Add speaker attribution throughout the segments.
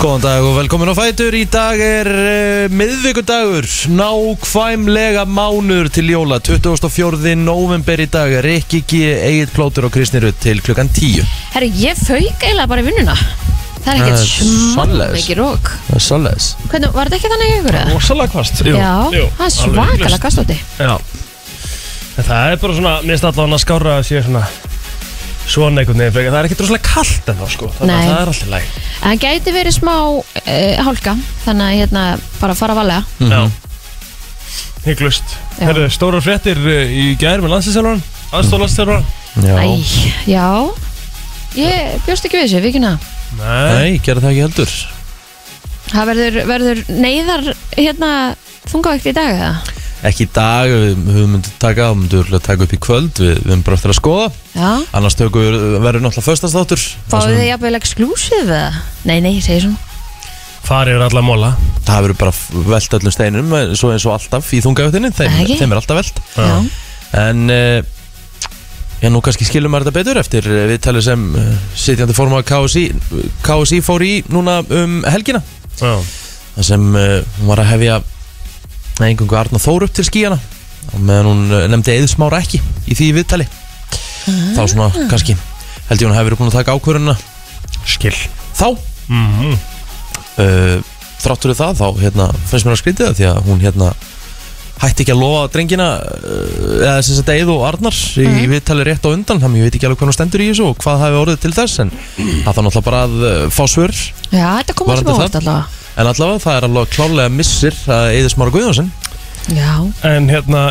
Speaker 1: Góðan dag og velkomin á Fætur. Í dag er uh, miðvíkudagur, nákvæmlega mánur til jóla. 24. november í dag, Rikki G, Egil Plótur og Kristi Rutt til klukkan 10.
Speaker 2: Herru, ég fauk eiginlega bara í vinnuna. Það er
Speaker 1: Það
Speaker 2: ekkert
Speaker 1: er
Speaker 2: smá
Speaker 1: svoleiðis.
Speaker 2: mikið rók.
Speaker 1: Það er svolítið.
Speaker 2: Hvernig, var þetta ekki þannig hjá ykkur eða?
Speaker 3: Rosalega kvast
Speaker 2: Já, það er svakalega gastóti.
Speaker 3: Já En það er bara svona, mér finnst allavega að skára að sé svona Svona einhvern veginn frekar, það er ekki droslega kallt en þá sko Þannig
Speaker 2: Nei.
Speaker 3: að það er alltaf læg
Speaker 2: En það gæti verið smá uh, hálka, þannig að hérna bara fara valega.
Speaker 3: Já Hygglust
Speaker 2: Já.
Speaker 3: Herðu, stóra fréttir eh, í gær með landsinsjálfan Aðstóð landsinsjálfan
Speaker 1: Já.
Speaker 2: Æ, já. Ég bjóst ekki við þessu, við ekki hérna.
Speaker 3: Nei
Speaker 1: Nei, gera það ekki heldur.
Speaker 2: Það verður, verður neyðar hérna þungavægt í dag eða?
Speaker 1: Ekki í dag, við við myndum taka, við myndum örugglega taka upp í kvöld, við, við erum bara eftir að skoða.
Speaker 2: Já.
Speaker 1: Annars tökum við, verður náttúrulega föstastáttur.
Speaker 2: Fáðu þið jafnvel exclusive eða? Nei, nei, ég segi svona.
Speaker 3: Hvar er alla móla?
Speaker 1: Það verður bara velt öllum steinum, eh, svo eins og alltaf í þungautinni, þeim,
Speaker 2: Ekki?
Speaker 1: þeim er alltaf velt.
Speaker 2: Já.
Speaker 1: En uh, Já, nú kannski skilum maður þetta betur eftir eh, viðtalið sem uh, sitjandi formaður KSI, KSI fór í núna um helgina
Speaker 3: Já
Speaker 1: þar sem uh, hún var að hefja einhverju Arna Þór upp til skíjana og meðan hún uh, nefndi eðsmára ekki í því viðtali þá svona kannski held ég hún hefur búin að taka ákvörðuna
Speaker 3: Skil
Speaker 1: þá
Speaker 3: Mhm.
Speaker 1: uh, þráttur við það þá hérna, finnst mér að skrítið það því að hún hérna hætti ekki að lofa drengina uh, eða sem sagt Eið og Arnar í, í viðtali rétt á undan þannig að ég veit ekki alveg hvernig stendur í þessu og hvað hafi orðið til þess en það þarf náttúrulega bara að uh, fá svör
Speaker 2: Já, þetta kom
Speaker 1: Var þetta
Speaker 2: alltaf óvart
Speaker 1: það?
Speaker 2: allavega.
Speaker 1: en allavega það er alveg klárlega missir að Eiður Smára Guðjónsson
Speaker 2: Já.
Speaker 3: En hérna,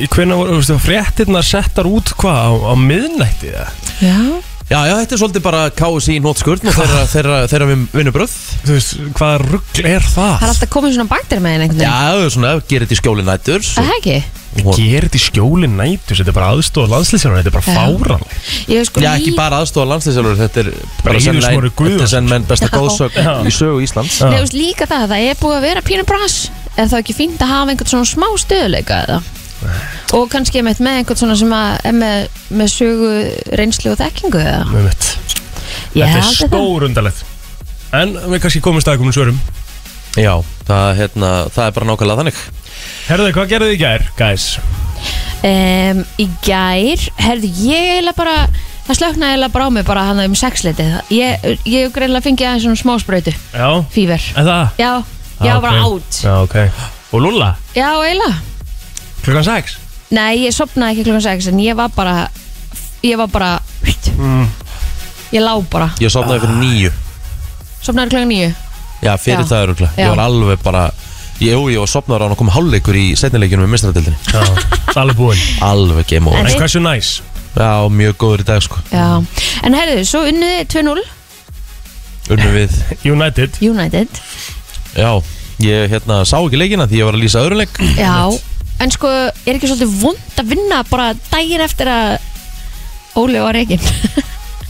Speaker 3: í hvernig voru, veistu, fréttirnar settar út hvað á, á miðnætti það?
Speaker 2: Já.
Speaker 1: Já, já, þetta er svolítið bara KSI nótskurn og þeirra, þeirra, þeirra vin- vinnubröð
Speaker 3: Þú veist, hvaða rugl er það?
Speaker 2: Það er alltaf komið svona baktir með henni einhvern
Speaker 1: Já,
Speaker 2: veginn.
Speaker 1: það er svona, gerir þetta í skjóli nættur
Speaker 2: Það er ekki.
Speaker 1: og,
Speaker 3: Gerir þetta í skjóli nættu, þetta er bara aðstóð landslýsjálfan, þetta er bara
Speaker 2: Já.
Speaker 3: fáran
Speaker 2: Ég hef sko
Speaker 1: Já, ekki bara aðstofa landsliðsjálfur, þetta er
Speaker 3: Bara
Speaker 1: bara
Speaker 3: Eiður
Speaker 1: sennilega
Speaker 3: Smári
Speaker 1: ein- þetta er senn menn besta
Speaker 2: Já.
Speaker 1: góðsögn í sögu Íslands
Speaker 2: Nei, þú veist líka það að það er búið að vera pínu bras Er það ekki fínt að hafa einhvern svona smá stöðuleika eða? Og kannski einmitt með einhvern svona sem að, er með, með sögu reynslu og þekkingu eða?
Speaker 3: Með mitt.
Speaker 2: Ég
Speaker 3: Þetta er
Speaker 2: held að það-
Speaker 3: stórundalegt En við kannski komumst að komum svörum
Speaker 1: Já, það, hérna, það er bara nákvæmlega þannig
Speaker 3: Herðu, hvað gerðu þið í gær, guys?
Speaker 2: um, Í gær, herðu ég eiginlega bara Það slöknaði eiginlega bara á mig bara hann um sexleitið Ég, ég hef greinlega fengið aðeins svona smá sprautu
Speaker 3: Já,
Speaker 2: Fíver
Speaker 3: en það?
Speaker 2: Já, ég
Speaker 3: Já,
Speaker 2: var bara
Speaker 3: Ah. ok.
Speaker 2: átt
Speaker 3: Já, ok Og Lulla,
Speaker 2: Já, eiginlega
Speaker 3: klukkan 6
Speaker 2: Nei, ég sopnaði ekki klukkan 6 En ég var bara Ég var bara
Speaker 1: Mm.
Speaker 2: Ég lá bara
Speaker 1: Ég sofnaði fyrir nýju
Speaker 2: Sopnaði klukkan 9
Speaker 1: Já, fyrir
Speaker 2: Ah. Já.
Speaker 1: það öruglega
Speaker 2: Já.
Speaker 1: Ég var alveg bara Jú, ég var sofnaður á hann og kom hálfleikur í setnileikinu með mistratildinni
Speaker 3: Já, það er alveg búin
Speaker 1: Alveg game over
Speaker 2: En-
Speaker 3: En hversu næs?
Speaker 1: Já, mjög góður í dag sko
Speaker 2: Já, en heyrðu, svo unniði 2-0
Speaker 1: Unnum við
Speaker 3: United
Speaker 2: United
Speaker 1: Já, ég hérna sá ekki leikina því ég var að lýsa öðruleik
Speaker 2: Já, en sko, er ekki svolítið vond að vinna bara daginn eftir að Óli var reygin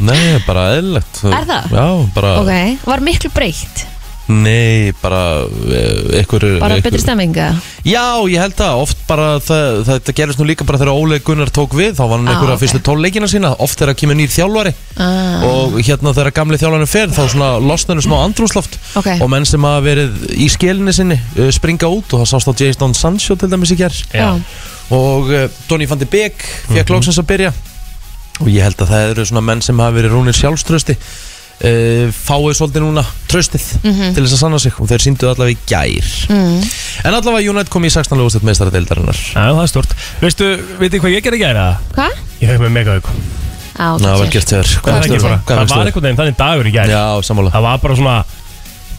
Speaker 1: Nei, bara eðlilegt
Speaker 2: Er það?
Speaker 1: Já, bara
Speaker 2: Ok, var miklu breytt
Speaker 1: Nei, bara eh, einhver
Speaker 2: Bara
Speaker 1: einhver-
Speaker 2: betri stemminga
Speaker 1: Já, ég held það, oft bara það, þetta gerist nú líka bara þegar Óli Gunnar tók við þá var hann
Speaker 2: Ah,
Speaker 1: einhverja
Speaker 2: ok.
Speaker 1: fyrstu tólleikina sína oft þegar kemur nýr þjálfari
Speaker 2: ah,
Speaker 1: og hérna þegar gamli þjálfarnir fer þá svona losnar hann smá andrúsloft
Speaker 2: Ok.
Speaker 1: og menn sem hafa verið í skelinni sinni uh, springa út og það sást á Jason Sancho til dæmis í ger
Speaker 2: Já,
Speaker 1: og uh, Donny van de Beek fekk loksins að byrja og ég held að það eru svona menn sem hafa verið rúnir sjálfströsti uh, fáið svolítið núna tröstið
Speaker 2: Mhm.
Speaker 1: til þess að sanna sig og þeir síndu allavega í gær
Speaker 2: mm.
Speaker 1: en allavega United kom í 16. úrslit meistara deildarinnar
Speaker 3: Já, það er stort Veistu, veitu hvað ég gerði í gær eða?
Speaker 2: hva?
Speaker 3: Ég hef með megauk
Speaker 2: Á,
Speaker 1: Ná, vel
Speaker 2: sér.
Speaker 1: gert þér
Speaker 3: Það
Speaker 2: fannst
Speaker 3: er ekki
Speaker 2: þér?
Speaker 3: bara Það var einhvern veginn þannig dagur í gær
Speaker 1: Já, sammála
Speaker 3: Það var bara svona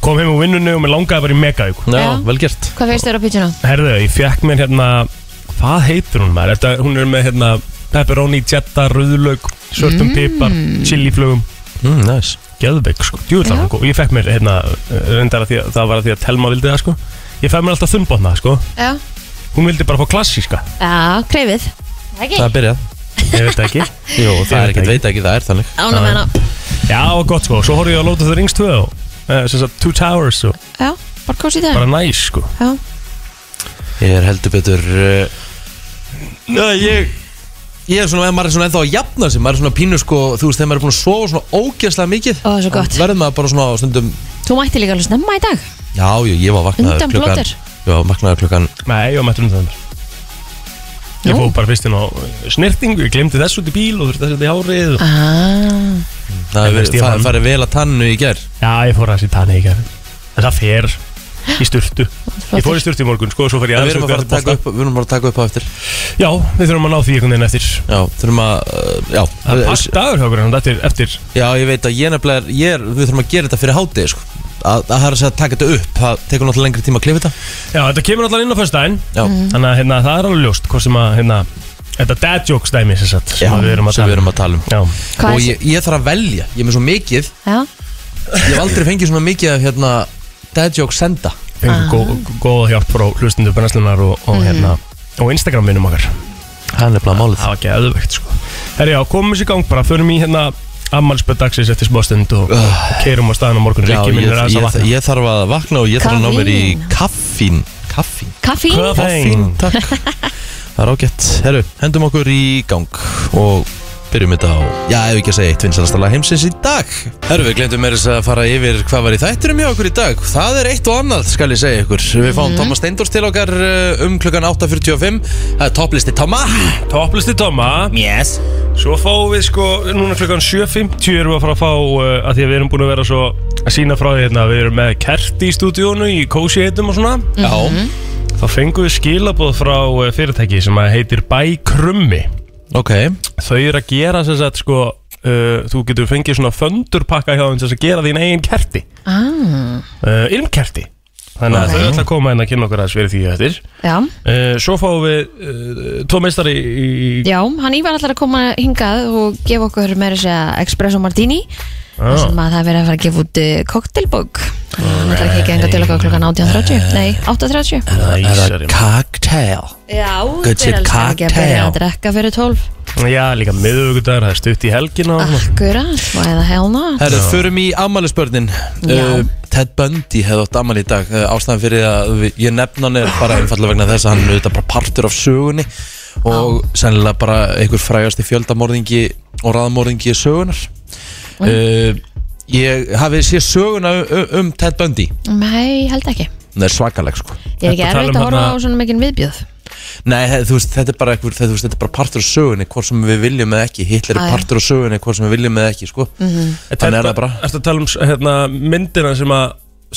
Speaker 3: Kom heim úr vinnunni og mér langaði bara í megauk
Speaker 1: Já,
Speaker 2: Já.
Speaker 1: vel gert
Speaker 2: Hvað feist þér á pítsuna?
Speaker 3: Herðu, ég fekk mér hérna Hvað heitir hún maður? Þetta, hún er með hérna pepperoni, cheddar, rauðlaug, svörtum pipar, chiliflögum
Speaker 1: mm, nice.
Speaker 3: Geðveik, sko, djúvillan
Speaker 2: Já.
Speaker 3: hún góð Og ég fekk mér hérna, eh, reyndar að því að það var að því að Telma vildi það, sko Ég fekk mér alltaf þumbotna, sko
Speaker 2: Já,
Speaker 3: Hún vildi bara fá klassíska
Speaker 2: Já kreifið Ekki,
Speaker 1: Það er byrjað
Speaker 3: Ég veit það ekki
Speaker 1: Jó, það er
Speaker 3: veit
Speaker 1: ekkert,
Speaker 3: ekki.
Speaker 1: veit ekki, það er þannig
Speaker 2: ána með hana
Speaker 3: Já, og gott, sko, svo horfði ég að lóta þau rings 2 og eh, sem sagt, Two Towers og
Speaker 2: Já, bara kósi í dag
Speaker 3: bara næs, sko
Speaker 2: Já,
Speaker 1: Ég er heldur betur uh, Næ, ég Ég er svona, maður er svona ennþá að jafna sig Maður er svona pínu sko, þú veist, þegar maður er búin að sofa svona ógeðslega mikið
Speaker 2: Ó, það er svo gott.
Speaker 1: Verður maður bara svona á stundum
Speaker 2: Þú mætti líka alveg snemma í dag
Speaker 1: Já, ég, ég var vaknaður
Speaker 2: Undan
Speaker 1: klukkan
Speaker 2: blótir.
Speaker 1: Ég var vaknaður klukkan
Speaker 3: Nei, ég var mættur um það Ég
Speaker 2: Nú.
Speaker 3: fóð bara fyrst inn á snirtingu Ég glemdi þessu út í bíl og þurfti þessu út í hárið og...
Speaker 2: ah.
Speaker 1: Það
Speaker 3: En
Speaker 1: hefur
Speaker 3: veist ég
Speaker 1: verið-
Speaker 3: hann?
Speaker 1: fa- farið vel að tannu í ger
Speaker 3: Já, ég fór aðeins í tanni í gerð En það fer í sturtu Ég fór í sturtu í morgun, sko, svo fer ég
Speaker 1: Við
Speaker 3: aðeins
Speaker 1: erum
Speaker 3: og
Speaker 1: að fara að
Speaker 3: fer í
Speaker 1: taka
Speaker 3: bolta.
Speaker 1: upp, við erum bara að taka upp á eftir
Speaker 3: Já, við þurfum að ná því einhvern veginn eftir
Speaker 1: Já, þurfum að, uh, já
Speaker 3: Það er pakk dagur hjá okkur samt eftir, eftir
Speaker 1: Já, ég veit að ég nefnilega, er- ég er, við þurfum að gera þetta fyrir hátið sko. að, að það er að segja að taka þetta upp það tekur náttúrulega lengri tíma að klifa þetta
Speaker 3: Já, þetta kemur allan inn á föstudaginn
Speaker 1: Já,
Speaker 2: Mhm.
Speaker 3: Þannig að hérna, það er alveg ljóst Hvort sem að, hérna, þetta dad jokes dæmi sem sagt
Speaker 1: já
Speaker 3: sem að við erum að
Speaker 1: sem við
Speaker 3: tala um.
Speaker 1: erum að tala um
Speaker 3: Já,
Speaker 2: Hvað
Speaker 1: Og
Speaker 2: er ég...
Speaker 1: ég, ég þarf að velja, ég er með svo mikið
Speaker 2: Já,
Speaker 1: Ég hef aldrei fengið svona mikið af hérna Dad joke senda
Speaker 3: fengum gó, góða hjálp frá hlustundu brennslunar og, og, hérna, og Instagram vinnum okkar
Speaker 1: Það er nefnilega málið
Speaker 3: Það var geðvegt sko Herri já, komum við sér gang bara, förum í hérna Ammalspöð dagsins eftir smástund og, og keirum á staðan á morgun
Speaker 1: Já,
Speaker 3: Rikki
Speaker 1: ég,
Speaker 3: minn er aðeins að
Speaker 1: ég,
Speaker 3: vakna
Speaker 1: ég þarf að vakna og ég þarf að ná mér í kaffín Kaffín
Speaker 2: kaffín
Speaker 3: Hvað-
Speaker 1: Koffín, takk Það er ágætt Herru, hendum okkur í gang Og byrjum þetta á Já, ef ekki að segja eitt vinsalasta lag heimsins í dag Herru, við glemdum meira þess að fara yfir Hvað var í þætturum hjá okkur í dag Það er eitt og annað, skal ég segja ykkur Við fáum Thomas Steindors til okkar uh, um klukkan 8.45 Það er topplisti Toma
Speaker 3: Mhm. Topplisti Toma
Speaker 1: Yes
Speaker 3: Svo fáum við sko, núna klukkan 7.50 erum við að fara að fá uh, að Því að við erum búin að vera svo að sína frá því hérna Við erum með kerti í stúdíónu í kósi heitum og svona
Speaker 1: Já,
Speaker 3: Þá fengum við skilaboð frá uh, fyrirtæki sem að heitir Bæ Krummi
Speaker 1: ok
Speaker 3: Þau eru að gera sem sagt sko uh, Þú getur fengið svona föndurpakka hjá þeim sem sagt að gera þín eigin kerti
Speaker 2: ah.
Speaker 3: uh, ilmkerti Þannig að þau ætla að koma inn að kynna okkur aðeins fyrir því eftir
Speaker 2: Já,
Speaker 3: uh, Svo fáum við uh, tvo meistari í, í
Speaker 2: já, hann Ívar ætlar að koma hingað og gefa okkur meira sér Espresso Martini þar sem að það er verið að fara að gefa út eh, cocktailbók hann ætlar að kika enga til okkar klukkan 18.30 nei, 8.30
Speaker 3: Æsari
Speaker 1: Cocktail
Speaker 2: Já,
Speaker 1: Good
Speaker 2: þeir
Speaker 1: shit,
Speaker 2: elskar ekki að byrja
Speaker 1: cocktail.
Speaker 2: að drekka fyrir 12
Speaker 3: Já, líka miðugudagur, það er stutt í helgina
Speaker 1: Ah.
Speaker 3: og svona.
Speaker 2: Akkurat, why the hell not
Speaker 1: Herru, förum í ammælisbörnin
Speaker 2: Já.
Speaker 1: uh, Ted Bundy hefði átt ammæli í dag uh, Ástæðan fyrir að við, ég nefna hann er bara einfallega vegna þess að hann er auðvitað bara partur af sögunni og sennilega bara einhver frægasti fjöldamorðingi og raðamorðingi sögunar uh, Ég hafi séð söguna um, um Ted Bundy
Speaker 2: Nei, Mm, held ekki
Speaker 1: Það er svakaleg sko
Speaker 2: Ég er ekki
Speaker 3: Ertu að tala
Speaker 2: erfitt
Speaker 3: um
Speaker 2: að horfa á
Speaker 3: þarna-
Speaker 2: svona mikinn viðbjöð
Speaker 1: Nei, he- þú veist, þetta er bara, einhver, þetta, þú veist, þetta er bara partur af sögunni hvort sem við viljum eða ekki Hitler
Speaker 2: Já,
Speaker 1: er
Speaker 2: já.
Speaker 1: partur af sögunni hvort sem við viljum eða ekki sko. Þannig er það bara
Speaker 3: Ertu að tala um hérna, myndina sem að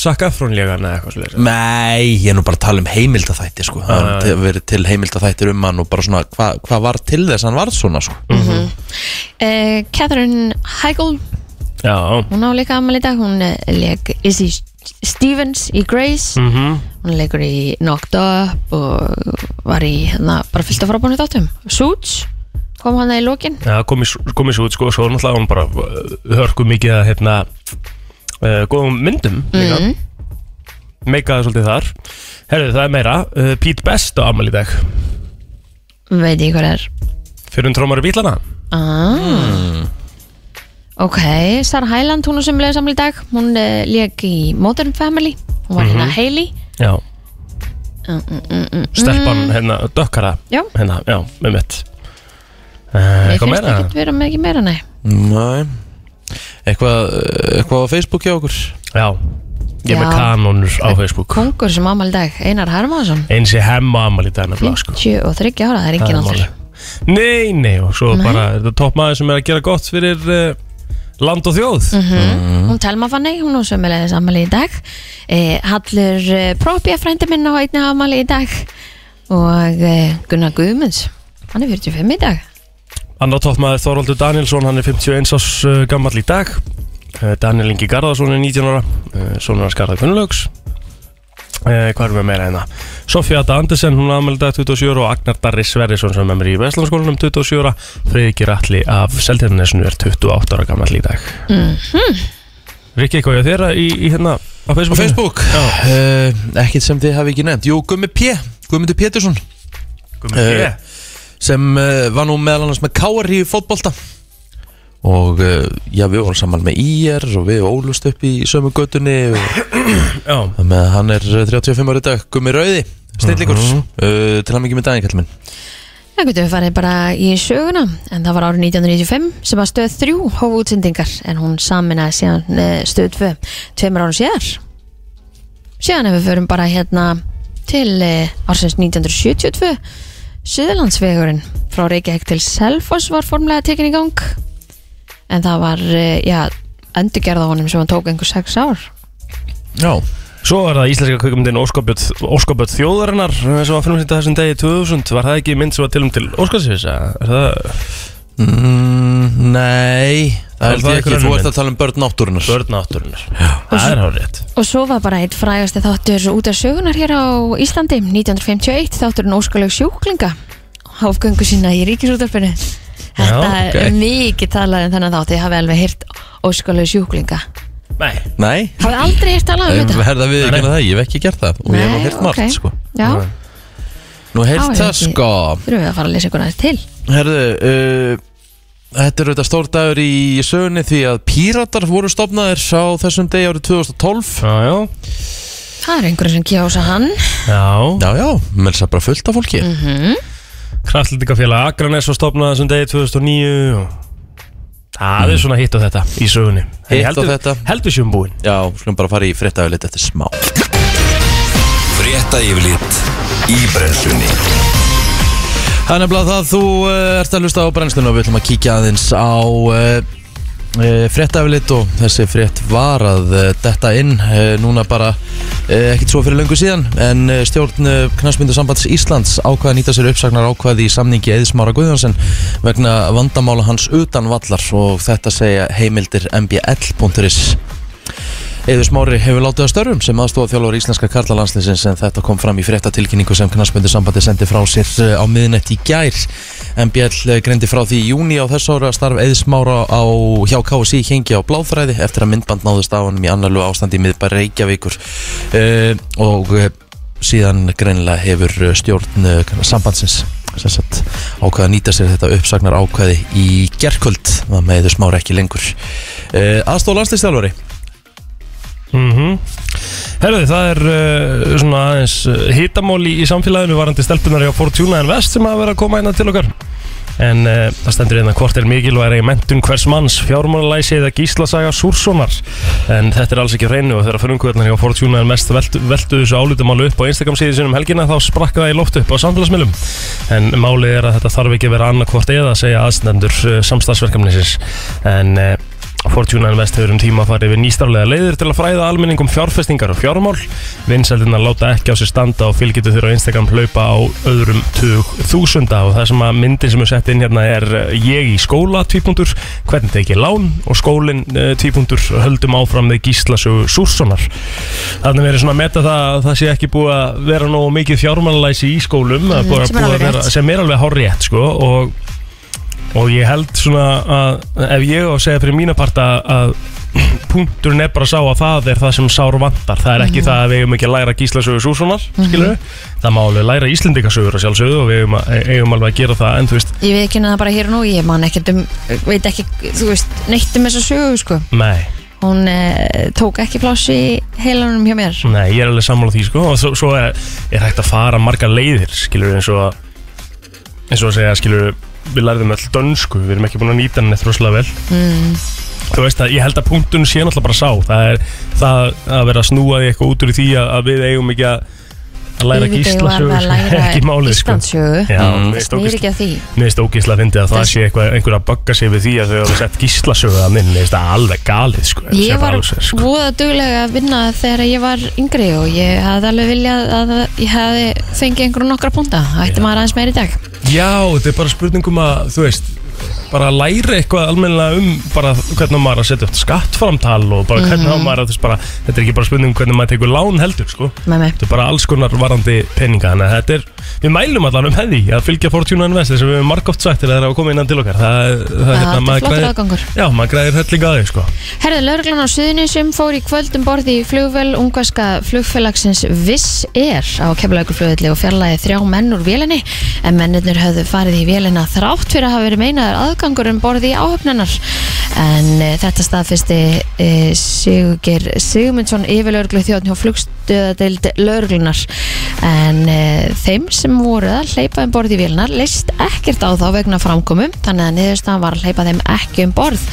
Speaker 3: sakka frónlega eða eitthvað svolítið
Speaker 1: Nei, ég er nú bara að tala um heimildaþætti sko. Það
Speaker 3: já,
Speaker 1: ah, ja. verið til heimildaþættir um hann og bara svona hvað hva var til þess að hann varð svona sko.
Speaker 2: uh, Catherine Heigl
Speaker 3: Já,
Speaker 2: hún á líka amal í dag hún leik Izzy Stevens í Grace
Speaker 3: mhm
Speaker 2: hún leikur í Knocked Up og var í hérna bara fyllt af frábæðinu þáttum Suits kom hann í lokin
Speaker 3: Já, kom í s- kom í svo út sko, svo náttúrulega var hún bara uh, hörku mikið að hérna uh, góðum myndum líka
Speaker 1: Mhm.
Speaker 2: Mm.
Speaker 3: meikaði svolítið þar Herðu, það er meira, uh, Pete Best á amal í dag
Speaker 2: veit ég hver er
Speaker 3: fyrir um trómari bílana
Speaker 2: ah.
Speaker 3: Mm.
Speaker 2: ok Sarah Hyland hún er sem leik saman í dag hún uh, leik í Modern Family hún var
Speaker 3: Mhm.
Speaker 2: hérna Hailey
Speaker 3: Já,
Speaker 2: mm, mm, mm, mm.
Speaker 3: stelpan hérna, dökkara
Speaker 2: já,
Speaker 3: hérna, já, með mitt uh,
Speaker 2: mér
Speaker 3: Eitthvað
Speaker 2: finnst
Speaker 3: meira?
Speaker 2: ekki vera með ekki meira nei
Speaker 1: Nei Eitthvað, eh, eitthvað á Facebook hjá okkur
Speaker 3: Já, ég er með
Speaker 2: Já.
Speaker 3: kanonur á Facebook
Speaker 2: kongur sem ámali í dag, Einar Hermansson
Speaker 3: eins ég hemma amal í dag nefnilega sko
Speaker 2: 23 ára, það er
Speaker 3: Það
Speaker 2: engin
Speaker 3: er
Speaker 2: aldur
Speaker 3: málið. Nei, nei, og svo bara er þetta toppmaður sem er að gera gott fyrir uh, land og þjóð
Speaker 2: Hún Telma Mhm. Fanny, hún á sömulegis ammali í dag eh, Hallur eh, Propia frændi minn á einni ammali í dag og eh, Gunnar Guðmunds hann er 45 í dag
Speaker 3: Annar toppmaður Þorvaldur Danielsson, hann er 51 árs uh, gammal í dag uh, Daniel Ingi Garðarsson er 19 ára uh, Sónur hans Garðar Gunnlaugs uh, Hvað erum við meira hérna? Sofía Ada Andersen, hún er aðmeldag 27 ára og Agnar Darri Sverrisson sem er með mér í Vestlandskólanum 27 ára Freyðikir Alli af Seltjarnesinu er 28 ára gammal í dag mm -hmm. Rikki, hvað er þeirra í, í hérna á
Speaker 1: Á
Speaker 3: Facebook?
Speaker 1: Facebook uh, Ekkit sem þið hafi ekki nefnt Jú, Gummi P, Guðmundur Pétursson
Speaker 3: Guðmundur,
Speaker 1: sem uh, var nú meðal annars með Káar í fótbolta og uh, já, við vorum saman með IR og við ólust upp í sömu götunni og
Speaker 3: Já,
Speaker 1: með að Eh, hann er 35 ári dag Gummi Rauði, snillingur uh til hann ekki með daginn, kallum minn
Speaker 2: Það getur við farið bara í söguna en það var árið 1995 sem að stöð 3 hóf útsendingar en hún saminaði síðan eh, stöð 2 tveimur árum síðar síðan ef við förum bara hérna til eh, ársins 1972 Suðurlandsvegurinn frá Reykjavík til Selfoss var formlega tekin í gang en það var eh, já, endurgerð á honum sem hann tók einhver 6 ár
Speaker 1: Já,
Speaker 3: Svo er það íslenska kvikmyndin Óskabjörn þjóðarinnar eh, sem var frumsýnt á þessum degi 2000 var það ekki mynd sem var tilum til Óskarsvís er það
Speaker 1: mm, nei Það
Speaker 3: Það
Speaker 1: held
Speaker 3: var
Speaker 1: ég ekki,
Speaker 3: einhver
Speaker 1: þú
Speaker 3: önnur
Speaker 1: ert að tala um börn náttúrunar
Speaker 3: börnátturinnar það er hár rétt
Speaker 2: Og svo var bara eitt frægasti þáttur út af sögunar hér á Íslandi 1951, þátturinn Óskaleg sjúklinga áfgöngu sína í ríkisútarpinu Þetta
Speaker 3: Já,
Speaker 1: ok.
Speaker 2: er mikið talað um þennan þátt, ég hafi alveg hýrt Óskaleg sjúklinga
Speaker 3: Nei,
Speaker 1: Nei,
Speaker 2: Hafið aldrei hýrt talað um
Speaker 1: ég
Speaker 2: þetta?
Speaker 1: verða við ekki að það, ég hef ekki gert það og ég hef nú
Speaker 2: Nei,
Speaker 1: heyrt margt
Speaker 2: ok.
Speaker 1: sko
Speaker 2: Já,
Speaker 1: Nú heyrt
Speaker 2: Já,
Speaker 1: það
Speaker 2: ég-
Speaker 1: sko
Speaker 2: þurfum við að fara að lesa ykkur aðeins til
Speaker 1: Herðu, uh, þetta er auðvitað stór dagur í sögunni því að píratar voru stopnaðir á þessum degi árið 2012
Speaker 3: já, já
Speaker 2: Það er einhverjum sem kjósa hann
Speaker 3: Já,
Speaker 1: Já, já, með þess að bara fullt af fólki
Speaker 2: Mhm.
Speaker 3: kraftlítikafélag Akranes var stopnað þessum degi 2009 og... Það er svona hitt á þetta í sögunni En ég
Speaker 1: Mm. Hitt á
Speaker 3: heldur-
Speaker 1: þetta.
Speaker 3: Heldur sjöfum búin
Speaker 1: Já, skulum bara fara í fréttaöflit eftir smá
Speaker 4: Frétta yfirlit í brenslunni
Speaker 1: Það er nefnilega það, þú uh, ert að hlusta á brennsluna og við ætlum að kíkja aðeins á uh, uh, fréttaöflit og þessi frétt var að uh, detta inn uh, núna bara uh, ekkit svo fyrir löngu síðan en uh, stjórn uh, knastmyndu sambands Íslands ákvaði að nýta sér uppsagnar ákvaði í samningi Eðismára Guðjónsson vegna vandamála hans utan vallar og þetta segja heimildir mbl.is Eður Smári hefur látið að störfum sem aðstofa þjálfur íslenska karlalandsliðsins en þetta kom fram í fréttatilkynningu sem knarspöndu sambandi sendi frá sér eh, á miðnett í gær. MBL eh, greindi frá því í júni á þess ára starf Eður Smára á hjá KSI hengi á bláþræði eftir að myndband náðist á honum í annarlu ástandi í miðbæri Reykjavíkur uh, og eh, síðan greinilega hefur eh, stjórn eh, sambandsins sem sagt ákveða að nýta sér þetta uppsagnar ákveði í gerkvöld það með Eður Smára ekki lengur uh, aðstofa landslistjálfari
Speaker 3: mm Herðu, það er uh, svona aðeins uh, hitamál í, í samfélaginu varandi stelpunar hjá Fortuna en Vest sem hafa verið að koma hérna til okkar en uh, það stendur einna hvort er mikil og er eigin mentun hvers manns, fjármálalæsi eða gíslasaga Súrssonar en þetta er alls ekki á hreinu og þegar förunguðarnar hjá Fortuna en Vest veltu, veltu þessu álutamálu upp á Instagram síðu sinum um helgina þá sprakka það í loft upp á samfélagsmiðlum en málið er að þetta þarf ekki að vera annarkvort eða segja aðstendur uh, samstagsverkefnisins en uh, Fortuna Invest hefur um tíma farið við nýstaflega leiðir til að fræða almenning um fjárfestingar og fjármál. Vinsældirnar láta ekki á sér standa og fylgjitu þeirra á Instagram hlaupa á öðrum tug þúsunda og það sem að myndin sem er sett inn hérna er eh, ég í skóla tvípundur, hvernig tekið lán og skólin eh, tvípundur höldum áfram með gíslasögu Súrssonar. Þannig verið svona að meta það að það sé ekki búið að vera nógu mikið fjármálalæsi í skólum
Speaker 2: Mm,
Speaker 3: mm, búið að
Speaker 2: sem er alveg
Speaker 3: búið að vera,
Speaker 2: rétt.
Speaker 3: sem er alveg hár rétt sko og og ég held svona að ef ég á að segja fyrir mína part að, að punkturinn er bara sá að það er það sem sár vantar það er
Speaker 2: Mhm.
Speaker 3: ekki það að við eigum ekki að læra gíslasögur súsunar skilur það má alveg læra íslendingasögur að sjálfsögðu og við eigum, að, e- eigum alveg að gera það en þú veist,
Speaker 2: Ég veit ekki það bara hér og nú, ég man ekkert um veit ekki, þú veist, neitt um þessa sögu sko.
Speaker 3: nei
Speaker 2: hún eh, tók ekki pláss í heilanum hjá mér
Speaker 3: Nei, ég er alveg sammála því sko og svo, svo er, er hægt að fara margar leiðir skilur eins og að- eins og að segja skilur við lærðum öll dönsku við erum ekki búin að nýta henni þrjóslega vel mm. þú veist að ég held að punktun sé náttúrulega bara sá það er það að vera að snúa því eitthvað út úr því að, að við eigum ekki að að læra
Speaker 2: Yfirleitt eigum
Speaker 3: gísla
Speaker 2: við alveg að læra
Speaker 3: ekki málið sko
Speaker 2: Íslandssögu
Speaker 3: Já,
Speaker 1: Mm.
Speaker 3: mér finnst
Speaker 2: Snýr
Speaker 3: ógeðslega-
Speaker 2: ekki að því
Speaker 3: mér finnst ógeðslega að fyndi að það
Speaker 2: Þess-
Speaker 3: sé eitthvað einhver að bagga sig við því að þau hafa sett gíslasögu að minn, mér finnst það alveg galið sko Þetta
Speaker 2: Ég
Speaker 3: er bara
Speaker 2: var
Speaker 3: alveg, sko.
Speaker 2: voða duglega að vinna þegar ég var yngri og ég hafði alveg viljað að ég hefði fengið einhverjum nokkra púnta Það ætti maður aðeins meir í dag
Speaker 3: Já, þetta er bara spurningum að, þú veist bara að læra eitthvað almennilega um bara hvernig á maður að setja upp skattframtal og bara hvernig
Speaker 2: Mhm.
Speaker 3: á maður að þú veist bara þetta er ekki bara spurningum hvernig maður tekur lán heldur sko.
Speaker 2: með mig
Speaker 3: þetta er bara alls konar varandi peninga þannig að þetta er, við mælum allan um hefði að fylgja Fortuna Invest sem við höfum margóft sagt þegar það er að koma innan til okkar það, það,
Speaker 2: Það
Speaker 3: hérna,
Speaker 2: er
Speaker 3: maður
Speaker 2: flottur
Speaker 3: græðir-
Speaker 2: aðgangur.
Speaker 3: Já, maður græðir helling að þig sko.
Speaker 2: Herði, lauruglan á Suðunisum fór í kvöldum borði í flugvel ungverska flugfélagsins Viss Air á keflaugurflöðli og fjarlæði þrjá menn úr vélinni en mennirnir höfðu farið í vélina þrátt fyrir að hafa verið meinaður aðgangur um borði í áhöfnunar en e, þetta staðfisti e, Sigurger Sigmundsson yfir lauruglu þjóðn hjá flugstöðadeild lauruglunar en e, þeim sem sem voru að hleypa um borð í vélnar leist ekkert á þá vegna framkomu þannig að niðurstaðan var að hleypa þeim ekki um borð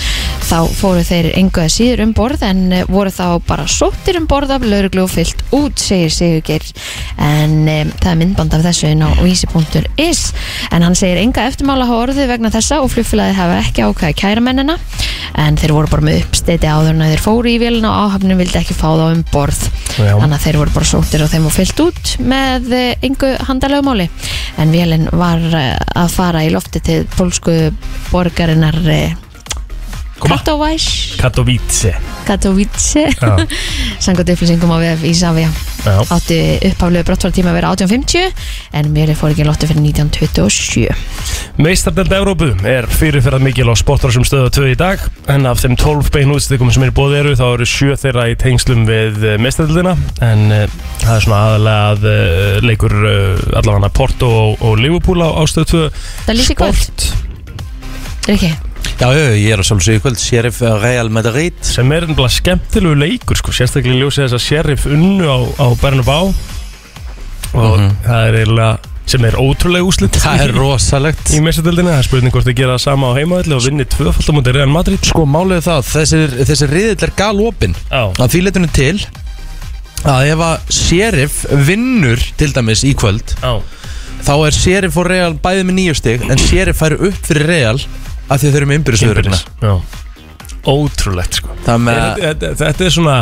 Speaker 2: þá fóru þeir engu að síður um borð en eh, voru þá bara sóttir um borð af lauruglu og fyllt út segir Sigurgeir en um, það er myndband af þessu inn á vísi.is en hann segir enga eftirmála hafa orðið vegna þessa og flugfélagi hafa ekki ákvæði kæra mennina en þeir voru bara með uppstiti áður en þeir fóru í vélina og áhafnum vildi ekki fá þá um borð
Speaker 3: Já.
Speaker 2: þannig að þeir voru bara sóttir og þeim og fyllt út með eh, engu handalögumáli en vélin var eh, að fara í lofti til pólsku borgarinnar eh,
Speaker 3: Koma.
Speaker 2: Katowice
Speaker 3: Katowice
Speaker 2: Katowice
Speaker 3: Já,
Speaker 2: samkvæmt upplýsingum á VF Ísafja
Speaker 3: já,
Speaker 2: átti upphaflegu brottfartíma að vera 1850 en vélin fór ekki í lofti fyrir 1927
Speaker 3: Meistardeld Evrópu er fyrirferðar mikil á sportar sem stöðu 2 í dag en af þeim 12 beinu útstikum sem er í bóði eru þá eru 7 þeirra í tengslum við meistardeldina en uh, það er svona aðalega að uh, leikur uh, allavega Porto og, og Liverpool á, á stöðu 2
Speaker 2: Það er líka í kvöld, Rikki
Speaker 1: Já, já, ég er að sjálfsögja í kvöld Sheriff Real Madrid
Speaker 3: sem er ennbla skemmtilegu leikur sko, sérstaklega í ljósið þess að Sheriff unnu á, á Bernabá og
Speaker 1: Mhm.
Speaker 3: það er eiginlega sem er ótrúlega úslit
Speaker 1: Það er rosalegt
Speaker 3: í meistardildinni, það er spurning hvort þið gera það sama á heimaðalli og vinni tvöfald á móti Real Madrid
Speaker 1: Sko, málið er það, þessir, þessir riðill er galopin
Speaker 3: Já,
Speaker 1: að því letunum til að ef að Sheriff vinnur til dæmis í kvöld
Speaker 3: já,
Speaker 1: þá er Sheriff og Real bæði með nýju stig en Sheriff færi upp fyrir Real af því að þau eru með ymbyrðisöðurina
Speaker 3: Innbyrðis, já Ótrúlegt sko
Speaker 1: Það með
Speaker 3: þetta, þetta, þetta er svona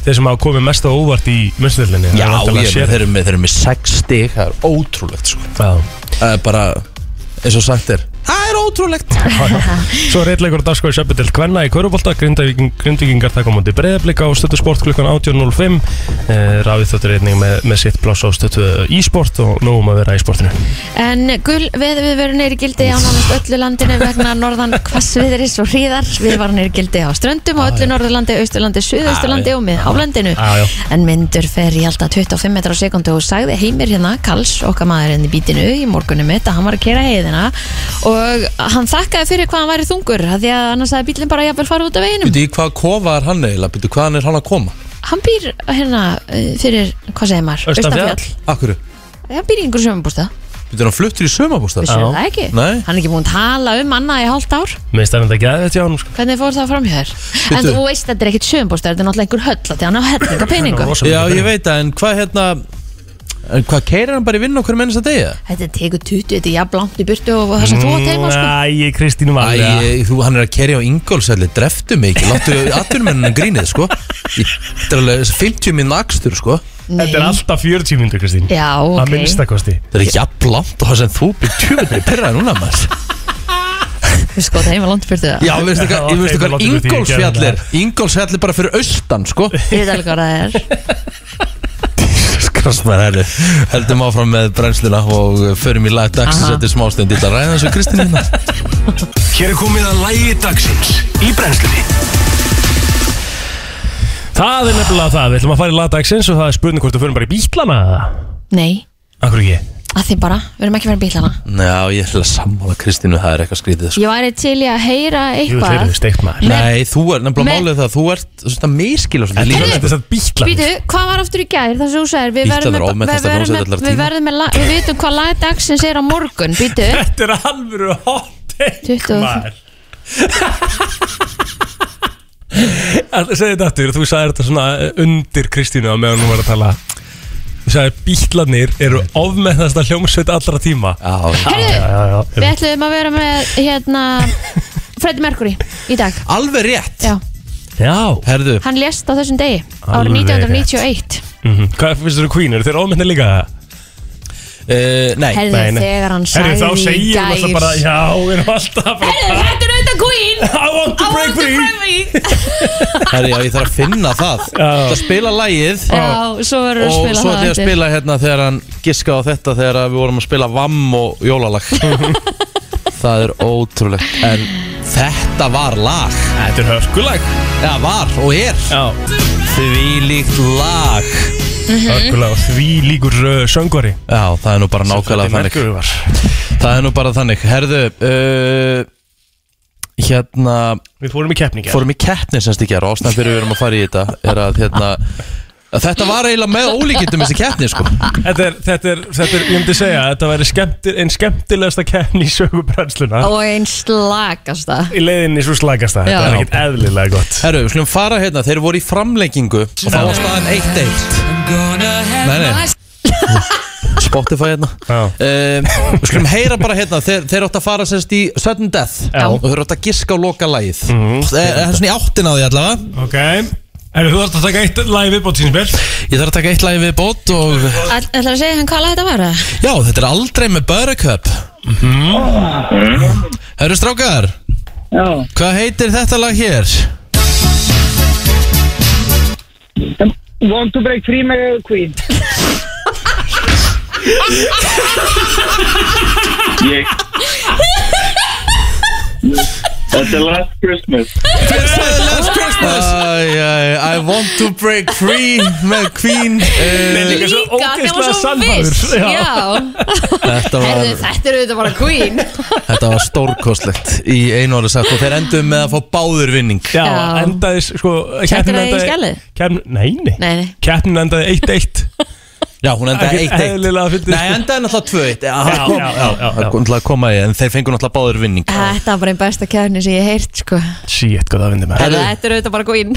Speaker 3: þeir sem hafa komið mest á óvart í meistardildinni
Speaker 1: Já, ég, þeir, eru með, þeir eru með sex stig Það er ótrúlegt sko
Speaker 3: Já
Speaker 1: Það er bara, eins og sagt er Það er ótrúlegt
Speaker 3: Svo er reitleikur að dagskoði sjöpudelt Kvenna í Körubólta Grindvíkingar taka á móti breyðablika á stötu sport klukkan 18.05 eh, Rafið þóttur einning með, með sitt pláss á stötu e-sport og nógum að vera í sportinu
Speaker 2: En gul veð við verum neyri gildi á nánast öllu landinu vegna norðan hvassviðris og hríðar. Við varum neyri gildi á ströndum og öllu norðurlandi, austurlandi, suðausturlandi og mið álandinu.
Speaker 3: Já, já.
Speaker 2: En myndur fer í alltaf 25 metrar á sekundu og sagði heimir hérna, Kals, okkar maðurinn í bítinu í morgunum mitt að hann var að kera heiðina og hann þakkaði fyrir hvað hann væri þungur af því að annars hefði bílinn bara jafnvel farið út af veginum.
Speaker 1: Býtu í hvað kofa er hann eiginlega? Býtu hvaðan er hann að koma?
Speaker 2: Hann býr hérna eh, fyrir, hvað segir maður?
Speaker 3: Austafjall.
Speaker 1: Akkur?
Speaker 2: Hann býr í einhverjum sömumbústa.
Speaker 1: Býtu hann fluttur í sömabústað?
Speaker 2: Vissir það ekki?
Speaker 1: Nei.
Speaker 2: Hann er ekki búin að tala um annað í hálft ár.
Speaker 3: Meist er þetta ekki aðeins hjá hann sko
Speaker 2: Hvernig fór það fram hjá þér? En
Speaker 1: Bíddu.
Speaker 2: þú veist að þetta er ekkit sögumbústaður, þetta er náttúrulega einhver höll að því hann á hellinga peningum.
Speaker 3: Rosa
Speaker 1: Já, ég
Speaker 3: mikið pening.
Speaker 1: veit það, en hvað hérna En hvað keirir hann bara í vinnu okkur mennins að degja?
Speaker 2: Þetta tekur 20, þetta er jafn langt í burtu og það sem þú átt heima sko.
Speaker 3: Æ, Kristín var alveg að-
Speaker 1: Æ, þú, hann er að kerja á Ingolsælli, dreftu mig ekki Láttu atvinnumennin grínið, sko Ég- Þetta er alveg 50 minn akstur, sko
Speaker 3: Mm, Þetta er alltaf 40 myndur Kristín
Speaker 2: Já,
Speaker 3: Að
Speaker 2: ok.
Speaker 3: minnstakosti
Speaker 1: Þetta er jafnlamt og það sem þú byrjum tjúfinni Pyrraði núna, maður
Speaker 2: Við sko það heima langt í burtu það.
Speaker 1: Já, veistu
Speaker 3: Já,
Speaker 1: hvað, ég veistu
Speaker 3: þeim er
Speaker 1: hvað
Speaker 3: látið fyrir því í
Speaker 1: Ingólfsfjall er
Speaker 3: gerðina.
Speaker 1: Ingólfsfjall er bara fyrir austan, sko
Speaker 2: Ég veit alveg hvað það er.
Speaker 1: Skrasmar, herri Heldum áfram með brennsluna og uh, förum í lag dagsins
Speaker 2: Aha.
Speaker 1: Þetta er smástund, ég ætla að ræða þessu Kristín hérna
Speaker 4: Hér er komið að lægi dagsins í brennslunni
Speaker 3: Það er nefnilega það, við ætlum að fara í lagdagsins og það er spurning hvort þú fyrir bara í bílana eða?
Speaker 2: Nei,
Speaker 3: Akkur ekki?
Speaker 2: að því bara, við erum ekki verið bílana.
Speaker 1: Já, ég ætla að sammála Kristínu, það er eitthvað skrítið, sko
Speaker 2: Ég væri til í að heyra
Speaker 3: Jú, þeir
Speaker 2: eitthvað.
Speaker 3: eru steikt maður
Speaker 2: Nei.
Speaker 1: Nei, þú er nefnilega
Speaker 2: Men-
Speaker 1: málið það, þú ert svona miskila svona
Speaker 3: Þetta
Speaker 1: líka
Speaker 3: er þess að bílana
Speaker 2: Býtu, hvað var aftur í gær þar sem þú sagðir við
Speaker 1: Bílarnir
Speaker 2: verðum með,
Speaker 1: ofmetnasta
Speaker 2: við verðum
Speaker 1: hljómsveit allra
Speaker 2: með, við
Speaker 1: tíma.
Speaker 2: verðum með, lag- við vitum hvað lag dagsins er á morgun, býtu,
Speaker 3: Þetta er alvöru hot take
Speaker 2: 25.
Speaker 3: maður Segðu þetta aftur, þú sagði þetta svona undir Kristínu á meðan hún var að tala Þú sagði bílarnir eru ofmeðnasta hljómsveit allra tíma
Speaker 1: Já,
Speaker 2: heyrðu,
Speaker 3: já,
Speaker 2: við ætlum að vera með, hérna, Freddie Mercury í dag,
Speaker 1: alveg rétt
Speaker 2: já.
Speaker 3: já.
Speaker 1: Herðu,
Speaker 2: Hann lést á þessum degi árið
Speaker 3: Alveg
Speaker 2: 1991
Speaker 3: Mm Hvað finnst þú Queen, eru þeir ofmeðnir líka?
Speaker 1: uh, nei,
Speaker 2: Herðu þegar hann sagði
Speaker 3: Herðu þá segir hún alltaf bara, já, við erum alltaf bara
Speaker 2: Herðu þetta er auðvitað Queen
Speaker 3: I want to
Speaker 2: I
Speaker 3: break
Speaker 2: want to
Speaker 3: free
Speaker 2: break free
Speaker 1: herðu, já, ég þarf að finna það Ég ætla að spila lagið
Speaker 2: Já, svo verður að
Speaker 1: Og
Speaker 2: spila
Speaker 1: svo ætla ég að
Speaker 2: eftir.
Speaker 1: spila hérna þegar hann giskaði á þetta Þegar að við vorum að spila vamm og jólalag Það er ótrúlegt En þetta var lag
Speaker 3: Þetta er hörkulag
Speaker 1: Já, var og er
Speaker 3: Já,
Speaker 1: Því líkt lag
Speaker 3: hörkulag og því líkur uh, söngvari
Speaker 1: Já, það er nú bara nákvæmlega þannig
Speaker 3: Mercury var
Speaker 1: Það er nú bara þannig Herðu, uh, hérna
Speaker 3: Við fórum í keppningi
Speaker 1: Fórum í keppni semst í gera Ástæðan fyrir við erum að fara í þetta Er að hérna Þetta var eiginlega með ólíkindum þessi keppni sko
Speaker 3: Þetta er, þetta er, þetta er, ég myndi segja að Þetta væri skemmtir, einn skemmtilegasta keppni í sögu brennsluna
Speaker 2: Og einn slagast það
Speaker 3: Í leiðinni svo slagasta
Speaker 2: Já.
Speaker 3: Þetta er ekkert eðlilega gott
Speaker 1: Herru, við skulum fara hérna, þeir voru í framlengingu og þá var staðan 1-1 Nei, nei Spotify hérna
Speaker 3: Já.
Speaker 1: um, Við skulum heyra bara hérna Þeir, þeir áttu að fara sérst í Sudden Death
Speaker 3: Já.
Speaker 1: og þeir áttu að giska á loka lagið Það er- það er svona í áttin á því allavega
Speaker 3: Ok Erðu þú þarft að taka eitt live upp á tínsbjörn?
Speaker 1: Ég þarf að taka eitt lagið við bót og
Speaker 2: Ætlar að segja hann hvað lag þetta var? eða?
Speaker 1: Já, þetta er aldrei með Buttercup
Speaker 3: Mhm.
Speaker 1: Herru strákar
Speaker 5: Já,
Speaker 1: Hvað heitir þetta lag hér?
Speaker 5: Want to break free með Queen
Speaker 6: Ég Þetta er last Christmas
Speaker 1: Last Christmas I, I, I want to break free með Queen uh,
Speaker 3: Líka svo
Speaker 2: hann
Speaker 3: ógeðslega
Speaker 2: var svo
Speaker 3: sannfærður.
Speaker 2: viss
Speaker 3: Já.
Speaker 2: Já,
Speaker 1: þetta,
Speaker 2: Herðu,
Speaker 1: var,
Speaker 2: þetta eru þetta bara Queen
Speaker 1: þetta var stórkostlegt í einu orði sagt og þeir endum með að fá báður vinning
Speaker 3: Já,
Speaker 2: Já.
Speaker 3: endaði, sko
Speaker 2: Settir það í skjalið?
Speaker 3: Keppnin, nei, nei,
Speaker 2: Nei, nei.
Speaker 3: Keppnin endaði 1-1
Speaker 1: Já, hún endaði
Speaker 3: Ekkert
Speaker 1: 1-1
Speaker 3: eðlilega að fyndið,
Speaker 1: Nei,
Speaker 3: sko.
Speaker 1: endaði náttúrulega 2-1
Speaker 3: Já,
Speaker 1: Það kom-
Speaker 3: já, já, já,
Speaker 1: það
Speaker 3: já.
Speaker 1: kom náttúrulega að koma í en þeir fengur náttúrulega báður vinning
Speaker 2: Þetta var bara einn besta kefni sem ég heirt sko
Speaker 3: Shit, hvað það vindir með
Speaker 1: Herðu.
Speaker 2: Herðu, þetta eru þetta bara Queen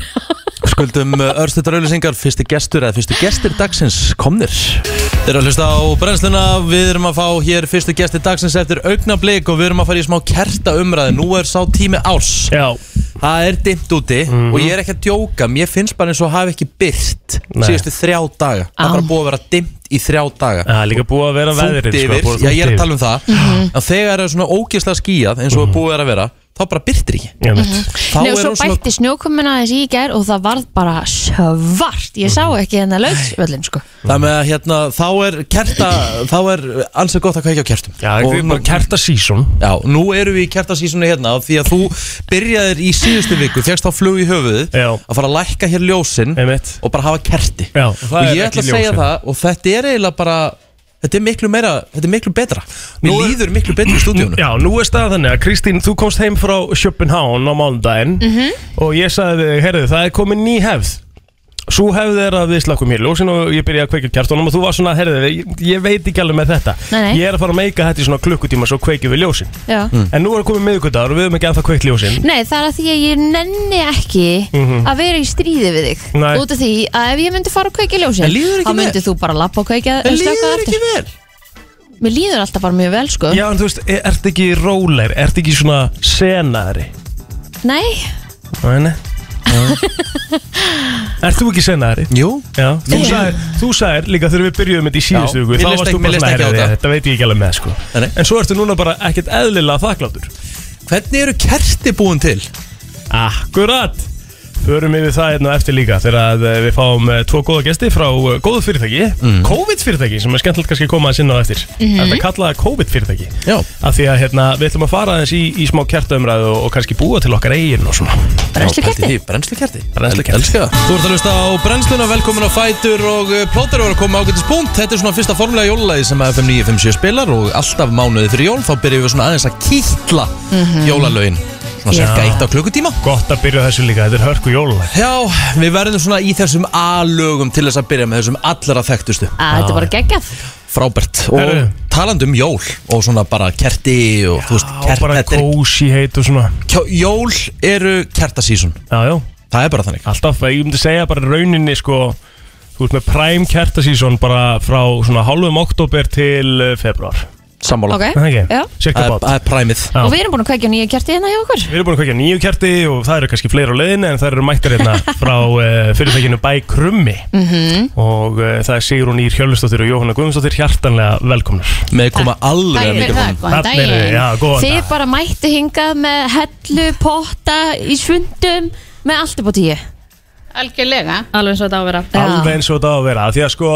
Speaker 1: Skuldum örstuðar auðlýsingar, eh, fyrsti gestur eða fyrstu gestir dagsins komnir Þeir eru að hlusta á brennsluna, við erum að fá hér fyrstu gestir dagsins eftir augnablik og við erum að fara í smá kerta umræði Nú er sá tími árs,
Speaker 3: Já,
Speaker 1: það er dimmt úti og ég er ekki að djóka, mér finnst bara eins og hafi ekki byrt
Speaker 3: Nei.
Speaker 1: síðustu þrjá daga Það er
Speaker 2: Á.
Speaker 1: bara búið að vera dimmt í þrjá daga
Speaker 3: það er líka búið að vera veðrið
Speaker 1: Þungt yfir, já ég er að tala um það
Speaker 2: Mhm.
Speaker 1: En þegar það er svona ógislega skíjað eins
Speaker 3: Mhm.
Speaker 1: og búið er að vera, þá bara byrtir ekki
Speaker 3: um mm
Speaker 1: Þá
Speaker 2: Nei,
Speaker 1: er
Speaker 2: og svo
Speaker 1: hún svona-
Speaker 2: bætti snjókomuna aðeins í í gær og það varð bara svart Ég sá ekki hérna lögsvöllin sko
Speaker 1: Það með að hérna, þá er kerta, þá er alls gott að kveikja á kertum
Speaker 3: Já, það er
Speaker 1: nú,
Speaker 3: bara kerta sísón
Speaker 1: já, nú erum við í kertasísunni hérna af Því að þú byrjaðir í síðustu viku, fegst þá flug í höfuðið
Speaker 3: Já.
Speaker 1: Að fara að lækka hér ljósin
Speaker 3: Einmitt.
Speaker 1: og bara hafa kerti
Speaker 3: Já, það
Speaker 1: Og
Speaker 3: er
Speaker 1: ég
Speaker 3: ekki
Speaker 1: ætla að segja
Speaker 3: ljósin.
Speaker 1: það, og þetta er eiginlega bara Þetta er miklu meira, þetta er miklu betra Mér
Speaker 3: Nú er-
Speaker 1: líður miklu betur í stúdíunum
Speaker 3: Já, nú er staðan þannig að Kristín, þú komst heim frá Schopenháun á mánudaginn
Speaker 2: Mhm.
Speaker 3: og ég sagði við þig, heyrðu, það er komin ný hefð Svo hefði þeir að við slakkum hér ljósin og ég byrjaði að kveikja á kjartunum og þú var svona, heyrðu, ég, ég veit ekki alveg með þetta
Speaker 2: Nei, nei.
Speaker 3: Ég er að fara að meika þetta í svona klukkutíma svo kveikjum við ljósin
Speaker 2: Já
Speaker 3: En nú er komið miðvikudagur og við höfum ekki að það kveikt ljósin
Speaker 2: Nei, það er að því að ég nenni ekki
Speaker 1: Mhm.
Speaker 2: að vera í stríði við þig
Speaker 3: Nei.
Speaker 2: Út af því að ef ég myndi fara að kveikja ljósin
Speaker 1: En líður ekki
Speaker 2: Þá
Speaker 1: vel?
Speaker 2: myndi þú bara lappa og kveikja
Speaker 1: En
Speaker 2: en slökkva
Speaker 1: líður
Speaker 2: aftur.
Speaker 1: ekki vel
Speaker 2: Mér líður alltaf bara mjög vel sko
Speaker 3: Já, en þú veist, er, ert ekki róleir, ert ekki svona senari
Speaker 2: Nei,
Speaker 3: Nei, nei Ert þú ekki senari?
Speaker 1: Jú,
Speaker 3: Já, þú
Speaker 2: Já.
Speaker 3: sagðir, þú sagðir líka þegar við byrjuðum þetta í síðustu
Speaker 1: Já,
Speaker 3: viku
Speaker 1: mér leist
Speaker 3: þá varst
Speaker 1: ekki-
Speaker 3: þú bara
Speaker 1: mér leist
Speaker 3: svona
Speaker 1: ekki á
Speaker 3: "Herra,
Speaker 1: þetta."
Speaker 3: Þetta veit ég ekki alveg með sko
Speaker 1: Nei, nei.
Speaker 3: En svo ertu núna bara ekkert eðlilega þakkláttur
Speaker 1: hvernig eru kerti búin til? Ah.
Speaker 3: Akkurat Förum yfir það hérna á eftir líka þegar að eh, við fáum eh, tvo góða gesti frá eh, góðu fyrirtæki
Speaker 1: Mm.
Speaker 3: COVID fyrirtæki sem er skemmtilegt kannski að koma að sinna á eftir mm -hmm. Þetta kallaða COVID fyrirtæki
Speaker 1: Mhm. Já.
Speaker 3: Af því að hérna, við ætlum að fara aðeins í, í smá kjartaumræðu og, og kannski búa til okkar eigin og svona
Speaker 2: Brennslukerti?
Speaker 1: Brennslukerti
Speaker 3: Brennslukerti.
Speaker 1: Elskar það Þú ert að hlusta á brennsluna Velkomin á Fætur og uh, plóter eru að koma ágætis punkt Þetta er svona fyrsta formulega jólulegi sem FM 957 spilar og alltaf mánuði fyrir jól þá byrjum við svona aðeins að kýtla jólalögin Svona
Speaker 2: Já.
Speaker 1: cirka eitt á klukkutíma
Speaker 3: Gott að byrja á þessu líka, þetta er hörku jólulag
Speaker 1: Já, við verðum svona í þessum A-lögum til þess að byrja með þessum allra þekktustu
Speaker 2: að þetta er bara geggjað
Speaker 1: Frábært Og
Speaker 3: Herru.
Speaker 1: talandi um jól og svona bara kerti og þú veist
Speaker 3: Já,
Speaker 1: kerti
Speaker 3: bara
Speaker 1: þetta er-
Speaker 3: kósi heit og svona
Speaker 1: Kjó- Jól eru kertasísun
Speaker 3: Já, já
Speaker 1: Það er bara þannig
Speaker 3: alltaf, ég myndi segja bara rauninni sko, þú veist með prime kertasísón bara frá svona hálfum oktober til eh, februar
Speaker 1: Sammála
Speaker 2: Ok,
Speaker 3: okay.
Speaker 2: já
Speaker 3: Cirka
Speaker 1: Það er-
Speaker 3: bát
Speaker 1: það er præmið
Speaker 3: Já.
Speaker 2: Og við erum búin að kveikja nýja kjarti hérna hjá okkur
Speaker 3: Við erum búin að kveikja nýju kerti og það eru kannski fleiri á leiðinu en það eru mættar hérna frá uh, fyrirtækinu Bæ Krummi -hmm.
Speaker 2: Mhm.
Speaker 3: og uh, það er Sigrún Ír Hjölustóttir og Jóhanna Guðmundsdóttir hjartanlega velkomnar
Speaker 1: með koma alveg að mikrofónum
Speaker 2: góðan
Speaker 3: Þarna eru-
Speaker 2: daginn
Speaker 3: já, góðan
Speaker 2: Þið
Speaker 3: dag.
Speaker 2: bara mættu hingað með hellu, potta, í svundum Með allt upp á tíu
Speaker 7: Algjörlega Alveg eins og þetta á að vera
Speaker 3: Alveg eins og þetta á að vera, af því að sko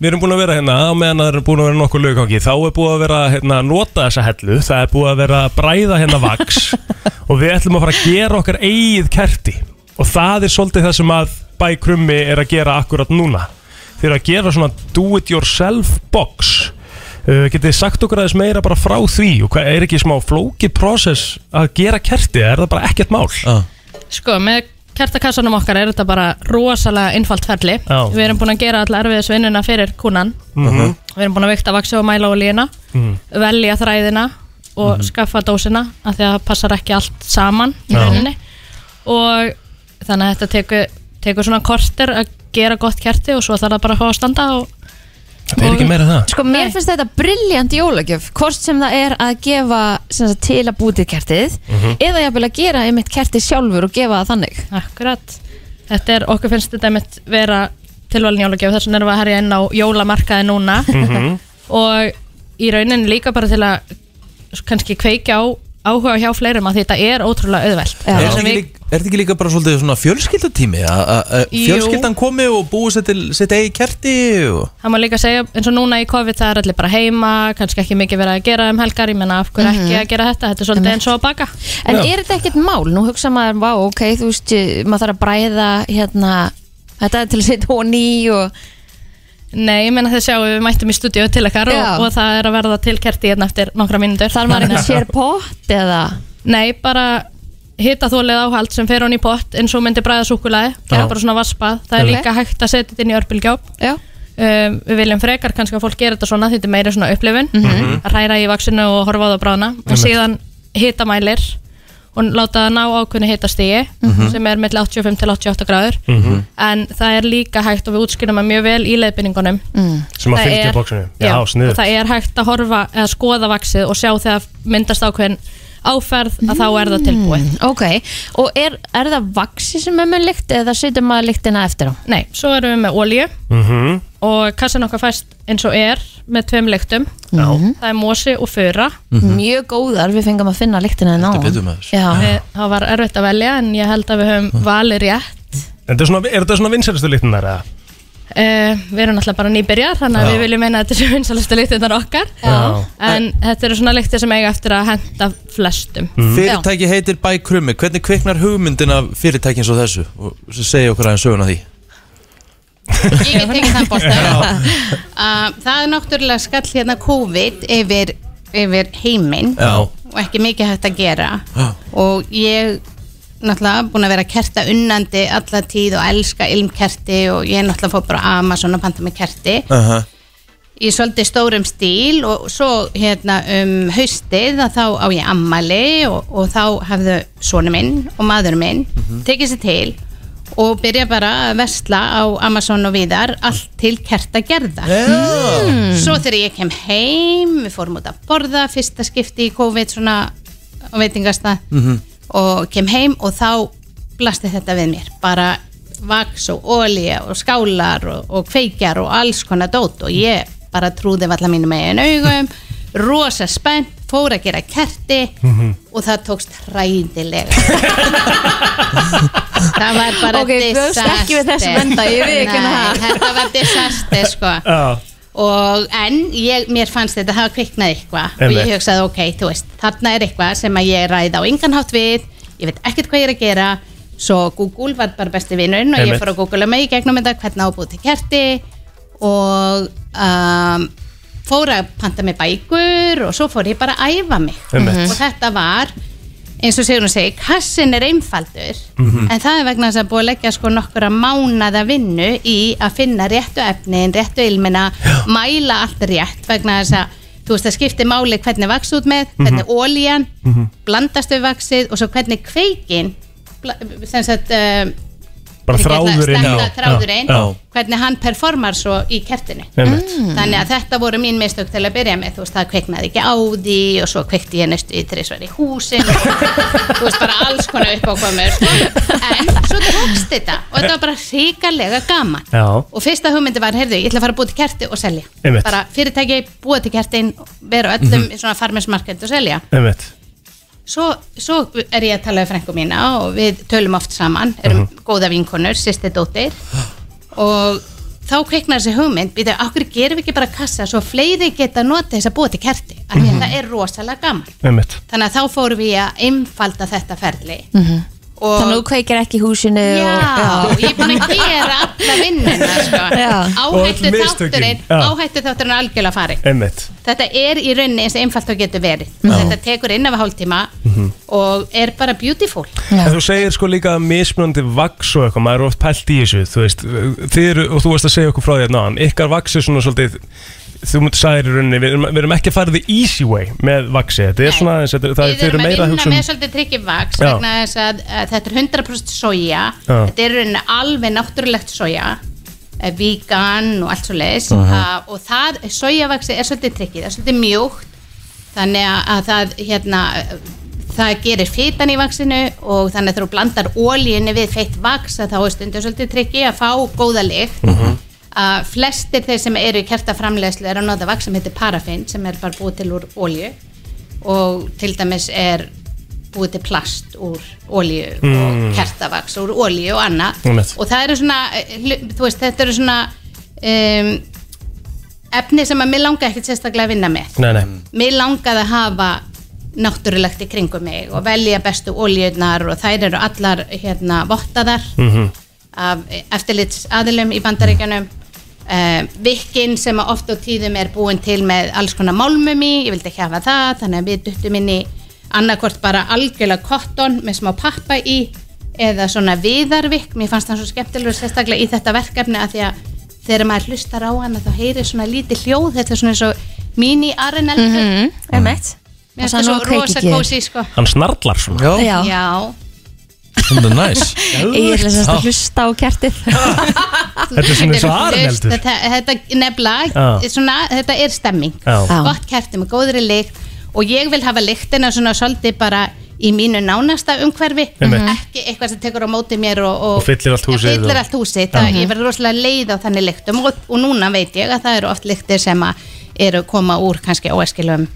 Speaker 3: við erum búin að vera hérna, á meðan það eru búin að vera nokkur lögkangi, þá er búin að vera hérna að nota þessa hellu, það er búin að vera að bræða hérna vaks og við ætlum að fara að gera okkar eigið kerti og það er svolítið það sem að bæ krummi er að gera akkurat núna þeir eru að gera svona do it yourself box uh, getið þið sagt okkur aðeins meira bara frá því og hvað er ekki smá flókið process að gera kerti, er það bara ekkert mál?
Speaker 1: Ah.
Speaker 7: Sko, með kertakassanum okkar er þetta bara rosalega einfalt ferli
Speaker 3: Já.
Speaker 7: Við erum búin að gera alla erfiðis vinnuna fyrir kúnan
Speaker 3: Mhm.
Speaker 7: Við erum búin að vikta vaksi og mæla olíuna
Speaker 3: Mhm.
Speaker 7: velja þræðina og skaffa dósina af því að það passar ekki allt saman í
Speaker 3: Já.
Speaker 7: rauninni og þannig að þetta tekur, tekur svona korter að gera gott kerti og svo þarf það bara að fá að standa og
Speaker 3: Það er ekki meira en það
Speaker 2: Sko, mér finnst þetta brilljant jólagjöf hvort sem það er að gefa sem sagt, til að bútið kertið
Speaker 1: Mhm.
Speaker 2: eða jafnvel að gera einmitt kertið sjálfur og gefa það þannig
Speaker 7: Akkurat. Þetta er, okkur finnst þetta mitt vera tilvalin jólagjöf þess vegna erum við að herja inn á jólamarkaði núna og í rauninni líka bara til að kannski kveikja á áhuga hjá fleirum að því þetta er ótrúlega auðvelt
Speaker 2: Já.
Speaker 1: Er
Speaker 7: Þess
Speaker 1: þetta
Speaker 7: að
Speaker 1: ekki,
Speaker 7: við-
Speaker 1: líka- er þetta ekki líka bara svolítið svona fjölskyldatími að- að að
Speaker 7: Jú.
Speaker 1: fjölskyldan komi og búi sér til sitt eigi kerti og...
Speaker 7: Það má líka segja, eins og núna í COVID það er allir bara heima, kannski ekki mikið verið að gera um helgar, ég menna af hverju
Speaker 2: Mhm.
Speaker 7: ekki að gera þetta, þetta er svolítið eins og að baka.
Speaker 2: En er þetta ekkert mál? Nú hugsa maður, vá, ok, þú veist, eh, maður þarf að bræða hérna, þetta er til að setja honi í og
Speaker 7: Nei, ég menna þess að við mættum í stúdíu til ekkar
Speaker 2: Já.
Speaker 7: og, og það er að verða til kerti hérna eftir nokkra mínútur.
Speaker 2: þarf maður
Speaker 7: Þannig
Speaker 2: eitthvað
Speaker 7: að-
Speaker 2: sér pott eða
Speaker 7: Nei, bara hita þólið áhald sem fer hún í pott eins og myndi bræða súkulaði, gera
Speaker 3: Já.
Speaker 7: bara svona vaspað það er
Speaker 2: Ok.
Speaker 7: líka hægt að setja þetta inn í örpilgjáp
Speaker 2: Já,
Speaker 7: um, við viljum frekar kannski að fólk gera þetta svona því þetta er meira svona upplifun að hræra í vaksinu og horfa á það bráðna og síðan hita mælir og láta það ná ákveðni hitastigi sem er melli 85 til 88 gráður en það er líka hægt og við útskýrum það mjög vel í leiðbynningunum
Speaker 3: sem að
Speaker 7: Það
Speaker 3: fylgja
Speaker 7: er-
Speaker 3: bóksinu
Speaker 7: já,
Speaker 3: Já,
Speaker 7: og
Speaker 3: sniður
Speaker 7: það er hægt að horfa eða skoða vaksið og sjá þegar myndast ákveðin áferð að þá er það tilbúið
Speaker 2: ok, og er, er það vaksi sem er með lykt eða setja maður lyktina eftir á?
Speaker 7: Nei, svo erum við með olju
Speaker 3: Mhm.
Speaker 7: og kassan okkar fæst eins og er með tveim lyktum það er mosi og fyrra
Speaker 2: Mjög góðar, við fengum að finna lyktina en á
Speaker 1: Mhm. Þetta er betur maður.
Speaker 2: Já,
Speaker 7: Við- það var erfitt að velja en ég held að við höfum
Speaker 3: Mm.
Speaker 7: valið rétt
Speaker 3: En þetta er svona- Er þetta svona vinsælustu líknar eða?
Speaker 7: uh, við erum náttúrulega bara nýbyrjar þannig að
Speaker 3: Já.
Speaker 7: við viljum meina að þetta séu vinsalustu lyktirnar okkar
Speaker 3: Já.
Speaker 7: en þetta eru svona lyktir sem eiga eftir að henda flestum
Speaker 3: Mm.
Speaker 1: Fyrirtæki heitir Bæ Krummi Hvernig kviknar hugmyndin af fyrirtækin svo þessu og segja okkur aðeins söguna því
Speaker 8: Ég get tekið þann bósta Það er náttúrulega skall hérna COVID yfir, yfir heiminn
Speaker 1: Já.
Speaker 8: og ekki mikið hægt að gera
Speaker 1: Já.
Speaker 8: og ég náttúrulega búin að vera kerta unnandi alla tíð og elska ilmkerti og ég náttúrulega fór bara á Amazon og panta með kerti
Speaker 1: Aha.
Speaker 8: í svolítið stórum stíl og svo hérna um haustið að þá á ég ammali og, og þá hafðu sonu minn og maður minn tekið sér til og byrja bara að vesla á Amazon og viðar allt til kertagerðar svo þegar ég kem heim við fórum út að borða fyrsta skipti í COVID svona á veitingasta og kem heim og þá blasti þetta við mér bara vaks og olja og skálar og, og kveikjar og alls konar dót og ég bara trúði valla mínum eigin augum rosa spennt, fór að gera kerti og það tókst hræðilega það var bara
Speaker 2: Ok, bjóst ekki við þessum
Speaker 8: disaster.
Speaker 2: enda, ég viðurkenni
Speaker 8: Nei,
Speaker 2: það.
Speaker 8: þetta var disaster sko
Speaker 3: Já
Speaker 8: og en ég, mér fannst þetta hafa kviknað eitthvað og
Speaker 3: Einmitt.
Speaker 8: ég hugsaði ok, þú veist, þarna er eitthvað sem að ég ræði á engan hátt við ég veit ekkert hvað ég er að gera svo Google var bara besti vinnurinn og ég
Speaker 3: Einmitt.
Speaker 8: fór að googla mig í gegnum þetta hvernig á að búið til kerti og um, fór að panta mig bækur og svo fór ég bara að æfa mig
Speaker 3: Einmitt.
Speaker 8: Mhm. og þetta var eins og segur hún segi, kassin er einfaldur
Speaker 3: Mhm.
Speaker 8: en það er vegna þess að búið að leggja sko nokkura mánaða vinnu í að finna réttu efnin, réttu ilmina mæla allt rétt vegna þess að þú veist það skiptir máli hvernig vaks út með
Speaker 3: Mhm.
Speaker 8: hvernig ólíjan blandast við vaksið og svo hvernig kveikin bla- sem sagt um,
Speaker 3: Bara þráðurinn
Speaker 8: stenda þráðurinn Mm.
Speaker 3: Já
Speaker 8: hvernig hann performar svo í kertinu
Speaker 3: Einmitt.
Speaker 8: þannig að þetta voru mín mistök til að byrja með þú veist það kveiknaði ekki á því og svo kveikti ég næstu í þrisvar í húsin og þú veist bara alls konar upp á komur en svo tókst þetta og þetta var bara hrikalega gaman
Speaker 3: Já.
Speaker 8: og fyrsta hugmyndi var, heyrðu, ég ætla að fara að búa til kerti og selja
Speaker 3: Einmitt. Mhm.
Speaker 8: bara fyrirtæki, búa til kertin vera á öllum mm -hmm. svona farmersmarked og selja
Speaker 3: Einmitt
Speaker 8: svo, svo er ég að tala við frænku mína og við tölum oft saman erum góða vinkonur, sýsti dóttir og þá kveiknar þessi hugmynd býta, okkur gerum við ekki bara kassa svo fleiri geta notið þess að búa til kerti af
Speaker 2: Mhm.
Speaker 8: því að það er rosalega gaman
Speaker 3: Einmitt
Speaker 8: þannig að þá fórum við að einfalda þetta ferli og
Speaker 2: Mhm. Þannig að þú kveikir ekki í húsinu
Speaker 8: Já,
Speaker 2: og,
Speaker 8: ég er búin að gera alla vinnina sko.
Speaker 2: Já.
Speaker 3: Og öll
Speaker 8: áhættu
Speaker 3: mistökin.
Speaker 8: þátturinn
Speaker 3: Já.
Speaker 8: áhættu þátturinn er algjörlega fari
Speaker 3: Einmitt
Speaker 8: þetta er í rauninni eins einfalt og getur verið þetta tekur inn af hálftíma
Speaker 3: Mhm.
Speaker 8: og er bara beautiful
Speaker 2: Já.
Speaker 3: En þú segir sko líka mismunandi vaks og eitthvað, maður er oft pælt í þessu þú veist, þið eru, og þú varst að segja okkur frá því að náðan, ykkar vaks er svona svolítið þú mútt sagðir í rauninni, við erum, við erum ekki að fara the easy way með vaksi, þetta er
Speaker 8: Nei.
Speaker 3: svona aðeins, þetta er- það er,
Speaker 8: við
Speaker 3: þið eru
Speaker 8: erum að
Speaker 3: meira að
Speaker 8: vinna
Speaker 3: hugsa um
Speaker 8: með svolítið tryggjum vaks
Speaker 3: Já.
Speaker 8: vegna þess að uh, þetta er 100% soja
Speaker 3: Já.
Speaker 8: þetta er í rauninni alveg náttúrulegt soja eh, vegan og allt svo leis uh, og þar sojavaksi er svolítið tryggið, það er svolítið mjúkt þannig að, að það hérna eh, það gerir fitan í vaksinu og þannig að þegar þú blandar ólíinu við feitt vaks að þá er stundu svolítið tryggi að fá góða lykt að flestir þeir sem eru í kertaframlegslu eru að nota vaks sem heitir paraffin sem er bara búið til úr ólíu og til dæmis er búið til plast úr ólíu og kertavaks úr ólíu og annað
Speaker 3: Einmitt.
Speaker 8: og það eru svona eh, hlu- þú veist, þetta eru svona um, efni sem að mér langa ekkert sérstaklega að vinna með
Speaker 3: Nei, nei,
Speaker 8: mér langaði að hafa náttúrulegt í kringum mig og velja bestu ólíunar og þær eru allar hérna vottaðar af eftirlits aðilum í bandaríkjanum uh, vikkin sem að oft og tíðum er búin til með alls konar málmum í ég vildi ekki hafa það, þannig að við duttum inn í annarkvort bara algjörlega kotton með smá pappa í eða svona viðarvikk, mér fannst það svo skemmtilegur sérstaklega í þetta verkefni að því að þegar maður hlustar á hana þá heyrir svona lítið hljóð, þetta er svona eins og mini-RNL mm -hmm.
Speaker 2: Emmett
Speaker 8: Mér finnst það svo rosa kósi sko
Speaker 3: hann snarlar svona
Speaker 1: Já,
Speaker 2: Já,
Speaker 8: Já,
Speaker 1: það er næs
Speaker 2: ég er semst
Speaker 1: Já.
Speaker 2: að hlusta á kertið
Speaker 3: Þetta er svona eins og arneldur
Speaker 8: Þetta, þetta nefnilega,
Speaker 3: Já.
Speaker 8: svona, þetta er stemming
Speaker 3: Já,
Speaker 2: Já.
Speaker 8: Gott kerti með góðri lykt Og ég vil hafa lyktina svona svolítið bara í mínu nánasta umhverfi
Speaker 3: Einmitt.
Speaker 8: Ekki eitthvað sem tekur á móti mér og,
Speaker 3: Og fyllir allt húsið
Speaker 8: fyllir
Speaker 3: og-
Speaker 8: allt húsið. Það, Ég verður rosalega leið á þannig lyktum og, og núna veit ég að það eru oft lyktir sem að eru koma úr kannski óeskilum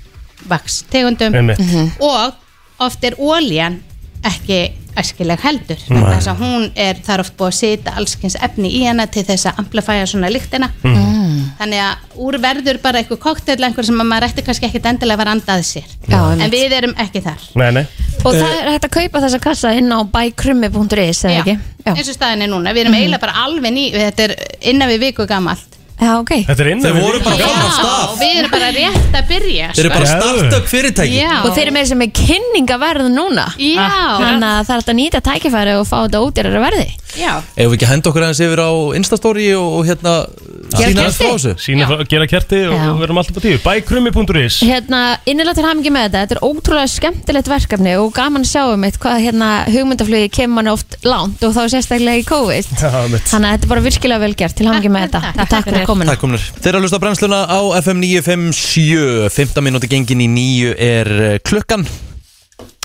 Speaker 8: vakstegundum
Speaker 3: einmitt
Speaker 8: og oft er óljan ekki æskileg heldur vegna þess að hún er, það er oft búið að setja allskins efni í hana til þess að amplifæja svona lyktina
Speaker 1: Mhm.
Speaker 8: þannig að úr verður bara eitthvað koktel einhver sem að maður ætti kannski ekkit endilega að vera andað sér
Speaker 2: Já, einmitt.
Speaker 8: en við erum ekki þar
Speaker 3: Nei, nei,
Speaker 2: Og það er hægt að kaupa þessa kassa inn á bykrummi.is eða ekki? Já, Mhm.
Speaker 8: eins og staðin er núna, við erum eiginlega bara alveg ný þetta er innan við viku gamalt
Speaker 2: já ok
Speaker 3: þetta er innan
Speaker 1: Þau voru bara gaman af
Speaker 8: og
Speaker 1: stað
Speaker 8: við erum bara rétt að byrja
Speaker 1: Þeir eru bara startup fyrirtæki
Speaker 8: já,
Speaker 2: Og þeir eru með sem er kynningaverð núna
Speaker 8: Já.
Speaker 2: Þannig að það er hægt að nýta tækifæri og fá þetta ódýrara verði
Speaker 8: já,
Speaker 1: Ef við ekki að henda okkur aðeins yfir á Instastory og, og hérna
Speaker 2: Gera
Speaker 1: sína aðeins frá
Speaker 2: kerti?
Speaker 1: þessu
Speaker 3: Sýna, frá- gera kerti og
Speaker 2: Já.
Speaker 3: við verum alltaf á tíu Bækrummi.is
Speaker 2: Hérna, innilega til hamingi með þetta Þetta er ótrúlega skemmtilegt verkefni og gaman að sjá um eitt hvað hérna hugmyndaflugi kemur mann oft langt og þá sérstaklega í COVID
Speaker 3: Já, einmitt.
Speaker 2: Þannig að þetta er bara virkilega vel gert til hamingi með
Speaker 8: Takk fyrir
Speaker 2: þetta Takk fyrir komuna
Speaker 1: Takk komnir. Þeir eru að hlusta á brennsluna á FM 957 15 minúti gengin í 9 er eh, klukkan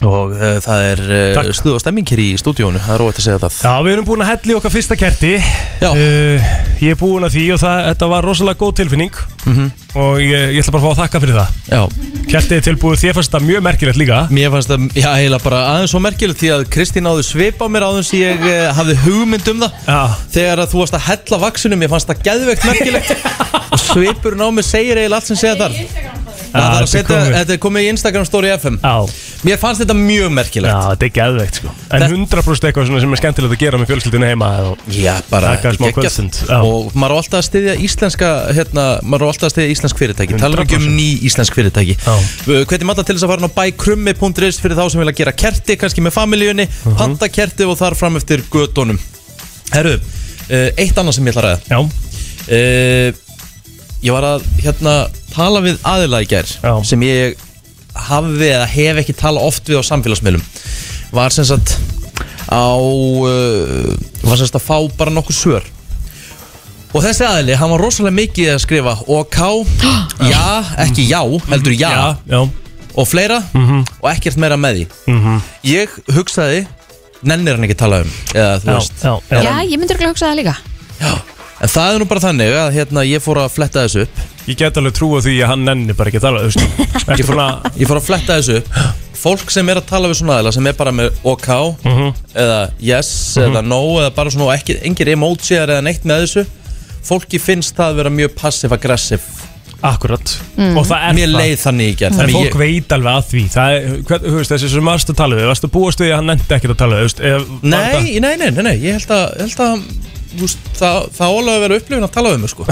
Speaker 1: og uh, það er uh,
Speaker 3: Takk.
Speaker 1: stuð og stemming hér í stúdíónu það er róið að segja það
Speaker 3: Já, við erum búin að hella í okkar fyrsta kerti
Speaker 1: Já.
Speaker 3: uh, Ég er búin að því og það, þetta var rosalega góð tilfinning
Speaker 1: Mhm.
Speaker 3: Og ég, ég ætla bara að fá að þakka fyrir það
Speaker 1: Já,
Speaker 3: Kertið er tilbúið, þér fannst þetta mjög merkilegt líka
Speaker 1: mér fannst það, já, eiginlega bara aðeins svo merkilegt því að Kristín áður svip á mér áður sem ég uh, hafði hugmynd um það
Speaker 3: Já,
Speaker 1: Þegar að þú varst að hella vaksunum, ég fannst það geðveikt merkilegt og svipurinn á mig segir eiginlega allt sem segja þar Já, það er að
Speaker 3: þetta er
Speaker 1: setja,
Speaker 3: komið.
Speaker 1: þetta er komið í Instagram story FM
Speaker 3: já,
Speaker 1: Mér fannst þetta mjög
Speaker 3: já
Speaker 1: merkilegt
Speaker 3: þetta er geðveikt sko En
Speaker 1: Þetta-
Speaker 3: 100% eitthvað svona sem er skemmtilegt að gera með fjölskyldinu heima og...
Speaker 1: Já, bara
Speaker 3: Taka smá
Speaker 1: geggjað.
Speaker 3: kvöldstund, já.
Speaker 1: Og maður á alltaf að styðja íslenska hérna, maður á alltaf að styðja íslensk fyrirtæki Talar ekki um
Speaker 3: 100%.
Speaker 1: ný íslensk fyrirtæki
Speaker 3: Já.
Speaker 1: Uh, Hvernig matta til þess að fara inn á bækrummi.is fyrir þá sem vilja gera kerti, kannski með familíunni
Speaker 3: Mhm.
Speaker 1: panta kerti og þar fram eftir gödunum Herru, uh, eitt annað sem ég ætla að ræða
Speaker 3: Já,
Speaker 1: uh, Ég var að hérna, tala við aðila í gær
Speaker 3: Já.
Speaker 1: sem ég hafði eða hef ekki tala oft við á samfélagsmiðlum var sem sagt á uh, var sem sagt að fá bara nokkur svör og þessi aðili, hann var rosalega mikið að skrifa OK, já, ekki já heldur já,
Speaker 3: já, Mhm. já,
Speaker 1: og fleira og ekkert meira með því
Speaker 3: Mhm.
Speaker 1: ég hugsaði nennir hann ekki að tala um eða þú
Speaker 3: já,
Speaker 1: veist
Speaker 3: já, já.
Speaker 2: Já, ég myndi örugglega hugsa það líka
Speaker 1: já. en það er nú bara þannig að hérna, ég fór að fletta þessu upp
Speaker 3: Ég get alveg trúa því að hann nenni bara ekki að tala þú veist. Ertu búin að
Speaker 1: Ég fór að fletta þessu upp Fólk sem er að tala við svona aðeila sem er bara með OK
Speaker 3: Mhm.
Speaker 1: eða yes eða no eða bara svona og ekki, engir emojiðar eða neitt með þessu Fólki finnst það að vera mjög passive-aggressive
Speaker 3: Akkurat Og það er
Speaker 1: Mér
Speaker 3: það
Speaker 1: leið þannig í gerð
Speaker 3: En
Speaker 1: þannig
Speaker 3: fólk
Speaker 1: ég-
Speaker 3: veit alveg að því Það er, hvern, þú veist, þessi sem varst að tala við Varst að búast við að hann nefndi ekkert að tala við þú veist, ef- var þetta-
Speaker 1: Nei, nei, nei, nei, nei, ég held að, ég held að þú veist, það, það álega að vera upplifin að tala um mig sko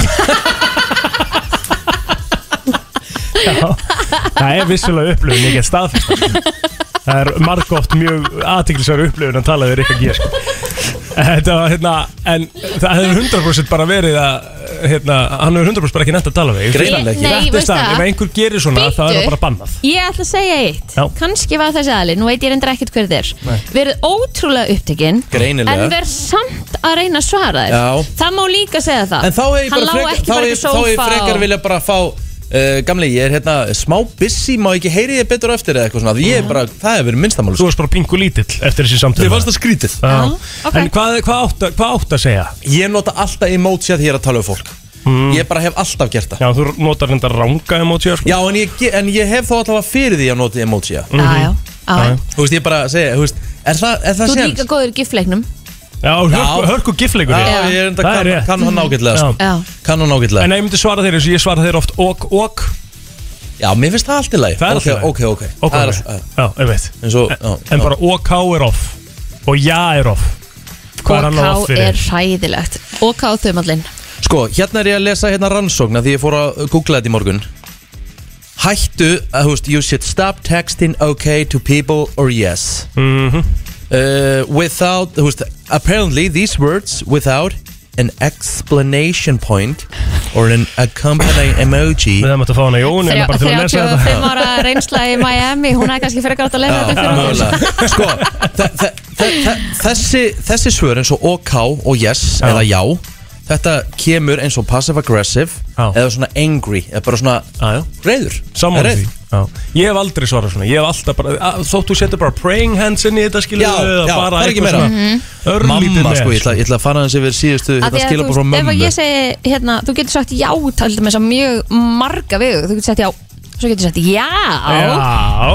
Speaker 3: Það er vissulega upplöfun, ég get staðfest það. sko. Það er margótt mjög aðtiklisverð upplöfun að tala við Rikka G sko. Þetta var hérna En það hefur 100% bara verið að hérna, Hann hefur 100% bara ekki nefnt að tala við
Speaker 1: Greinanlega ekki.
Speaker 2: Nei,
Speaker 3: Þetta er
Speaker 2: veistu
Speaker 3: staðan,
Speaker 2: það?
Speaker 3: ef einhver gerir svona þá er það
Speaker 2: Bíddu.
Speaker 3: bara bannað
Speaker 2: Ég ætla að segja eitt
Speaker 3: Já.
Speaker 2: Kanski var þessi aðli, nú veit ég reyndar ekkert hver þér Verið ótrúlega upptekinn
Speaker 1: Greinilega.
Speaker 2: En verð samt að reyna að svara þér
Speaker 1: Já.
Speaker 2: Það má líka segja það
Speaker 1: En þá hef ég
Speaker 2: Hann
Speaker 1: bara
Speaker 2: lá
Speaker 1: frekar,
Speaker 2: ekki
Speaker 1: þá
Speaker 2: bara
Speaker 1: hef
Speaker 2: upp
Speaker 1: ég- þá
Speaker 2: í
Speaker 1: hef ég
Speaker 2: sófa
Speaker 1: frekar
Speaker 2: og-
Speaker 1: vilja bara fá uh, Gamli, ég er hérna smá busy, má ekki heyri þið betur á eftir eða eitthvað svona Því ég er bara, það hefur verið sko. minnstamáli
Speaker 3: Þú varst bara pingu lítill eftir þessi samtölu
Speaker 1: Þið fannst það skrítið
Speaker 2: ok.
Speaker 3: En hvað, hvað, átt, að- hvað átt að segja?
Speaker 1: Ég nota alltaf emoji að því ég er að tala um fólk
Speaker 3: Mm.
Speaker 1: Ég bara hef alltaf gert það
Speaker 3: Já, þú notar reyndar ranga emoji sko.
Speaker 1: Já, en ég, ge- en ég hef þá allavega fyrir því að nota emoji
Speaker 2: Já, já, já.
Speaker 1: Þú veist, ég bara segja, þú veist, er það, er það
Speaker 2: Þú er
Speaker 1: séns?
Speaker 2: líka góður í gifleiknum
Speaker 3: Já, hörku, hörku gifleikur
Speaker 1: Já,
Speaker 3: ég.
Speaker 1: ég er enda,
Speaker 3: Það er
Speaker 1: kann,
Speaker 3: rétt.
Speaker 1: kann hann ágætlega sko.
Speaker 2: Já,
Speaker 1: Kann hann ágætlega
Speaker 3: En ef ég myndi svara þeir eins og ég svara þeir oft ok, ok
Speaker 1: Já, mér finnst það allt í lagi
Speaker 3: Það er
Speaker 1: Ok,
Speaker 3: alltaf
Speaker 1: Ok, ok,
Speaker 3: ok
Speaker 1: Það er
Speaker 3: ok.
Speaker 1: allt- já.
Speaker 3: Já, ég veit
Speaker 1: En svo, já,
Speaker 3: En
Speaker 1: já.
Speaker 3: bara OK er off Og ja er off Hvað er hann á off
Speaker 2: OK er
Speaker 3: fyrir?
Speaker 2: hræðilegt OK á þumallinn
Speaker 1: Sko, hérna er ég að lesa hérna rannsókn af Því ég fór að googla þetta í morgun Hættu, að, þú veist, you should stop texting ok to people or yes
Speaker 3: Mhm.
Speaker 1: uh, Without, þú veist, apparently these words without an explanation point or an accompanying emoji
Speaker 3: Við hefum átt að fá hana Jón En bara til að lesa þetta
Speaker 2: 35 ára reynsla í Miami Hún er kannski fyrir grátt að leiða þetta fyrir okkur.
Speaker 1: Mögulega. Sko, þe- þe- þe- þe- þessi, þessi svör eins og OK og yes
Speaker 3: Já.
Speaker 1: eða já Þetta kemur eins og passive aggressive
Speaker 3: Já.
Speaker 1: eða svona angry eða bara svona
Speaker 3: Já, já.
Speaker 1: reyður
Speaker 3: Sammála
Speaker 1: Reið.
Speaker 3: því Já. Ég hef aldrei svarað svona Ég hef alltaf bara að- Þótt þú setur bara praying hands inn í þetta skilur
Speaker 1: Já, já, það er ekki meira.
Speaker 2: Mhm.
Speaker 3: Örlítið
Speaker 1: Mamma
Speaker 3: með
Speaker 1: sko, ég ætla, ég ætla að fara hans yfir síðustu
Speaker 2: Af
Speaker 1: hérna
Speaker 2: því að
Speaker 1: skilabóð
Speaker 2: þú
Speaker 1: frá
Speaker 2: veist,
Speaker 1: mömmu
Speaker 2: Ef að ég segi, hérna, þú getur sagt já til dæmis á mjög marga vegu Þú getur sagt já, svo getur sagt já
Speaker 3: Já
Speaker 2: Eða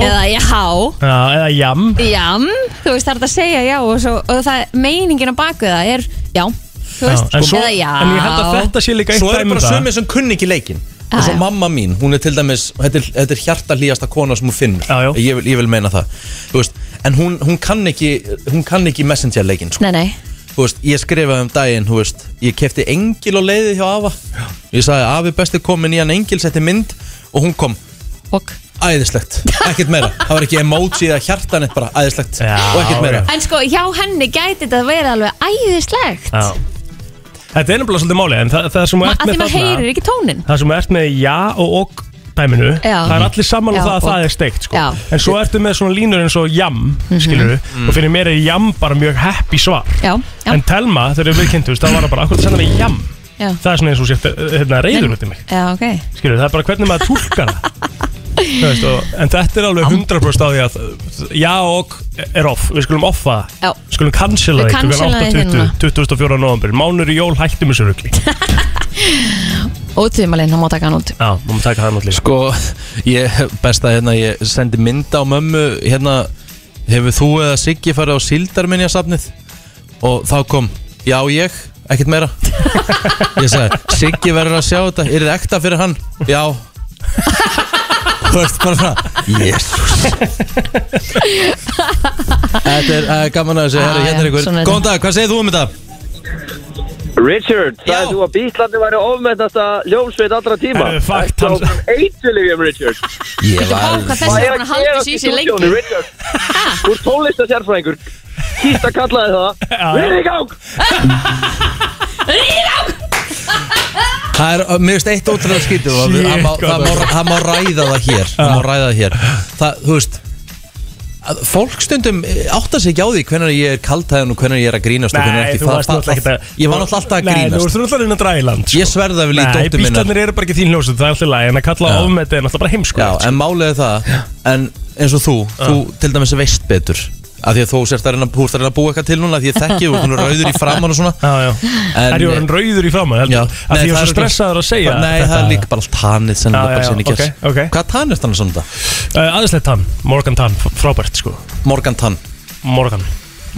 Speaker 2: já,
Speaker 3: Já, eða jam
Speaker 2: jam Þú veist, það er hægt að segja já og, svo, og það, meiningin á baku það er já Þú
Speaker 3: Já,
Speaker 2: veist, sko,
Speaker 3: en svo-
Speaker 2: eða já
Speaker 3: En ég held að þetta sé líka eitt
Speaker 1: Svo er
Speaker 3: dæmi um
Speaker 1: bara
Speaker 3: það.
Speaker 1: sömur sem kunni ekki leikin
Speaker 2: Já,
Speaker 1: eins og
Speaker 2: já.
Speaker 1: mamma mín, hún er til dæmis þetta er, þetta er hjarta hlýjasta kona sem hún finnur
Speaker 3: Já, já.
Speaker 1: Ég, vil, ég vil meina það Þú veist, en hún, hún kann ekki hún kann ekki messenger leikin sko.
Speaker 2: Nei, nei
Speaker 1: þú veist, ég skrifaði um daginn, þú veist, ég kefti engil á leiði hjá Ava. Ég sagði, Afi besti komin í hann engil, setti mynd og hún kom,
Speaker 2: Ok.
Speaker 1: æðislegt, ekkert meira. Það var ekki emoji eða hjartan, eitt bara, æðislegt
Speaker 3: Já,
Speaker 1: og ekkert meira.
Speaker 3: já.
Speaker 2: En sko, hjá henni gæti þetta að vera alveg æðislegt
Speaker 3: Já Þetta er nefnilega svolítið máli En það, það sem þú
Speaker 2: Ma-
Speaker 3: ert
Speaker 2: Af því
Speaker 3: með
Speaker 2: maður
Speaker 3: þarna-
Speaker 2: heyrir ekki tónin
Speaker 3: það sem ert með já og ok dæminu,
Speaker 2: Já.
Speaker 3: það er allir saman
Speaker 2: Já,
Speaker 3: á það að
Speaker 2: ok.
Speaker 3: það er steikt sko.
Speaker 2: Já. Mhm.
Speaker 3: en svo ertu með svona línur eins og jam skilur við,
Speaker 1: Mhm.
Speaker 3: og fyrir mér er jam bara mjög happy svar,
Speaker 2: Já, já,
Speaker 3: en Telma þegar við kynntust, það var það bara, akkur það senda mig jam
Speaker 2: já
Speaker 3: það er svona eins og sér hérna, reyður út í mig,
Speaker 2: Já, ok
Speaker 3: skilur við, það er bara hvernig maður tólkar það Þú veist, og, en þetta er alveg 100% á því að uh, já og er off, við skulum offa það.
Speaker 2: Já.
Speaker 3: við skulum cancela hérna.
Speaker 2: Við
Speaker 3: því klukkan
Speaker 2: cancela því
Speaker 3: 8.20
Speaker 2: núna.
Speaker 3: 24. november, mánur í jól hættum þessu rugli
Speaker 2: Og tvimalinn, hann má taka hann út
Speaker 3: já, við máum taka það náttúrulega
Speaker 1: Sko, ég, best að hérna, ég sendi mynd á mömmu, hérna, hefur þú eða Siggi farið á síldarminjasafnið? Og þá kom, já ég, ekkert meira. Ég sagði, Siggi verður að sjá þetta, er þið ekta fyrir hann? Já. Þú veist bara svona, jésús. Þetta er uh, gaman að þessu,
Speaker 2: Já,
Speaker 1: herri, hérna
Speaker 2: Ah, já,
Speaker 1: er ykkur.
Speaker 2: svona er
Speaker 1: Góðan dag, hvað segir þú um þetta?
Speaker 9: Richard,
Speaker 1: Já.
Speaker 9: sagði þú að Bítlandi væri ofmennasta hljómsveit allra tíma
Speaker 3: Herðu, fakt,
Speaker 9: Ertu
Speaker 3: hann-
Speaker 9: áfram eitilifjum, Richard
Speaker 1: Ég
Speaker 2: Vá, hvað þessi er búin að halda þessu í sér lengi
Speaker 9: Richard, þú er tónlistasérfræðingur Kýst að kalla þið
Speaker 3: Já, já.
Speaker 9: það Við í gang
Speaker 1: Það er, mér finnst eitt ótrúlega skítið og
Speaker 3: Shit,
Speaker 1: það má-
Speaker 3: hvað
Speaker 1: það
Speaker 3: það
Speaker 1: má- það má ræða það hér það má ræða það hér það, þú veist að fólk stundum átta sig ekki á því hvernig ég er kaldhæðan og hvernig ég er að grínast og hvernig
Speaker 3: Nei,
Speaker 1: ekki
Speaker 3: þú
Speaker 1: Það-
Speaker 3: varst
Speaker 1: það-
Speaker 3: náttúrulega ekki að
Speaker 1: ég var náttúrulega alltaf að
Speaker 3: Nei, þú
Speaker 1: grínast
Speaker 3: varst náttúrulega að reyna að draga í land sko.
Speaker 1: ég sverða við lítið
Speaker 3: Nei,
Speaker 1: óttum um minna
Speaker 3: bílarnir eru bara ekki þín hljósut, það er alltaf læg En að kalla
Speaker 1: Já.
Speaker 3: ofmetið er náttúrulega bara heimsko
Speaker 1: já, en málið er það en eins og þú, þú til dæmis veist betur af því að þú sérst að reyna, þú ert að reyna að búa eitthvað til núna af því ég þekki þú, þú rauður í framan og svona
Speaker 3: Já, já
Speaker 1: En-
Speaker 3: Er ég orðin rauður í framann, heldur
Speaker 1: Já.
Speaker 3: Af því
Speaker 1: Nei, það
Speaker 3: ég
Speaker 1: er
Speaker 3: var svo
Speaker 1: örugglega-
Speaker 3: stressaður að segja
Speaker 1: Nei, það er líka bara allt tanið sem
Speaker 3: Já,
Speaker 1: það bara
Speaker 3: já, já,
Speaker 1: sinni gerst
Speaker 3: ok, ok.
Speaker 1: Hvað tanið stannar svona þetta?
Speaker 3: Aðeinslega Eh, tann, Morgan tann, f- frábært sko
Speaker 1: Morgan tann
Speaker 3: Morgan,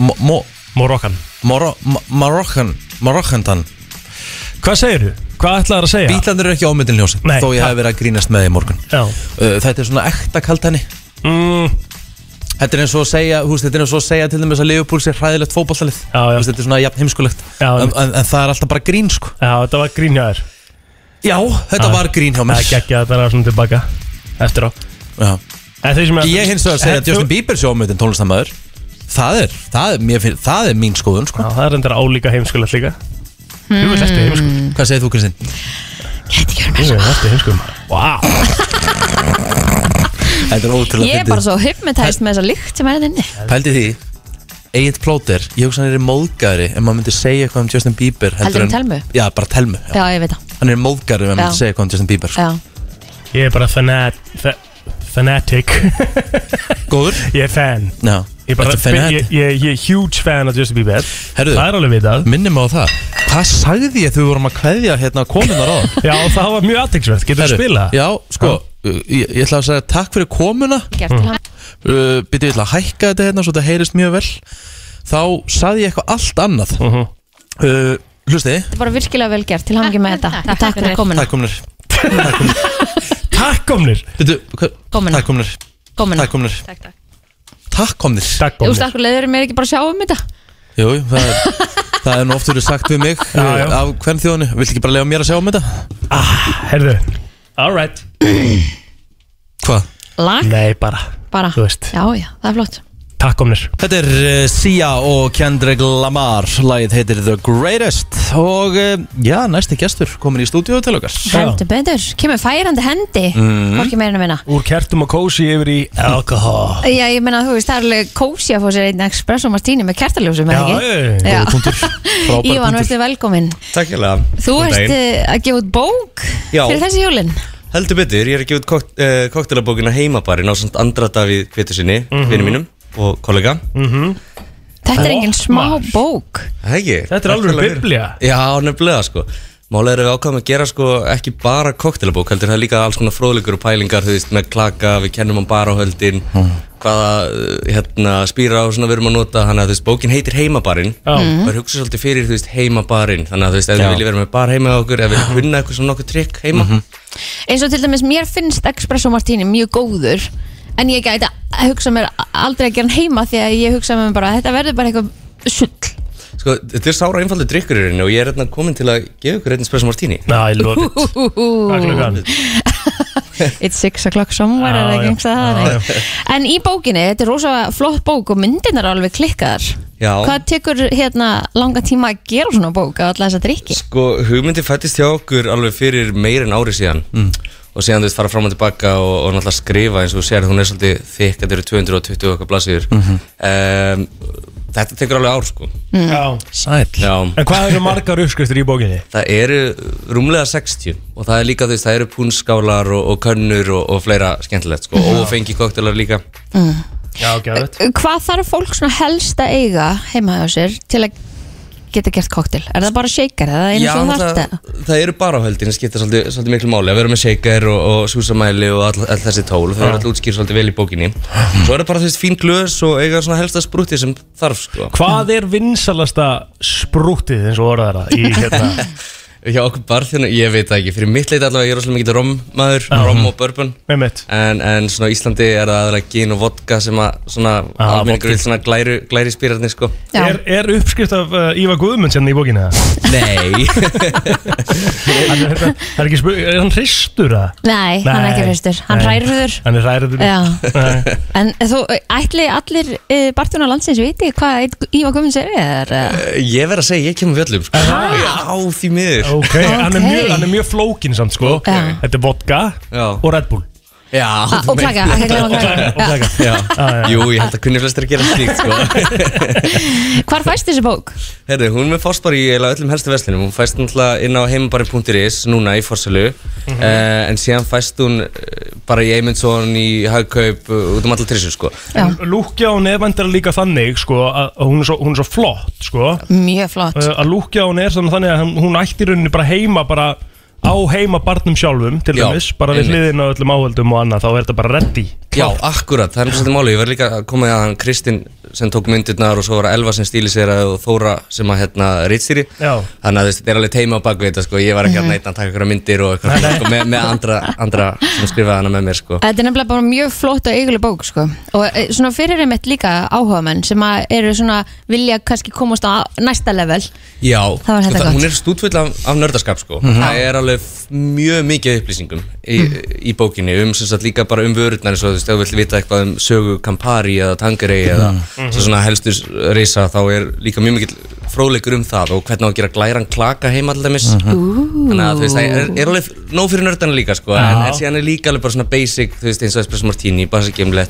Speaker 1: Mo- mo-
Speaker 3: Morokkan
Speaker 1: Marokkan Marokkan Marokkan tann
Speaker 3: Hvað segirðu? Hvað ætlaður að segja?
Speaker 1: Bítlandir eru ekki ómyndin ljósin
Speaker 3: Nei,
Speaker 1: Þó ég
Speaker 3: það-
Speaker 1: hef verið að grínast með því í morgun
Speaker 3: Já
Speaker 1: Uh, Þetta er svona ekta kaltæni
Speaker 3: mm,
Speaker 1: Þetta er eins og að segja, húst, þetta er eins og að segja til dæmis að Liverpool sé hræðilegt fótballtalið
Speaker 3: Já, já.
Speaker 1: Þetta er svona jafn heimskulegt
Speaker 3: Já,
Speaker 1: en,
Speaker 3: einmitt.
Speaker 1: en, en það er alltaf bara grín sko
Speaker 3: Já, þetta var grín hjá þér
Speaker 1: Já, þetta var grín hjá
Speaker 3: Það
Speaker 1: mér
Speaker 3: er ekki að þetta er svona tilbaka Eftir á
Speaker 1: Já.
Speaker 3: En þeir sem er-
Speaker 1: Ég hins vegar að segja
Speaker 3: En
Speaker 1: að Justin Bieber sé ómyndin tónlistamæður Það er, það er, mér finn, það er mín skoðun
Speaker 3: þú-
Speaker 1: sko
Speaker 3: Já, það er endur álíka heimskulegt líka
Speaker 2: Hmm.
Speaker 3: Þú veist eftir heimskulegt
Speaker 2: Mm.
Speaker 1: Hvað segir þú Kristinn?
Speaker 2: Gæti ekki verið
Speaker 3: Þú
Speaker 2: mér
Speaker 3: veist eftir heimskulegt Vá
Speaker 1: Þetta er ótrúlega
Speaker 2: Ég er
Speaker 1: fyndið.
Speaker 2: bara svo hypnotized með þessa lykt sem er hérna inni
Speaker 1: Pældi því Eginn plóter, ég hugsa hann er móðgæri en maður myndi segja eitthvað um Justin Bieber
Speaker 2: Heldur en
Speaker 1: en-
Speaker 2: Telmu?
Speaker 1: Já, bara telmu, já.
Speaker 2: Já, ég veit það
Speaker 1: Hann er móðgæri ef maður
Speaker 2: Já.
Speaker 1: myndi segja eitthvað um Justin Bieber sko.
Speaker 2: Já,
Speaker 3: Ég er bara fanat, fa fanatic
Speaker 1: Góður?
Speaker 3: Ég er fan
Speaker 1: Já,
Speaker 3: Ég er bara
Speaker 1: Þetta er fenn
Speaker 3: ég, ég, ég er huge fan af Justin Bieber
Speaker 1: Herðu.
Speaker 3: Það er alveg vitað
Speaker 1: Minnum á það Hvað sagði ég þegar við vorum að kveðja hérna konunar á það?
Speaker 3: Já, það var mjög aðtækksvægt Getur þú spila?
Speaker 1: Já, sko, uh, ég, ég ætla að segja takk fyrir komuna
Speaker 3: Mm.
Speaker 2: gert til hann
Speaker 1: uh, Býtti, ég ætla að hækka þetta hérna svo þetta heyrist mjög vel Þá sagði ég eitthvað allt annað uh
Speaker 3: Mhm.
Speaker 1: uh, Hlustiði,
Speaker 2: Þetta er bara virkilega vel gert til hann ekki með þetta Og Takk fyrir komuna
Speaker 1: takk komnir
Speaker 3: Takk komnir
Speaker 1: Býtti,
Speaker 2: Komuna.
Speaker 1: takk komnir
Speaker 2: Komuna
Speaker 1: Takk komnir
Speaker 7: Takk, takk.
Speaker 1: Takk komnir
Speaker 3: Takk
Speaker 2: Þú veist,
Speaker 3: komnir
Speaker 2: akkur leiður mér ekki bara að sjá um þetta
Speaker 1: Jú, jú, það er, það er nú oft verið sagt við mig
Speaker 3: Já, já.
Speaker 1: eh, af hvern þjóðinu, viltu ekki bara lega mér að sjá um þetta?
Speaker 3: Herðu Alright
Speaker 1: Hvað?
Speaker 2: Lag
Speaker 3: Nei, bara
Speaker 2: bara
Speaker 3: Mm. Þú veist.
Speaker 2: Já, já, það er flott
Speaker 3: Takk komnir
Speaker 1: Þetta er uh, Sia og Kendrick Lamar, lagið heitir The Greatest og uh, já, næsti gestur komin í stúdíu til okkar
Speaker 2: Heldur betur Kemur færandi hendi Hvorki meirinu minna
Speaker 3: Úr kertum og kósi yfir í alkohol
Speaker 2: Já, ég meina, þú veist, það er alveg kósi að fá sér einn espresso martini með kertaljósum, eða
Speaker 3: Já,
Speaker 2: ekki?
Speaker 3: ég-
Speaker 2: Já.
Speaker 1: Góður punktur, frábær
Speaker 2: Ívan,
Speaker 1: punktur.
Speaker 2: verður velkomin
Speaker 10: Takk ég lega
Speaker 2: Þú ert eh, að gefa út bók
Speaker 10: Já.
Speaker 2: fyrir þessi jólin
Speaker 10: Heldur betur, ég er að gefa út kokt, uh, koktelabókina heimabarinn á samt Andra Davíð Kvetursinni, mm
Speaker 3: Mhm.
Speaker 10: vinnu mínum og kollega
Speaker 2: Þetta er engin smá
Speaker 3: maður.
Speaker 2: bók
Speaker 10: Hegi,
Speaker 3: Þetta er alveg biblía
Speaker 10: Já, nefnilega sko Málega erum við ákvæðum að gera sko ekki bara koktelabók heldur það er líka alls konar fróðleikur og pælingar þú veist með klaka, við kennum um barahöldin
Speaker 1: Mm.
Speaker 10: hvaða eh, hérna, spýra og svona við erum að nota þannig að þú veist bókin heitir heimabarinn
Speaker 3: Já.
Speaker 2: Mm.
Speaker 1: Mm.
Speaker 10: og er hugsað svolítið fyrir þú veist heimabarinn þannig að þú veist ef við viljum vera með bar heima á okkur ef við viljum kunna eitthvað svona nokkuð trikk heima
Speaker 1: Mhm.
Speaker 2: Eins og til dæmis, mér finnst espresso martini mjög góður En ég gæti að hugsa mér aldrei að gera hann heima Því að ég hugsa mér bara, þetta verður bara eitthvað sull
Speaker 10: Sko, þetta er sára einfaldur drikkur í rauninni og ég er hérna komin til að gefa ykkur einn spesum martíni.
Speaker 3: Næ, lofið Hvað er klukkan?
Speaker 2: It's six o'clock somewhere
Speaker 3: Já,
Speaker 2: er
Speaker 3: já.
Speaker 2: ekki einhvers
Speaker 3: Já,
Speaker 2: að það En í bókinni, þetta er rosa flott bók og myndirnar er alveg klikkaðar
Speaker 10: Já.
Speaker 2: Hvað tekur hérna langa tíma að gera svona bók á alla þessa drikki?
Speaker 10: Sko, hugmyndi fættist hjá okkur alveg fyrir meir en ári síðan og síðan þú veist fara fram og tilbaka og, og náttúrulega skrifa eins og þú sér hún er svolítið þykk, þetta eru 220 okkar blaðsýður. Mm Ehm, þetta tekur alveg ár sko.
Speaker 2: Mm.
Speaker 3: Já
Speaker 1: Sæll
Speaker 10: Já.
Speaker 3: En hvað eru margar uppskriftir í bókinni?
Speaker 10: Það eru rúmlega 60 og það er líka þú veist, það eru púnskálar og, og könnur og, og fleira skemmtilegt sko og fengi koktelar líka.
Speaker 3: Já, gæðvett
Speaker 2: Eh, Hvað þarf fólk svona helst að eiga heima hjá sér til að geta gert koktel? Er það bara shaker? Er það einu
Speaker 10: Já,
Speaker 2: svo þarft?
Speaker 10: náttúrulega,
Speaker 2: að-
Speaker 10: það eru bara áhöldin það skipta svolítið, svolítið miklu máli að vera með shaker og, og súsamæli og all, all þessi tól það er alltaf útskýr svolítið vel í bókinni svo er það bara þessi fín glös og eiga svona helsta sprúti sem þarf sko
Speaker 3: Hvað er vinsalasta sprútið eins og orðar það í hérna
Speaker 10: hjá okkur barþjónu, ég veit það ekki, fyrir mitt leiti allavega ég er rosalega mikið rommaður, rom og bourbon
Speaker 3: Með mitt
Speaker 10: en, en svona á Íslandi er það aðalega gin og vodka sem að svona
Speaker 3: Ah,
Speaker 10: almenningur
Speaker 3: vodka.
Speaker 10: vil svona glæri, glæri spýrarnir sko
Speaker 2: Já.
Speaker 3: er, er uppskrift af uh, Ívar Guðmunds hérna í bókinni það?
Speaker 10: Nei,
Speaker 3: Hann er, hérna, það er, ekki spurning, er hann hristur það?
Speaker 2: Nei, hann er ekki hristur. Hann hrærður.
Speaker 3: Hann er hrærður
Speaker 2: Já.
Speaker 3: Nei.
Speaker 2: En þú, ætli allir e, bartuna landsins viti hvað einn- Ívar Guðmunds er?
Speaker 3: Eh,
Speaker 2: eða?
Speaker 10: ég verð að segja, ég kemur völlum sko Já, því miður
Speaker 3: Ok, Hann, er
Speaker 2: Ok.
Speaker 3: mjög, hann er mjög flókin samt sko
Speaker 2: Já.
Speaker 3: Þetta er vodka
Speaker 10: Já.
Speaker 3: og Red Bull
Speaker 10: Já,
Speaker 2: Ah,
Speaker 10: þú
Speaker 2: Og
Speaker 10: meinar.
Speaker 2: klaka, ekki glemma klaka.
Speaker 3: Og klaka.
Speaker 10: Já,
Speaker 3: Ah, já.
Speaker 10: jú, ég held að kunni flestir að gera slíkt sko
Speaker 2: Hvar fæst þessi bók?
Speaker 10: Herri, hún er fórst bara í eiginlega öllum helstu veslinum Hún fæst náttúrulega inn á heimabari.is núna í fórsölu
Speaker 3: Mhm.
Speaker 10: eh, En síðan fæst hún eh, bara í Eymundsson, í Hagkaup, eh, út um allar trísu sko
Speaker 2: Já.
Speaker 3: Lúkja hún er vandir líka þannig sko, að að hún er svo, hún er svo flott sko, Eh,
Speaker 2: Mjög flott
Speaker 3: uh, að Lúkja hún er svona þannig að hann- hún ætti í rauninni bara heima bara á heima barnum sjálfum til
Speaker 10: Já,
Speaker 3: dæmis, bara við
Speaker 10: einmitt.
Speaker 3: hliðin á öllum áhöldum og annað, þá er þetta bara ready
Speaker 10: Já, akkurat, það er mjög svolítið máli Ég verð líka að koma því að hann Kristinn sem tók myndirnar og svo var Elva sem stíli sér og Þóra sem að hérna rýtstýri
Speaker 3: Já.
Speaker 10: Þannig að þú veist, þetta er alveg teima á bakvið þetta sko Ég var ekki að
Speaker 2: Mhm.
Speaker 10: neita að taka ykkur myndir og eitthvað sko, með, með andra, andra sem skrifaði hana með mér sko
Speaker 2: Þetta er nefnilega bara mjög flott og eiguleg bók sko. og eh, svona fyrir einmitt líka áhugamenn sem að eru svona vilja kannski komast á næsta level
Speaker 10: Já,
Speaker 2: Það var
Speaker 10: sko,
Speaker 2: þetta gott.
Speaker 10: hún er stútfull af, af nördaskap sko
Speaker 2: Mhm.
Speaker 10: Það er alveg f- mjög mikið upplýsingum í,
Speaker 11: Mhm.
Speaker 10: í bókinni um sem sagt líka bara um vörurnar eins og þú veist, ef þú vilt vita eitthvað um sögu Campari eða Tangerei eða
Speaker 11: Mhm.
Speaker 10: sem svona helstu s- reisa þá er líka mjög mikill fróðleikur um það og hvernig á að gera glæran klaka heima alltaf mis
Speaker 11: Mhm.
Speaker 10: Þannig að þú veist, það er, er alveg f- nóg fyrir nördana líka sko en,
Speaker 11: Já.
Speaker 10: en síðan er líka alveg bara svona basic, þú veist, eins og Espresso Martini, basikimlett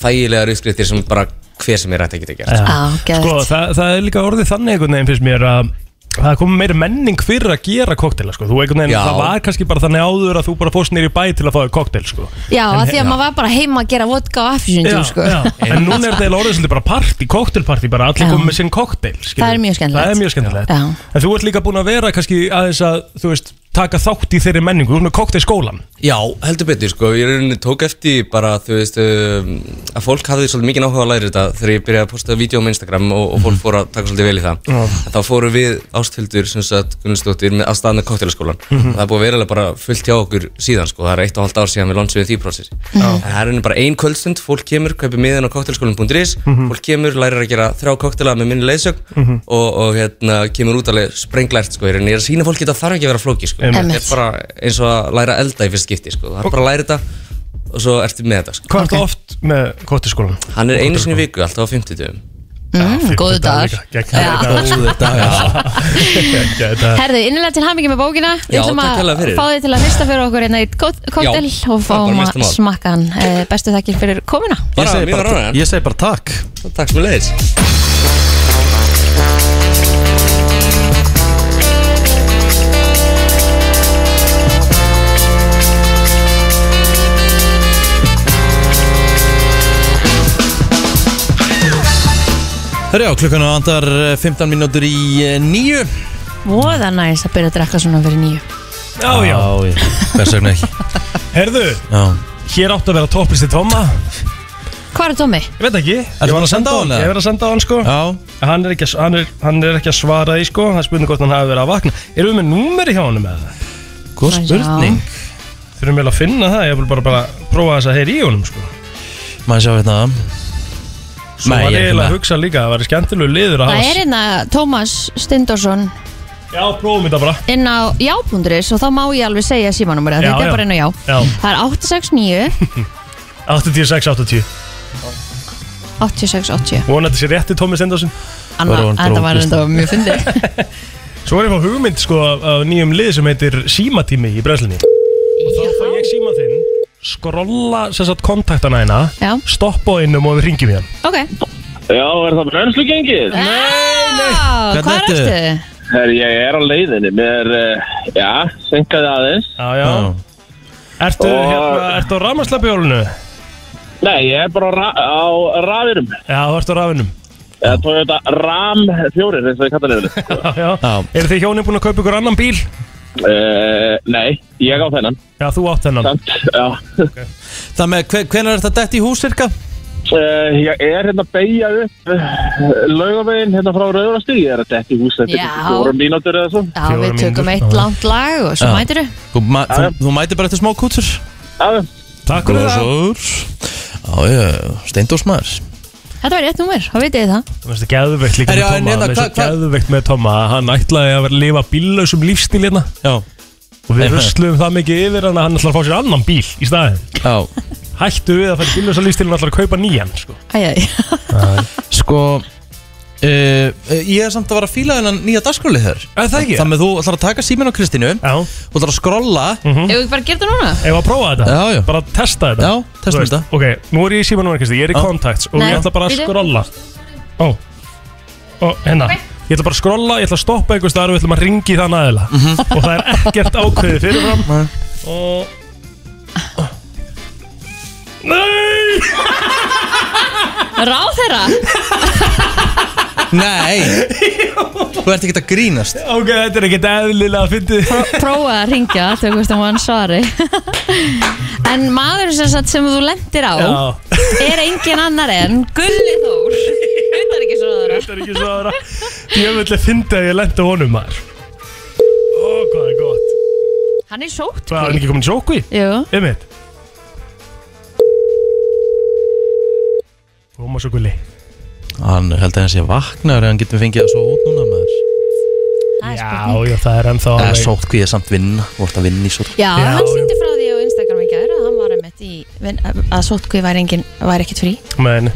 Speaker 10: þægilegar uppskriftir sem bara hver sem er hægt að geta gert
Speaker 2: Ah, Já,
Speaker 3: Sko, það, það er líka orðið þannig einhvern veginn finnst mér að það komið meira menning fyrir að gera kokteila sko. þú einhvern veginn,
Speaker 10: Já.
Speaker 3: það var kannski bara þannig áður að þú bara fórst nýri bæ til að fá þér kokteil sko.
Speaker 2: Já,
Speaker 3: En-
Speaker 2: af því að maður var bara heima að gera vodka og
Speaker 3: Já,
Speaker 2: affisjöndjúr sko.
Speaker 3: já. en núna er þetta eiginlega orðið svolítið bara party, koktelparty bara allir
Speaker 2: Já.
Speaker 3: komið með sinn kokteil skilur.
Speaker 2: Það er mjög skemmtilegt.
Speaker 3: það er mjög skemmtilegt
Speaker 2: Já.
Speaker 3: en þú ert líka búin að vera kannski aðeins að þú veist, taka þátt í þeirri menningu þú erum með kokteilskólan
Speaker 10: Já, heldur betur sko, ég rauninni tók eftir bara þú veist um, að fólk hafði svolítið mikið áhuga að læra þetta þegar ég byrjaði að posta vídeo á Instagram og, og fólk fór að taka svolítið vel í það
Speaker 11: Mhm. Já.
Speaker 10: En Þá fórum við ástfjöldur sem sagt Gunnarsdóttir með að staðna kóttelaskólan
Speaker 11: Mhm.
Speaker 10: Það er búið verilega bara fullt hjá okkur síðan sko, það er eitt og halvt ár síðan við lonsum við því prósessi
Speaker 11: Já.
Speaker 10: En það er rauninni bara ein kvöldstund, fólk kemur, kaupir miðan á kóttelaskólan.is
Speaker 11: Mhm.
Speaker 10: Fólk kemur, lærir að gera þrjá kóttela með minni leiðsögn
Speaker 11: Mhm.
Speaker 10: og, og hérna kemur út alveg sprenglært sko, í rauninni. ég er að sína fólki að það þarf ekki að vera flóki sko.
Speaker 3: Einmitt.
Speaker 10: Þetta er bara eins og að læra að elda í fyrst skipti sko. það er bara að læra þetta og svo ertu með þetta sko.
Speaker 3: hvað okay. ertu oft með kokteilskólan?
Speaker 10: hann er einu sinni í viku, alltaf á 50 dögum
Speaker 2: mm, Góðu dagar
Speaker 10: Góður dagar
Speaker 2: Herðu, innilega til hamingi með bókina Við
Speaker 10: Já,
Speaker 2: ætlum að
Speaker 10: takk hérlega fyrir.
Speaker 2: fá þið til að hlusta fyrir okkur hérna í kóttel og
Speaker 10: Já, það er
Speaker 2: fáum að
Speaker 10: bara mesta mál.
Speaker 2: smakka hann Eh, Bestu þakkir fyrir komuna
Speaker 1: Ég segi bara- Ég segi bara takk
Speaker 10: Takk sem við leiðis
Speaker 1: Herjá, klukkan á andar 15 mínútur í eh, níu
Speaker 2: Voða næs að byrja að drekka svona fyrir nýju
Speaker 3: Já, já.
Speaker 1: Hvers vegna ekki
Speaker 3: Herðu,
Speaker 1: Já
Speaker 3: hér átt að vera topplisti Tóma
Speaker 2: Hvað er Tómi?
Speaker 3: Ég veit ekki
Speaker 1: Ertu búin að senda á hann, eða?
Speaker 3: Ég verið að senda á hann sko Já Hann er ekki, að- hann er, hann er ekki að svara því sko Það er spurning hvort hann hafi verið að vakna Erum við með númeri hjá honum eða?
Speaker 1: Góð
Speaker 2: Já. spurning.
Speaker 3: Þurfum við að finna það Ég vil bara, bara prófa þess að heyra í honum sko
Speaker 1: Maður sjá hérna
Speaker 3: Svo
Speaker 1: Nei,
Speaker 3: var
Speaker 1: ég er
Speaker 3: ég hérna-
Speaker 1: ekki með.
Speaker 3: eiginlega að hugsa líka Það var skemmtilegu liður að
Speaker 2: Það
Speaker 3: hafa
Speaker 2: er hérna Tómas Stindorsson
Speaker 3: Já, prófum þetta bara
Speaker 2: inn á já.is og þá má ég alveg segja símanúmer
Speaker 3: Já,
Speaker 2: þetta
Speaker 3: já.
Speaker 2: er bara inn á já.
Speaker 3: Já.
Speaker 2: Það er 869
Speaker 3: 86, 80
Speaker 2: 8680
Speaker 3: Vona þetta sé rétti Tómi Stendarsson
Speaker 2: Anna, þetta var enda mjög fyndi
Speaker 3: Svo er ég fá hugmynd sko af- af nýjum lið sem heitir Símatími í Breslinni Og þá fæ ég síma þinn Skrolla sem sagt kontaktana hérna
Speaker 2: Já.
Speaker 3: Stoppa á einum og við ringjum í hann
Speaker 2: Ok
Speaker 6: Já, er það brennslugengið?
Speaker 2: Já, Hvað er
Speaker 6: ertu?
Speaker 2: eftir?
Speaker 6: Herri, ég er á leiðinni, mér, uh, já, senkaði aðeins
Speaker 3: Já, já Ertu,
Speaker 6: Og-
Speaker 3: hérna, ertu á rafmagnslabjólinu?
Speaker 6: Nei, ég er bara á, ra á raðurum
Speaker 3: Já, þú ert á rafinum
Speaker 6: Eða Toyota RAM 4, eins og ég kallar nefnir
Speaker 3: Já, já Er þið hjónin búin að kaupa ykkur annan bíl?
Speaker 6: uh, Nei, ég á þennan
Speaker 3: Já, þú átt þennan
Speaker 6: Samt, já
Speaker 1: Það með, hve- hvenær er þetta dætt í hús cirka?
Speaker 6: Uh, ég er hérna að beigja upp laugaveginn hérna frá Rauðurastíð ég er að detti hús þetta er
Speaker 2: Já.
Speaker 6: kannski fjórum mínútur eða svo
Speaker 2: Já, við tökum eitt langt lag og svo
Speaker 1: Já.
Speaker 2: mætir þú
Speaker 1: Þú, ma þú, þú mætir bara eftir smá kútur
Speaker 6: Já
Speaker 3: Takk fyrir það
Speaker 1: það Já, já, steindós maður
Speaker 2: Þetta var rétt númer, þá veit ég það
Speaker 3: Það finnst það geðveikt líka
Speaker 1: Herra,
Speaker 3: með
Speaker 1: en
Speaker 3: Tóma
Speaker 1: hérna,
Speaker 3: Það finnst
Speaker 1: hvað-
Speaker 3: það geðveikt með Tóma að Hann ætlaði að vera að lifa bíllausum lífstíl hérna
Speaker 1: Já
Speaker 3: Og við
Speaker 1: Nei,
Speaker 3: rösluðum það mikið yfir hann að hann ætlar að fá sér annan bíl í staðin
Speaker 1: Já
Speaker 3: Hættu við að fara bíllausa lífstíl og ætlar að kaupa nýjan sko.
Speaker 2: Æjæj
Speaker 1: Sko Uh, ég er samt að vara að fíla þennan nýja dagskrálið þér
Speaker 3: það ekki?
Speaker 1: Þannig að þú ætlar að taka síminn á Kristínu
Speaker 3: Já
Speaker 1: Þú ætlar að skrolla mm
Speaker 2: Ef við bara gerum það núna?
Speaker 3: Ef að prófa þetta?
Speaker 1: Já, já.
Speaker 3: Bara testa þetta?
Speaker 1: Já, testum
Speaker 3: Þú veist,
Speaker 1: þetta.
Speaker 3: Ok, nú er ég í símanum verkefni, ég er í
Speaker 1: Já.
Speaker 3: contacts og
Speaker 2: Nei,
Speaker 3: ég ætla bara að
Speaker 2: bíddu.
Speaker 3: skrolla Ó, ó, hérna Ég ætla bara að skrolla, ég ætla að stoppa einhvers staðar og við ætlum að ringi þann aðeila Og það er ekkert ákveðið fyrirfram
Speaker 1: Mhm. Nei.
Speaker 3: Og... Nei!
Speaker 2: Ráð þeirra
Speaker 1: Nei Þú ert ekki að grínast
Speaker 3: Ok, þetta er ekkert eðlilega að fyndið
Speaker 2: Prófaði að ringja, þau veist að hann svari En maður sem, sagt sem þú lendir á Er engin annar en Gulli Þór Utanríkisráðara
Speaker 3: Utanríkisráðara Djöfull að fyndi að ég lendi á honum maður Ó, hvað það er gott
Speaker 2: Hann er sótt
Speaker 3: Hvað, er hann ekki komin í sjókví?
Speaker 2: Jú
Speaker 3: Einmitt Koma svo gulli
Speaker 1: Hann held að hann sé vaknaður ef hann getur fengið að svo út núna maður
Speaker 3: Já, já, það er ennþá
Speaker 1: Það er
Speaker 3: alveg-
Speaker 1: sótt hvað ég er samt vinna Þú ert að vinna í sótt
Speaker 2: Já, hann sýndi frá því á Instagram í gæra að hann var einmitt í vin- að sótkví væri, engin, væri ekkit frí
Speaker 3: Men,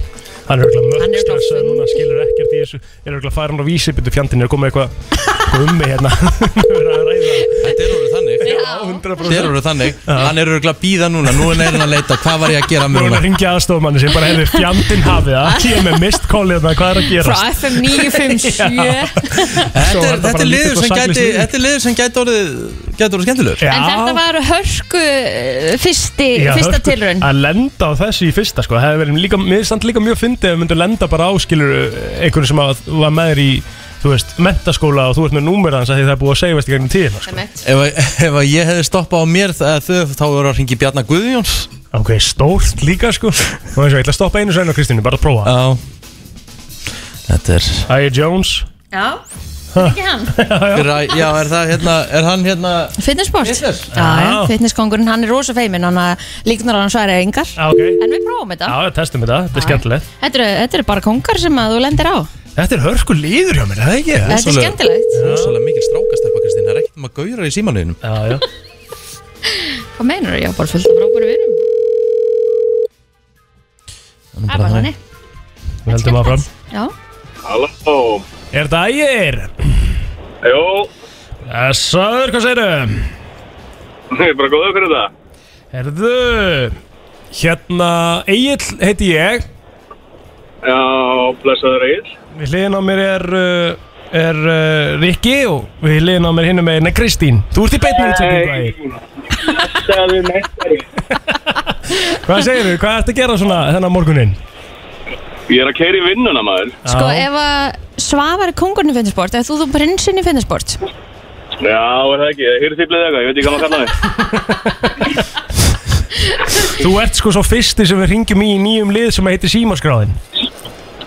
Speaker 3: hann er auðvitað
Speaker 2: Hann er
Speaker 3: mörg
Speaker 2: örugglega
Speaker 3: stressaður núna, skilur ekkert í þessu Er auðvitað farin á vísi, byrju fjandinn er komið eitthvað Gummi hérna
Speaker 1: Þetta er orðið þannig
Speaker 2: Já,
Speaker 3: 100%
Speaker 1: Þetta er orðið þannig Hann er orðið að býða núna Nú er neyrinn að leita Hvað var ég að gera
Speaker 3: Nú
Speaker 1: mér
Speaker 3: er hann að
Speaker 1: núna
Speaker 3: ringja aðstofmanni sem bara hefði fjandinn hafið það Ég er með mist kólið hérna, hvað er að gera?
Speaker 2: Frá FM 957
Speaker 1: Þetta er- þetta er liður sem gæti
Speaker 3: Já,
Speaker 1: Þetta er liður sem gæti orðið Gæti orðið skemmtilegur
Speaker 2: En þetta var hörku eh, fyrsti, fyrsta
Speaker 3: hörku,
Speaker 2: tilraun
Speaker 3: sko, Að lenda á þessu í fyrsta sko, það hefði verið líka, mér stand líka mjög fyndið ef við myndum lenda bara á skilur einhverju sem að, var með þér í, þú veist, mentaskóla og þú ert með númer hans að því það er búið að segja veist í gegnum tíðina sko.
Speaker 1: Ef, að- ef að ég hefði stoppað á mér þ- þau, þá voru að ringi Bjarnar Guðjóns
Speaker 3: Ok, stórt líka sko Og eins og ég ætla að stoppa einu sveinu á Kristínu, bara að prófa
Speaker 1: Já Þetta er
Speaker 2: Ah.
Speaker 3: Æja Jones
Speaker 2: Já, þetta er ekki hann
Speaker 1: er, að- Já, er það hérna Er hann hérna
Speaker 2: Fitnessport
Speaker 1: Fitness?
Speaker 2: Já, já, fitnesskongurinn, hann er rosa feiminn hann að líknar á hann sværi engar
Speaker 3: Já, ok
Speaker 2: En við prófum þetta
Speaker 3: Já, við testum þetta,
Speaker 2: Ah,
Speaker 3: þetta er skemmtilegt
Speaker 2: Þetta eru, þetta eru bara kongar sem að þú lendir á
Speaker 3: Þetta er hörku líður hjá mér, er það ekki?
Speaker 2: Þetta er skemmtilegt
Speaker 1: Rósalega mikil strákastelpa Kristín Það er ekkert um að gauðra í símanuðinum
Speaker 3: Já, já
Speaker 2: Hvað meinar þú? Já, bara fullt af frábæru vinum Það er bara þannig
Speaker 3: Við heldum áfram
Speaker 2: Já,
Speaker 6: Halló
Speaker 3: Er þetta ægir?
Speaker 6: Jó,
Speaker 3: Saður, hvað segiru?
Speaker 6: ég er bara góður fyrir það
Speaker 3: Herðu Hérna, Egil heiti ég
Speaker 6: Já, blessaður Egil
Speaker 3: Við hliðin á mér er uh, Er uh, Rikki og við hliðin á mér hinnum með Nei, Kristín Þú ert í beinni útsendingu ægir
Speaker 6: Það er meistari
Speaker 3: Hvað segir þú? Hvað ert að gera svona þennan morguninn?
Speaker 6: Ég er að keira í vinnuna maður
Speaker 2: sko ef að Svavar er kongurinn í fitnessport eða þú þú prinsinn í fitnessport
Speaker 6: Já, er það ekki, hér er þýplið eitthvað, ég veit ekki hvað maður kalla þig
Speaker 3: Þú ert sko svo fyrsti sem við ringjum í í nýjum lið sem heitir Símaskráðin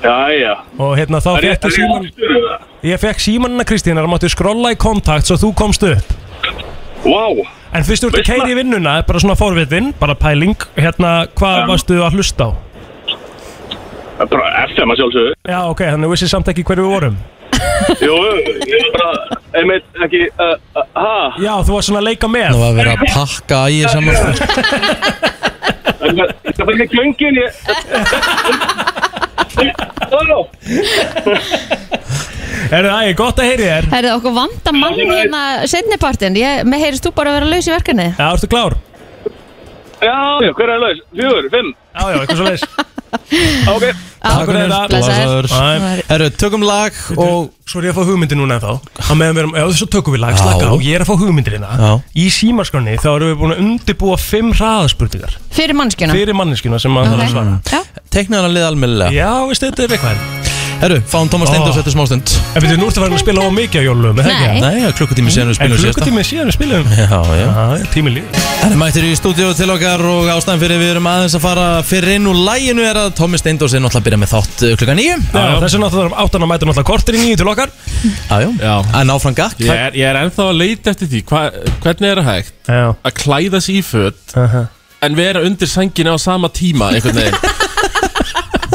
Speaker 6: Jæja
Speaker 3: og hérna þá
Speaker 6: Er ég- er
Speaker 3: fekk ég
Speaker 6: ég
Speaker 3: síman
Speaker 6: aftur eða?
Speaker 3: ég fekk símanina Kristín þar máttu skrolla í kontakt svo þú komst upp
Speaker 6: Vá,
Speaker 3: en fyrst þú ert að
Speaker 6: Veist
Speaker 3: keira í vinnuna bara svona forvitin, bara pæling hérna hvað varstu að hlusta á
Speaker 6: það er bara FM að sjálfsögðu
Speaker 3: Já ok, þannig vissið samt ekki hverju við vorum
Speaker 6: Jú, ég er bara, einmitt ekki, uh, uh, ha,
Speaker 3: Já, þú var svona að leika með
Speaker 1: Nú að vera að pakka ægir saman sko.
Speaker 6: það fyrir göngin, ég... Halló,
Speaker 3: Er það, ég gott að heyri þér
Speaker 2: Það er okkur vanda mann hérna setnipartin Mér heyrist þú bara að vera laus í verkefni
Speaker 3: Já, ertu klár?
Speaker 6: já, já, hver er laus? Fjögur, fimm,
Speaker 3: Já, já, eitthvað svo leis
Speaker 6: ok.
Speaker 3: Takk fyrir þetta.
Speaker 2: Blessaður.
Speaker 3: Æ.
Speaker 2: Blessaður.
Speaker 1: Herru, tökum lag og
Speaker 3: og svo er ég að fá hugmyndi núna þá að meðan við erum, já þessu tökum við lag,
Speaker 1: Já.
Speaker 3: slaka á ég er að fá hugmyndirina,
Speaker 1: Já.
Speaker 3: í símaskonni þá erum við búin að undirbúa fimm hraðaspurningar
Speaker 2: Fyrir mannskjuna
Speaker 3: fyrir manneskina sem maður þarf að svara
Speaker 2: Já,
Speaker 1: Teknaði hann að liða almennilega
Speaker 3: já, veistu, þetta er eitthvað en
Speaker 1: Herru, fáum Tómas
Speaker 3: Ó.
Speaker 1: Steindós eftir smástund
Speaker 3: betur, nú ertu farin að spila á mikið á jólum, er það ekki?
Speaker 2: Nei.
Speaker 1: Nei, það er Eh, klukkutími síðan við
Speaker 3: en
Speaker 1: spilum síðasta
Speaker 3: klukkutími síðan við spilum
Speaker 1: Já, já
Speaker 3: já, tími líf
Speaker 1: Það er mættir í stúdíu til okkar og ástæðan fyrir við erum aðeins að fara fyrir inn úr læginu er að Tómi Steindós er náttúrulega að byrja með þátt uh, klukkan nýju
Speaker 3: þessu náttúrulega þarf áttan að mæta náttúrulega kortir í nýju til okkar
Speaker 1: Jájú,
Speaker 11: Já.
Speaker 1: að ná fram gakk
Speaker 11: Ég er, ég er ennþá að leita eftir því hva, Hvernig er það hægt
Speaker 3: já,
Speaker 11: að klæða sig í föt
Speaker 3: aha.
Speaker 11: En vera undir sengina á sama tíma Einhvern veginn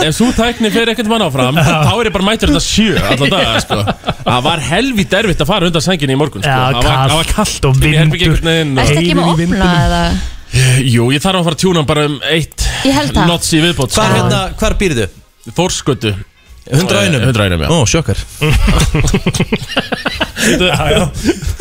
Speaker 11: Ef svo tækni fer ekkert mann áfram Þá er ég bara mættur þetta sjö alla daga sko. Það var helvít erfitt að fara undan sengina í morgun sko.
Speaker 3: Já,
Speaker 11: Það var- það var
Speaker 3: kalt
Speaker 11: kallt
Speaker 3: og
Speaker 11: Ég herbergi
Speaker 3: vindur.
Speaker 11: einhvern veginn og-
Speaker 2: Ertu ekki með
Speaker 3: Heyrið í
Speaker 2: opna
Speaker 3: vindinum.
Speaker 2: eða
Speaker 11: Jú, ég þarf að fara að tjúna hann bara um eitt
Speaker 2: Ég held það.
Speaker 11: Notsi viðbót sko.
Speaker 1: Hvar, hérna, hvar býrðu?
Speaker 11: Þórskötu
Speaker 1: 100 einum?
Speaker 11: Hundra Eh, einum, já
Speaker 1: Ó, sjokkar
Speaker 3: já, já.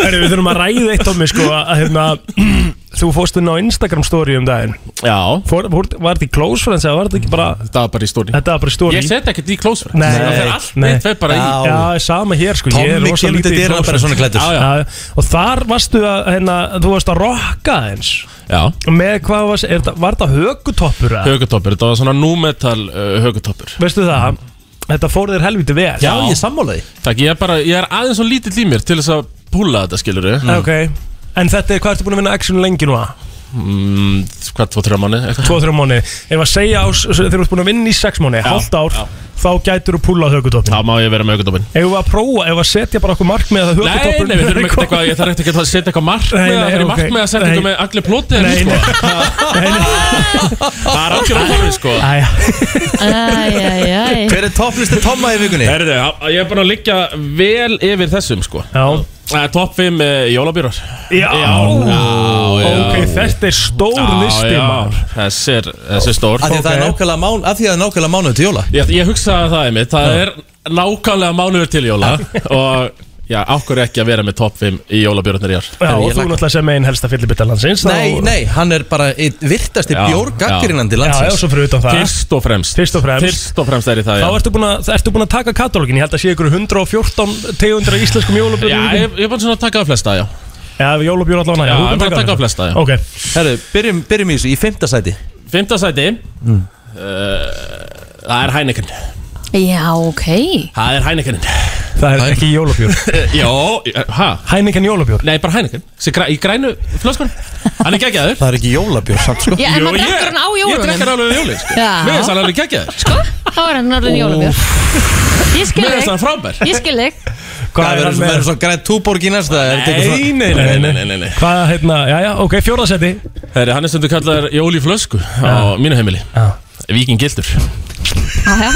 Speaker 3: Heru, við þurfum að ræða eitt á mig sko að hérna þú fórst inn á Instagram story um daginn
Speaker 11: Já,
Speaker 3: Fór, fór, var þetta í close friends eða var þetta ekki bara
Speaker 11: þetta var bara í stóri
Speaker 3: þetta var bara story
Speaker 11: Ég set ekkert í close friends
Speaker 3: Nei,
Speaker 11: Það fer allt
Speaker 3: nei.
Speaker 11: mitt fer bara í
Speaker 1: Já.
Speaker 3: Já, sama hér sko, ég er
Speaker 1: Tómi
Speaker 3: rosa
Speaker 1: kemur til
Speaker 3: lítið í
Speaker 1: dyrana
Speaker 3: close
Speaker 1: bara
Speaker 3: friends.
Speaker 1: svona klættur
Speaker 11: Já, já.
Speaker 3: Já, og þar varstu að, hérna, þú varst að rokka eins
Speaker 11: Já,
Speaker 3: með hvað var, er, það- var það högutoppur að?
Speaker 11: eh, högutoppur, þetta var svona númetal uh, högutoppur
Speaker 3: veistu það þetta fór þér helviti vel
Speaker 11: Já, ég er
Speaker 1: sammála því
Speaker 11: Takk, ég er bara, ég er aðeins svo lítill í mér til þess að púla þetta, skilur við
Speaker 3: Ok, en þetta er hvað ertu búin að vinna action lengi nú að?
Speaker 11: mm, Hvað, tvo, þrjá manni?
Speaker 3: Tvo, þrjá mánu Ef að segja á, s- þegar þú ert búin að vinna í sex mánu, hálft ár Þá gætur þú púlað högutopin
Speaker 11: Þá má ég vera með aukvöldopin
Speaker 3: Ef við að prófa, ef að setja bara okkur markmið að
Speaker 11: Nei,
Speaker 3: högutopin
Speaker 11: nei, við þurfum ekkert eitthvað, ég þarf ekkert ekki að setja eitthvað markmið
Speaker 3: Nei,
Speaker 11: Það
Speaker 3: nei,
Speaker 11: er
Speaker 3: ok.
Speaker 11: markmið að setja eitthvað
Speaker 3: Nei.
Speaker 11: með allir plótið
Speaker 3: Nei,
Speaker 11: sko. Það er algjör að horfið, sko
Speaker 2: Æjæjæj
Speaker 1: Hver er topplisti Tomma í vikunni?
Speaker 11: Herðu, já, ég er bara að liggja vel yfir þessum, sko
Speaker 3: Já
Speaker 11: Top eh, 5 jólabýrar
Speaker 3: Já,
Speaker 11: já, já.
Speaker 3: Ok, þetta er stór
Speaker 11: Já,
Speaker 3: listi
Speaker 11: já,
Speaker 3: maður
Speaker 11: Þessi er, þessi er stór
Speaker 1: Af því að það er nákvæmlega mánu Af því að það er nákvæmlega mánu til jóla
Speaker 11: Ég, ég hugsaði það einmitt, það
Speaker 1: Já.
Speaker 11: er nákvæmlega mánuður til jóla og já, ákvör ekki að vera með topp 5 í jólabjörnir í ár
Speaker 3: Já, og þú náttúrulega sem einn helsta fyllibita landsins þá-
Speaker 1: Nei, nei, hann er bara einn virtasti bjórgaggrinandi landsins
Speaker 3: Já, já, svo fyrir utan það
Speaker 11: Fyrst og fremst
Speaker 3: Fyrst og fremst
Speaker 11: Fyrst og fremst er í það,
Speaker 3: Þá
Speaker 11: já
Speaker 3: ertu búin að, ertu búin að taka katalógin Ég held að sé ykkur 114 tegundir af íslenskum
Speaker 11: Já,
Speaker 3: jólabjörnum
Speaker 11: ég, ég er bara svona að taka af flesta, já
Speaker 3: Já, jólabjörn allan
Speaker 11: Já, ég er bara að taka af flesta, já
Speaker 3: Ok
Speaker 1: Herru, byrjum, byrjum í þessu, í fimmtasæti
Speaker 11: Fymta sæti
Speaker 1: Mm.
Speaker 11: uh, Það er Heineken
Speaker 2: Já, ok
Speaker 11: Það er Heineken
Speaker 3: Það er ekki jólabjór
Speaker 11: Jó, hæ?
Speaker 3: Heineken jólabjór
Speaker 11: Nei, bara Heineken Sér græ, Í grænu flöskun Hann er geggjaður
Speaker 1: Það er ekki jólabjór samt sko
Speaker 2: Já, en maður drekkur hann á jólunum.
Speaker 11: Ég drekkur alveg á jólun sko.
Speaker 2: Já.
Speaker 11: Mér finnst hann alveg geggjaður
Speaker 2: Sko, þá er hann orðin jólabjörn Ég skil
Speaker 11: Mér
Speaker 2: þig
Speaker 11: finnst hann frábær
Speaker 2: Ég skil þig
Speaker 1: Hvað verður
Speaker 3: með?
Speaker 1: svo grænt túborg í næsta? er þetta eitthvað
Speaker 3: Nei,
Speaker 1: svona-
Speaker 3: nei, nei, nei,
Speaker 11: nei, nei.
Speaker 3: Hvað, hérna, já, já, ok, fjórðasetti
Speaker 11: Herri, hann er stundu kallar Jóli Flösku á mínu heimili
Speaker 3: Já.
Speaker 11: Víking Gildur
Speaker 2: Já, já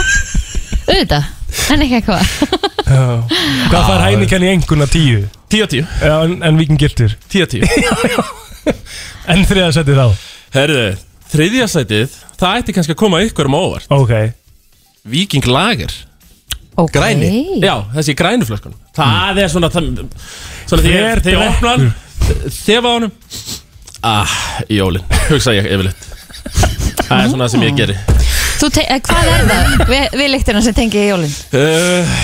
Speaker 2: Auðvitað, en ekki eitthvað
Speaker 3: Hvað
Speaker 11: Já,
Speaker 3: fær Heineken í enguna tíu?
Speaker 11: 10 á 10
Speaker 3: Já, en, en vikin gildur
Speaker 11: 10 á 10
Speaker 3: En þriðasetti þá
Speaker 11: Herri, þriðja sætið Það ætti kannski að koma ykkur um óvart
Speaker 3: Ok
Speaker 11: Víking Lager
Speaker 2: okay.
Speaker 1: Græni
Speaker 11: Já, þessi í grænu flöskunum Það er svona það, Svona
Speaker 3: Hver
Speaker 11: þegar þegar ég opna
Speaker 3: drekkur?
Speaker 11: hann Þefa á honum Ah, jólin Hugsa ég yfirleitt Það er svona sem ég geri
Speaker 2: Þú te- eh, Hvað er það við, við lyktina sem tengið jólin?
Speaker 11: Uh,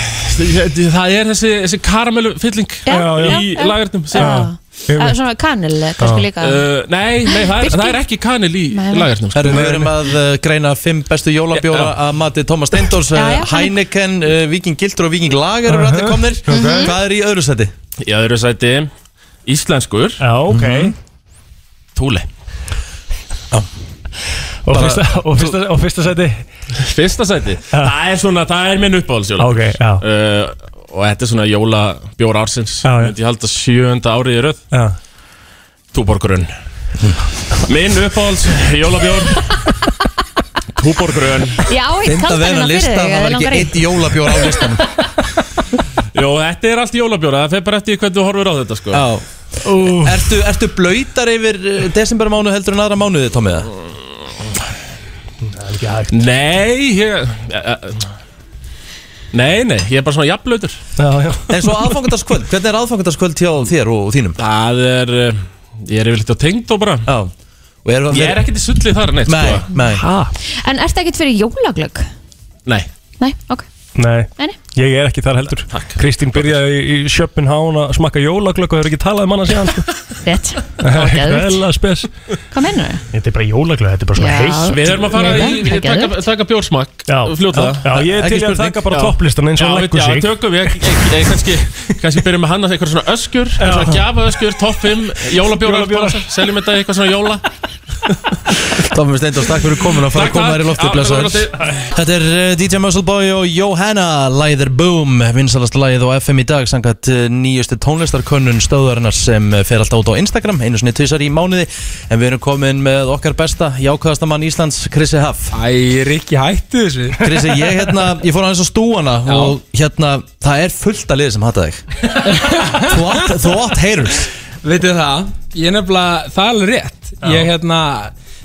Speaker 11: það er þessi, þessi karamellu fylling
Speaker 2: Já, já,
Speaker 11: í
Speaker 2: já.
Speaker 11: lagarnum sem-
Speaker 2: Já. Eh, Svona kanil, eh, kannski líka
Speaker 11: Uh, nei, nei það, er,
Speaker 2: Birkir?
Speaker 11: það er ekki kanil í sko.
Speaker 2: Nei, nei.
Speaker 11: lagarnum
Speaker 1: Herru, við erum að uh, greina fimm bestu jólabjóra
Speaker 11: Já,
Speaker 1: að mati Thomas Steindors,
Speaker 2: Já, já.
Speaker 1: uh, Heineken, uh, Viking Gildur og Viking Lager eru allir komnir Hvað er í öðru seti?
Speaker 11: Í öðru sæti Íslenskur
Speaker 3: Já, ok
Speaker 11: Mhm. Túli
Speaker 3: Og
Speaker 11: Bara-
Speaker 3: fyrsta, og fyrsta, og fyrsta seti
Speaker 11: Fyrsta sæti Það er svona, það er minn uppáhaldsjóla
Speaker 3: Ok, já.
Speaker 11: uh, Og þetta er svona jólabjóra ársins
Speaker 3: Já, já.
Speaker 11: Myndi ég halda sjöunda árið í röð
Speaker 3: Já
Speaker 11: Túborgrunn Minn uppáhalds jólabjór Túborgrunn
Speaker 2: Já, eitt
Speaker 1: Finda vel
Speaker 2: talsmennina
Speaker 1: að
Speaker 2: fyrir
Speaker 1: lista,
Speaker 2: þig
Speaker 1: það
Speaker 2: ef þig
Speaker 1: var ekki
Speaker 2: langar í.
Speaker 1: eitt jólabjór á listan
Speaker 11: Jó, þetta er allt jólabjóra Það fer bara eftir hvernig þú horfir á þetta sko
Speaker 1: Já Ertu, ertu blöytar yfir desembermánu heldur en aðra mánuði, Tommiða?
Speaker 3: Það er ekki hægt
Speaker 11: Nei, ég eh, eh, Nei, nei, ég er bara svona jafnlautur
Speaker 3: Já, já
Speaker 1: En svo aðfangandaskvöld, hvernig er aðfangandaskvöld hjá þér og þínum?
Speaker 11: Það er, eh, ég er yfirleitt á tengd og bara
Speaker 1: Já Og erum við
Speaker 11: Ég er ekkert í sullið þar neitt
Speaker 1: Nei,
Speaker 11: sko.
Speaker 1: nei
Speaker 2: En ertu ekkert fyrir jólaglögg?
Speaker 11: Nei,
Speaker 2: Nei, ok
Speaker 3: Nei
Speaker 2: Nei, nei.
Speaker 3: Ég er ekki þar heldur
Speaker 11: Takk.
Speaker 3: Kristín byrjaði í, í Sjöpenhán að smakka jólaglögg og hefur ekki talað um hana síðan sko.
Speaker 2: rétt
Speaker 3: Það er
Speaker 2: var
Speaker 3: ekki
Speaker 2: geðveikt.
Speaker 3: vel að spes
Speaker 2: Hvað mennur þau?
Speaker 3: Þetta er bara jólaglögg, þetta er bara svona
Speaker 2: Já.
Speaker 3: heitt
Speaker 11: við erum að fara
Speaker 2: Nei,
Speaker 11: í,
Speaker 2: það er
Speaker 11: ég taka,
Speaker 2: geðveikt.
Speaker 11: taka bjórsmakk
Speaker 3: Já,
Speaker 11: Fljóta
Speaker 3: já, ég er
Speaker 1: Ekki
Speaker 3: til í að
Speaker 1: spurning.
Speaker 3: taka bara topplistan eins og
Speaker 11: Já,
Speaker 3: hann leggur
Speaker 11: já,
Speaker 3: sig
Speaker 11: tökum við, ég, ég, ég kannski, kannski byrjum með hann að eitthvað svona öskur, svona gjafa öskur, toppum, jólabjóra,
Speaker 3: Jólabjórar.
Speaker 11: jólabjóra. seljum þetta í eitthvað svona jóla
Speaker 1: Tommi Steindors, takk fyrir komin að fara að
Speaker 11: Takk,
Speaker 1: koma
Speaker 11: takk.
Speaker 1: þér í lofti
Speaker 11: Já,
Speaker 1: blessaður.
Speaker 11: takk fyrir
Speaker 1: Þetta er eh, DJ Muscleboy og Johanna Læðir Boom, vinsalast læð og FM í dag sangat nýjustu tónlistarkönnun stöðarinnar sem eh, fer alltaf út á Instagram einu sinni tvisar í mánuði en við erum komin með okkar besta, jákvæðasta mann Íslands Krissi Haff.
Speaker 12: Æ, ég er ekki hættu þessu
Speaker 1: Krissi, ég hérna, ég fór aðeins á stúana og hérna, það er fullt að liði sem hata þig Þú átt, þú átt heyrums
Speaker 12: Veitu það, ég er nefnilega, það er alveg rétt Ég hérna,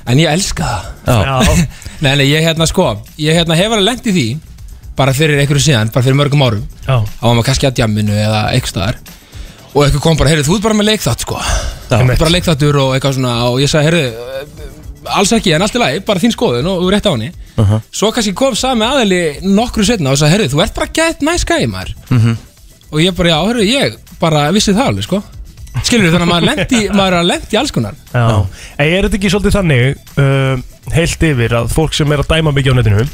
Speaker 12: en ég elska það
Speaker 1: Já.
Speaker 12: Nei, nei, ég hérna sko, ég hérna hefur alveg lent í því Bara fyrir einhverju síðan, bara fyrir mörgum árum
Speaker 3: Já.
Speaker 12: Þá var maður kannski að djamminu eða eitthvað staðar Og eitthvað kom bara, heyrðu, þú ert bara með leikþátt sko
Speaker 1: Einmitt.
Speaker 12: Bara leikþáttur og eitthvað svona Og ég sagði, heyrðu, eh, alls ekki, en allt í lagi, bara þín skoðun og þú er rétt á henni Svo kannski kom sami aðali nokkru setna og sagði, heyrðu, þú ert bara gett næs gæði maður og ég bara, já, hörru, ég bara vissi það alveg, sko skilur þannig að maður lendi, maður er lendi alls konar
Speaker 3: Já. En er um, þetta ekki svolítið þannig uh, heilt yfir að fólk sem er að dæma mikið á netinu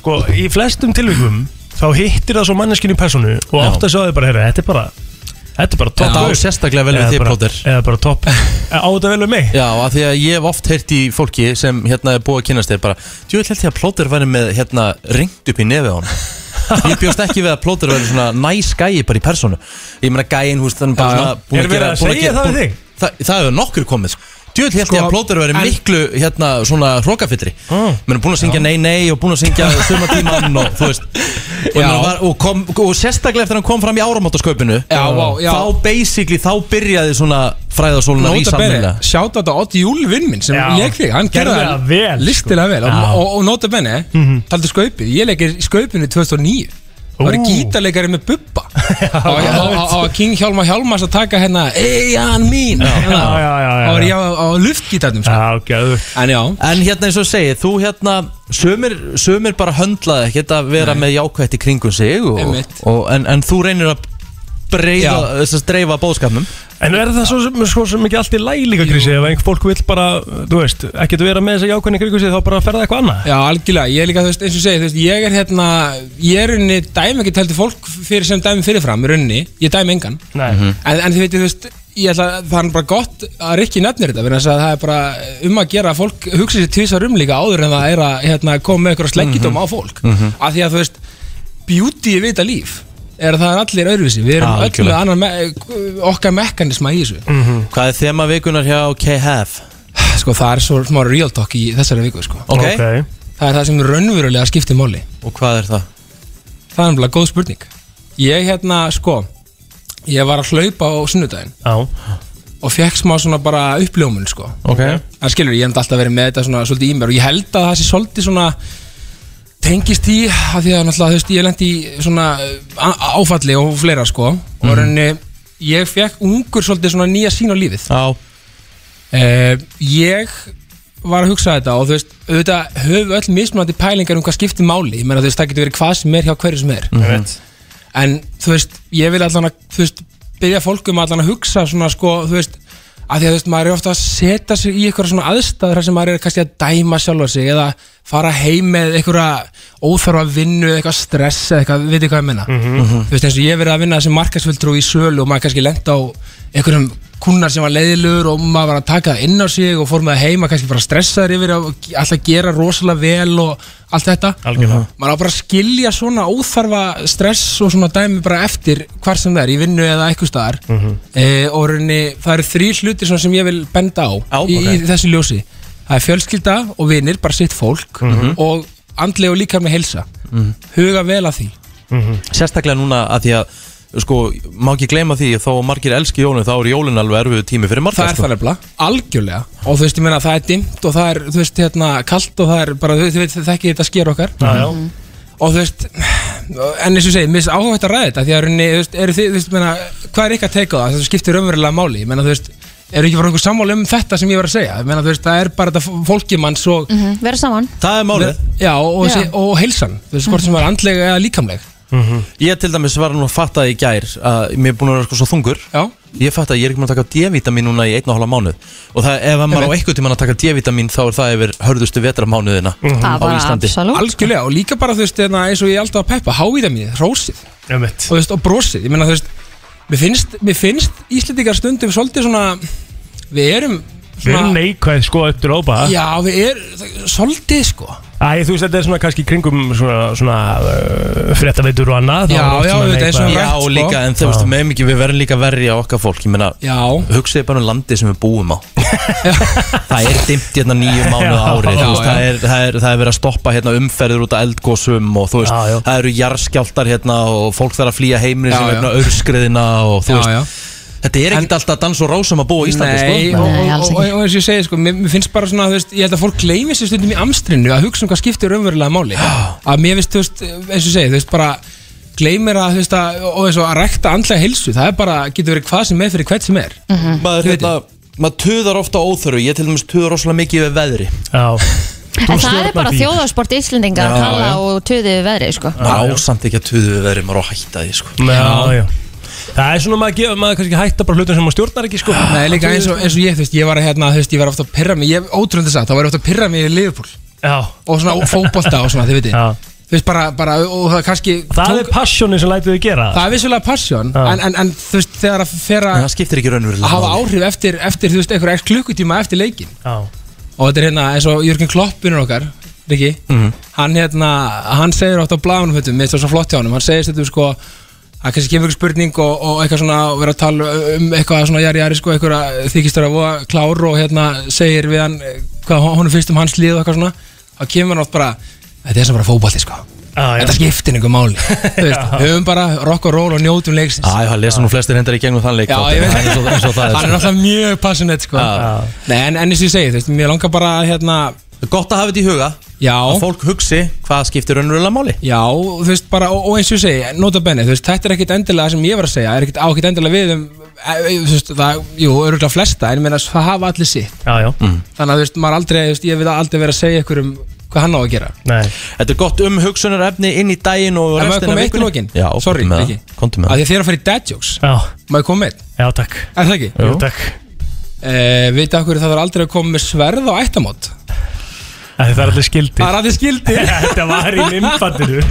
Speaker 3: Sko, í flestum tilvikum þá hittir það svo manneskinu í personu og
Speaker 1: Já.
Speaker 3: átt að sjá þau bara, herra, þetta er bara þetta er bara topp
Speaker 1: Þetta á
Speaker 3: gaur."
Speaker 1: sérstaklega vel við
Speaker 3: Eða
Speaker 1: þig,
Speaker 3: bara-
Speaker 1: Plóter.
Speaker 3: Eða bara topp Á þetta vel við mig?
Speaker 1: Já, af því að ég hef oft heyrt í fólki sem hérna er búið að kynast þér bara Jú, ég held ég að plóter væri með hérna ringt upp í nefið á hann Ég bjóst ekki við að plóter væri svona næs gæi bara í personu Ég meina gæin, húst, þannig bara
Speaker 3: Já, já.
Speaker 1: svona búinn
Speaker 3: Er verið
Speaker 1: gera-
Speaker 3: að
Speaker 1: búinn
Speaker 3: segja
Speaker 1: gera-
Speaker 3: það
Speaker 1: búinn-
Speaker 3: við þig?
Speaker 1: Það, það hefur nokkur komið sko. Djúvill held ég
Speaker 3: Sko,
Speaker 1: að plóter væri
Speaker 3: en-
Speaker 1: miklu hérna svona hrókafittri Menn búin að syngja nei nei og búin að syngja sumatíman og þú veist Og, ég meina, var, og, kom, og sérstaklega eftir að hann kom fram í áramótasköpinu
Speaker 10: Já, vá, já.
Speaker 1: Þá basically, þá byrjaði svona fræðasóluna
Speaker 10: Nota bene,
Speaker 1: rísamlega
Speaker 10: sjáta þetta Odd Júlvinn minn sem
Speaker 1: Já.
Speaker 10: leik þig, hann gerði
Speaker 1: Gerði
Speaker 10: það
Speaker 1: það vel, sko.
Speaker 10: listilega vel og,
Speaker 1: Já.
Speaker 10: og, og nota bene, mm
Speaker 3: Mhm.
Speaker 10: -hmm. taldi skaupið ég leikir í skaupinu 2009 Það var
Speaker 3: Ú.
Speaker 10: gítarleikari með bubba á,
Speaker 12: hérna,
Speaker 10: á, á, á King Hjálma Hjálmas að taka hérna Eyjan mín
Speaker 1: Já.
Speaker 10: Hérna.
Speaker 1: Já, já, já, já.
Speaker 10: Það var ég á, á luftgítarnum sko.
Speaker 3: Já, gæðu
Speaker 10: En já
Speaker 1: En hérna eins og ég segi, þú hérna Sumir, sumir bara höndlaði ekkert að vera með jákvætt í kringum sig og,
Speaker 3: Einmitt.
Speaker 1: og, en, en þú reynir að breyða, þess að dreifa bóðskapnum
Speaker 3: En er það svo, sem- svo sem ekki allt í læg líka, Krissi, ef einhver fólk vil bara, þú veist, ekkert vera með þess að jákvæðni kringu sig, þá bara ferða eitthvað annað?
Speaker 10: Já, algjörlega, ég er líka, þú veist, eins og ég segi, þú veist, ég er hérna, ég er rauninni dæmi ekki tælti fólk fyrir sem dæmi fyrirfram, í rauninni, ég dæmi engan.
Speaker 3: Nei.
Speaker 10: En, en þið veitir, þú veist, ég ætla, það er bara gott að Rikki nefnir þetta, þannig að það er bara um að gera að fólk hugsa sér tvisar um líka áður en það er að hérna, koma með eitthvað sleggjum á fólk.
Speaker 13: Mhm.
Speaker 10: Af því að, þú veist, beauty við þetta líf er að það er allir öðruvísi, við erum
Speaker 1: Ah,
Speaker 10: öll með
Speaker 1: algjörlega. Mhm.
Speaker 10: annan, me okkar mekanisma í þessu.
Speaker 1: Hvað er þema vikunar hjá KHF?
Speaker 10: Sko, það er svo smá real talk í þessari viku, sko.
Speaker 1: Ok. Ok.
Speaker 10: Það er það sem raunverulega skiptir máli.
Speaker 1: Og hvað er það?
Speaker 10: Það er nefnilega góð spurning Ég hérna, sko Ég var að hlaupa á sunnudaginn
Speaker 3: Já
Speaker 10: Og fekk smá svona bara uppljómun, sko
Speaker 1: Ok.
Speaker 10: Það skilur, ég hef alltaf verið með þetta svona svolítið í mér Og ég held að það sé svolítið svona Tengist í, af því að náttúrulega, þú veist, ég lendi í svona uh, áfalli og fleira, sko Og
Speaker 1: Mm.
Speaker 13: Mhm.
Speaker 10: rauninni, ég fekk ungur svolítið svona nýja sín á lífið
Speaker 1: Já
Speaker 10: Ég var að hugsa þetta og þú veist, auðvitað höfum öll mismunandi pælingar um hvað skiptir máli Ég meina, þú veist, það getur verið hvað sem er hjá hverju sem er
Speaker 1: Mhm.
Speaker 10: en þú veist, ég vil allan að þú veist, byrja fólk um allan að hugsa svona sko, þú veist, að því að þú veist, maður er ofta að setja sig í eitthvað svona aðstæður þar sem maður er kannski að dæma sjálfa sig eða fara heim með einhverja óþarfa vinnu, eitthvað stress eða eitthvað, veit hvað ég menna
Speaker 13: Mhm.
Speaker 10: þú veist, eins og ég hef verið að vinna sem markasvöldrú í sölu og maður kannski lent á einhverjum kunnar sem var leiðilegur og maður var að taka það inn á sig og fór með það heima kannski bara stressaður yfir og alltaf gera rosalega vel og allt þetta
Speaker 3: Algjörlega.
Speaker 10: maður á bara að skilja svona óþarfa stress og svona dæmi bara eftir hvar sem það er, í vinnu eða eitthvað staðar mm
Speaker 1: Mhm.
Speaker 10: -hmm. og raunni, það eru þrý hlutir svona sem ég vil benda á í,
Speaker 13: ok.
Speaker 10: í þessu ljósi það er fjölskylda og vinir, bara sitt fólk
Speaker 1: Mhm.
Speaker 10: og andlega og líka með heilsa
Speaker 1: Mhm.
Speaker 10: huga vel að því
Speaker 1: Sérstaklega núna að því að sko, má ekki gleyma því að þó að margir elski jólun þá er jólun alveg erfiðu tími fyrir margar sko.
Speaker 10: það er það nefnilega, algjörlega og þú veist, ég meina, það er dimmt og það er þú veist, hérna, kalt og það er bara, þú veist, þið veit þekki þetta sker okkar
Speaker 3: Já, já.
Speaker 10: og þú veist, en eins og ég segi, mér er áhægt að ræða þetta því að runni, þú veist, eru þið, þú veist, meina hvað er ykkar teika á það, það skiptir raunverulega máli ég meina, þú veist, eru ekki bara einhver sammáli um þetta sem ég var að segja, ég meina, þú veist, það er bara þetta fólkimann svo
Speaker 2: mm Verða saman
Speaker 1: Það er málið
Speaker 10: já, og,
Speaker 2: Já.
Speaker 10: og, og heilsan, þú veist, hvort sem var andlega eða líkamleg
Speaker 1: Ég til dæmis var nú að fatta í gær að mér er búin að vera sko svo þungur
Speaker 10: Já.
Speaker 1: Ég fatta að ég er ekki búin að taka D-vitamin núna í einn og halva mánuð Og það, ef maður á einhvern tímann að taka D-vitamin þá er það yfir hörðustu vetramánuðina Mhm. á Íslandi
Speaker 10: algjörlega, og líka bara, þú veist, hérna, eins og ég er alltaf að peppa, hávítamínið, rósið
Speaker 3: Emmett.
Speaker 10: og, þú veist, og brosið, ég meina þú veist mér finnst, mér finnst Íslendingar stundum svolítið svona við erum
Speaker 3: Við erum neikvæð, sko, upp til ópa.
Speaker 10: já, við erum svolítið sko
Speaker 3: Æ, þú veist, þetta er svona kannski í kringum svona, svona uh, fréttaveitur og annað. þá er oft svona neikvæð-
Speaker 1: Já, líka, en þú veist, með mikið, við verðum líka verri á okkar fólk Ég meina,
Speaker 10: Já.
Speaker 1: hugsið bara um landið sem við búum á Það er dimmt hérna nýju mánuð ári
Speaker 13: Já,
Speaker 1: já, veist,
Speaker 13: já.
Speaker 1: Það, er, það, er, það er verið að stoppa hérna, umferður út af eldgósum og þú veist,
Speaker 13: Já, já.
Speaker 1: það eru jarðskjáltar hérna, og fólk þarf að flýja heimri
Speaker 10: Já,
Speaker 1: sem
Speaker 10: já.
Speaker 1: vegna örskriðina og þú
Speaker 10: Já,
Speaker 1: veist
Speaker 10: já.
Speaker 1: Þetta er ekkert alltaf dans og rásum að búa í Íslandi
Speaker 10: Nei,
Speaker 1: sko.
Speaker 10: og, og, og, og eins og ég segi sko, mér, mér finnst bara svona, þú veist, ég held að fólk gleymi sér stundum í amstrinu að hugsa um hvað skiptir raunverulega máli að mér finnst, þú veist, eins og ég segi, þú veist, bara gleymir að, þú veist, að, og eins og að rekta andlega heilsu, það er bara, getur verið hvað sem er fyrir hvert sem er
Speaker 1: maður, hérna, maður töðar ofta á óþörfu Ég til dæmis töðar rosalega mikið við veðri
Speaker 3: Já
Speaker 2: En það er bara þjóðarsport Íslendinga að
Speaker 1: Já,
Speaker 2: tala
Speaker 1: já.
Speaker 2: og töðu við veðrið sko
Speaker 1: Maður ásamt ekki að töðu við veðri, maður á að hætta því sko.
Speaker 3: Já, já. Það er svona maður að gefa, maður kannski hætta bara hlutum sem maður stjórnar ekki, sko.
Speaker 10: Nei, líka eins og, eins og ég, þú veist, ég var að hérna, þú veist, ég var ofta að pyrra mig, ég ótrúndi þess að, þá var ég ofta að pyrra mig í Liverpool
Speaker 3: Já.
Speaker 10: og svona og fótbolta og svona, þið veitir
Speaker 3: Já.
Speaker 7: Þú veist bara, bara og það kannski
Speaker 3: Það er passjónin sem lætur þið gera
Speaker 7: Það er vissulega passion
Speaker 3: Já.
Speaker 7: en, en, en þú veist þegar að fer að
Speaker 1: skiptir ekki raunverulega
Speaker 7: að hafa
Speaker 1: máli.
Speaker 7: áhrif eftir, eftir þú veist, einhverja X klukkutíma eftir leikin
Speaker 3: Já.
Speaker 7: og þetta er hérna eins og Jörgen Kloppinur okkar Riki,
Speaker 3: Mhm.
Speaker 7: hann hérna hann segir átt á bláðunum fötum, mér finnst það svo flott hjá honum hann segir þetta sko að kannski kemur ykkur spurning og, og eitthvað svona og vera að tala um eitthvað svona jari jari sko eitthvað þykist vera að klár og hérna segir við hann eh, hvað honum finnst um hans lið og eitthvað svona þá kemur hann átt bara, þetta er sem bara fótballi sko
Speaker 3: já.
Speaker 7: þetta skiptir einhver máli Þú veist, höfum bara rock og roll og njótum leiksins
Speaker 1: Æ, það lesa nú flestir hendar í gegnum þann leik
Speaker 7: Já,
Speaker 1: Doddi.
Speaker 7: ég veit
Speaker 1: Það er eins og- eins og það er,
Speaker 7: Hann
Speaker 1: sko.
Speaker 7: er náttúrulega mjög passionate sko.
Speaker 1: Já.
Speaker 7: Nei, en, en eins og ég segi, þú veist, mér langar bara að, hérna
Speaker 1: Gott að hafa þetta í huga
Speaker 7: Já
Speaker 1: Að fólk hugsi hvað skiptir önrulega máli
Speaker 7: Já, og þú veist, bara, og, og eins og ég segi, nota benni þú veist, þetta er ekkit endilega það sem ég var að segja það er ekkit, á ekkit endilega við um e, e, þú veist, það, jú, öruglega flesta, en ég meina það hafa allir sitt
Speaker 3: Já, já
Speaker 7: þannig að, þú veist, maður aldrei, þú veist, ég vil aldrei vera að segja ykkur um hvað hann á að gera
Speaker 3: Nei
Speaker 1: Þetta er gott um hugsunarefni inn í daginn og
Speaker 7: En
Speaker 1: restina
Speaker 7: maður
Speaker 1: af
Speaker 7: komið eitt í
Speaker 1: vikunni.
Speaker 7: lokin,
Speaker 1: Já,
Speaker 7: sorry,
Speaker 1: komdu með
Speaker 7: Riki.
Speaker 1: það Komdu með
Speaker 7: að
Speaker 1: það
Speaker 7: því að þið er að fara í dad jokes
Speaker 3: Já,
Speaker 7: maður komið eitt,
Speaker 3: já takk
Speaker 7: er það ekki?
Speaker 3: Jú, takk
Speaker 7: Eh, Vitið af hverju það þarf aldrei að koma með sverð á ættamót?
Speaker 3: Æ, Það er allir skildi
Speaker 7: Það er allir skildir
Speaker 3: Þetta var í mymbandinu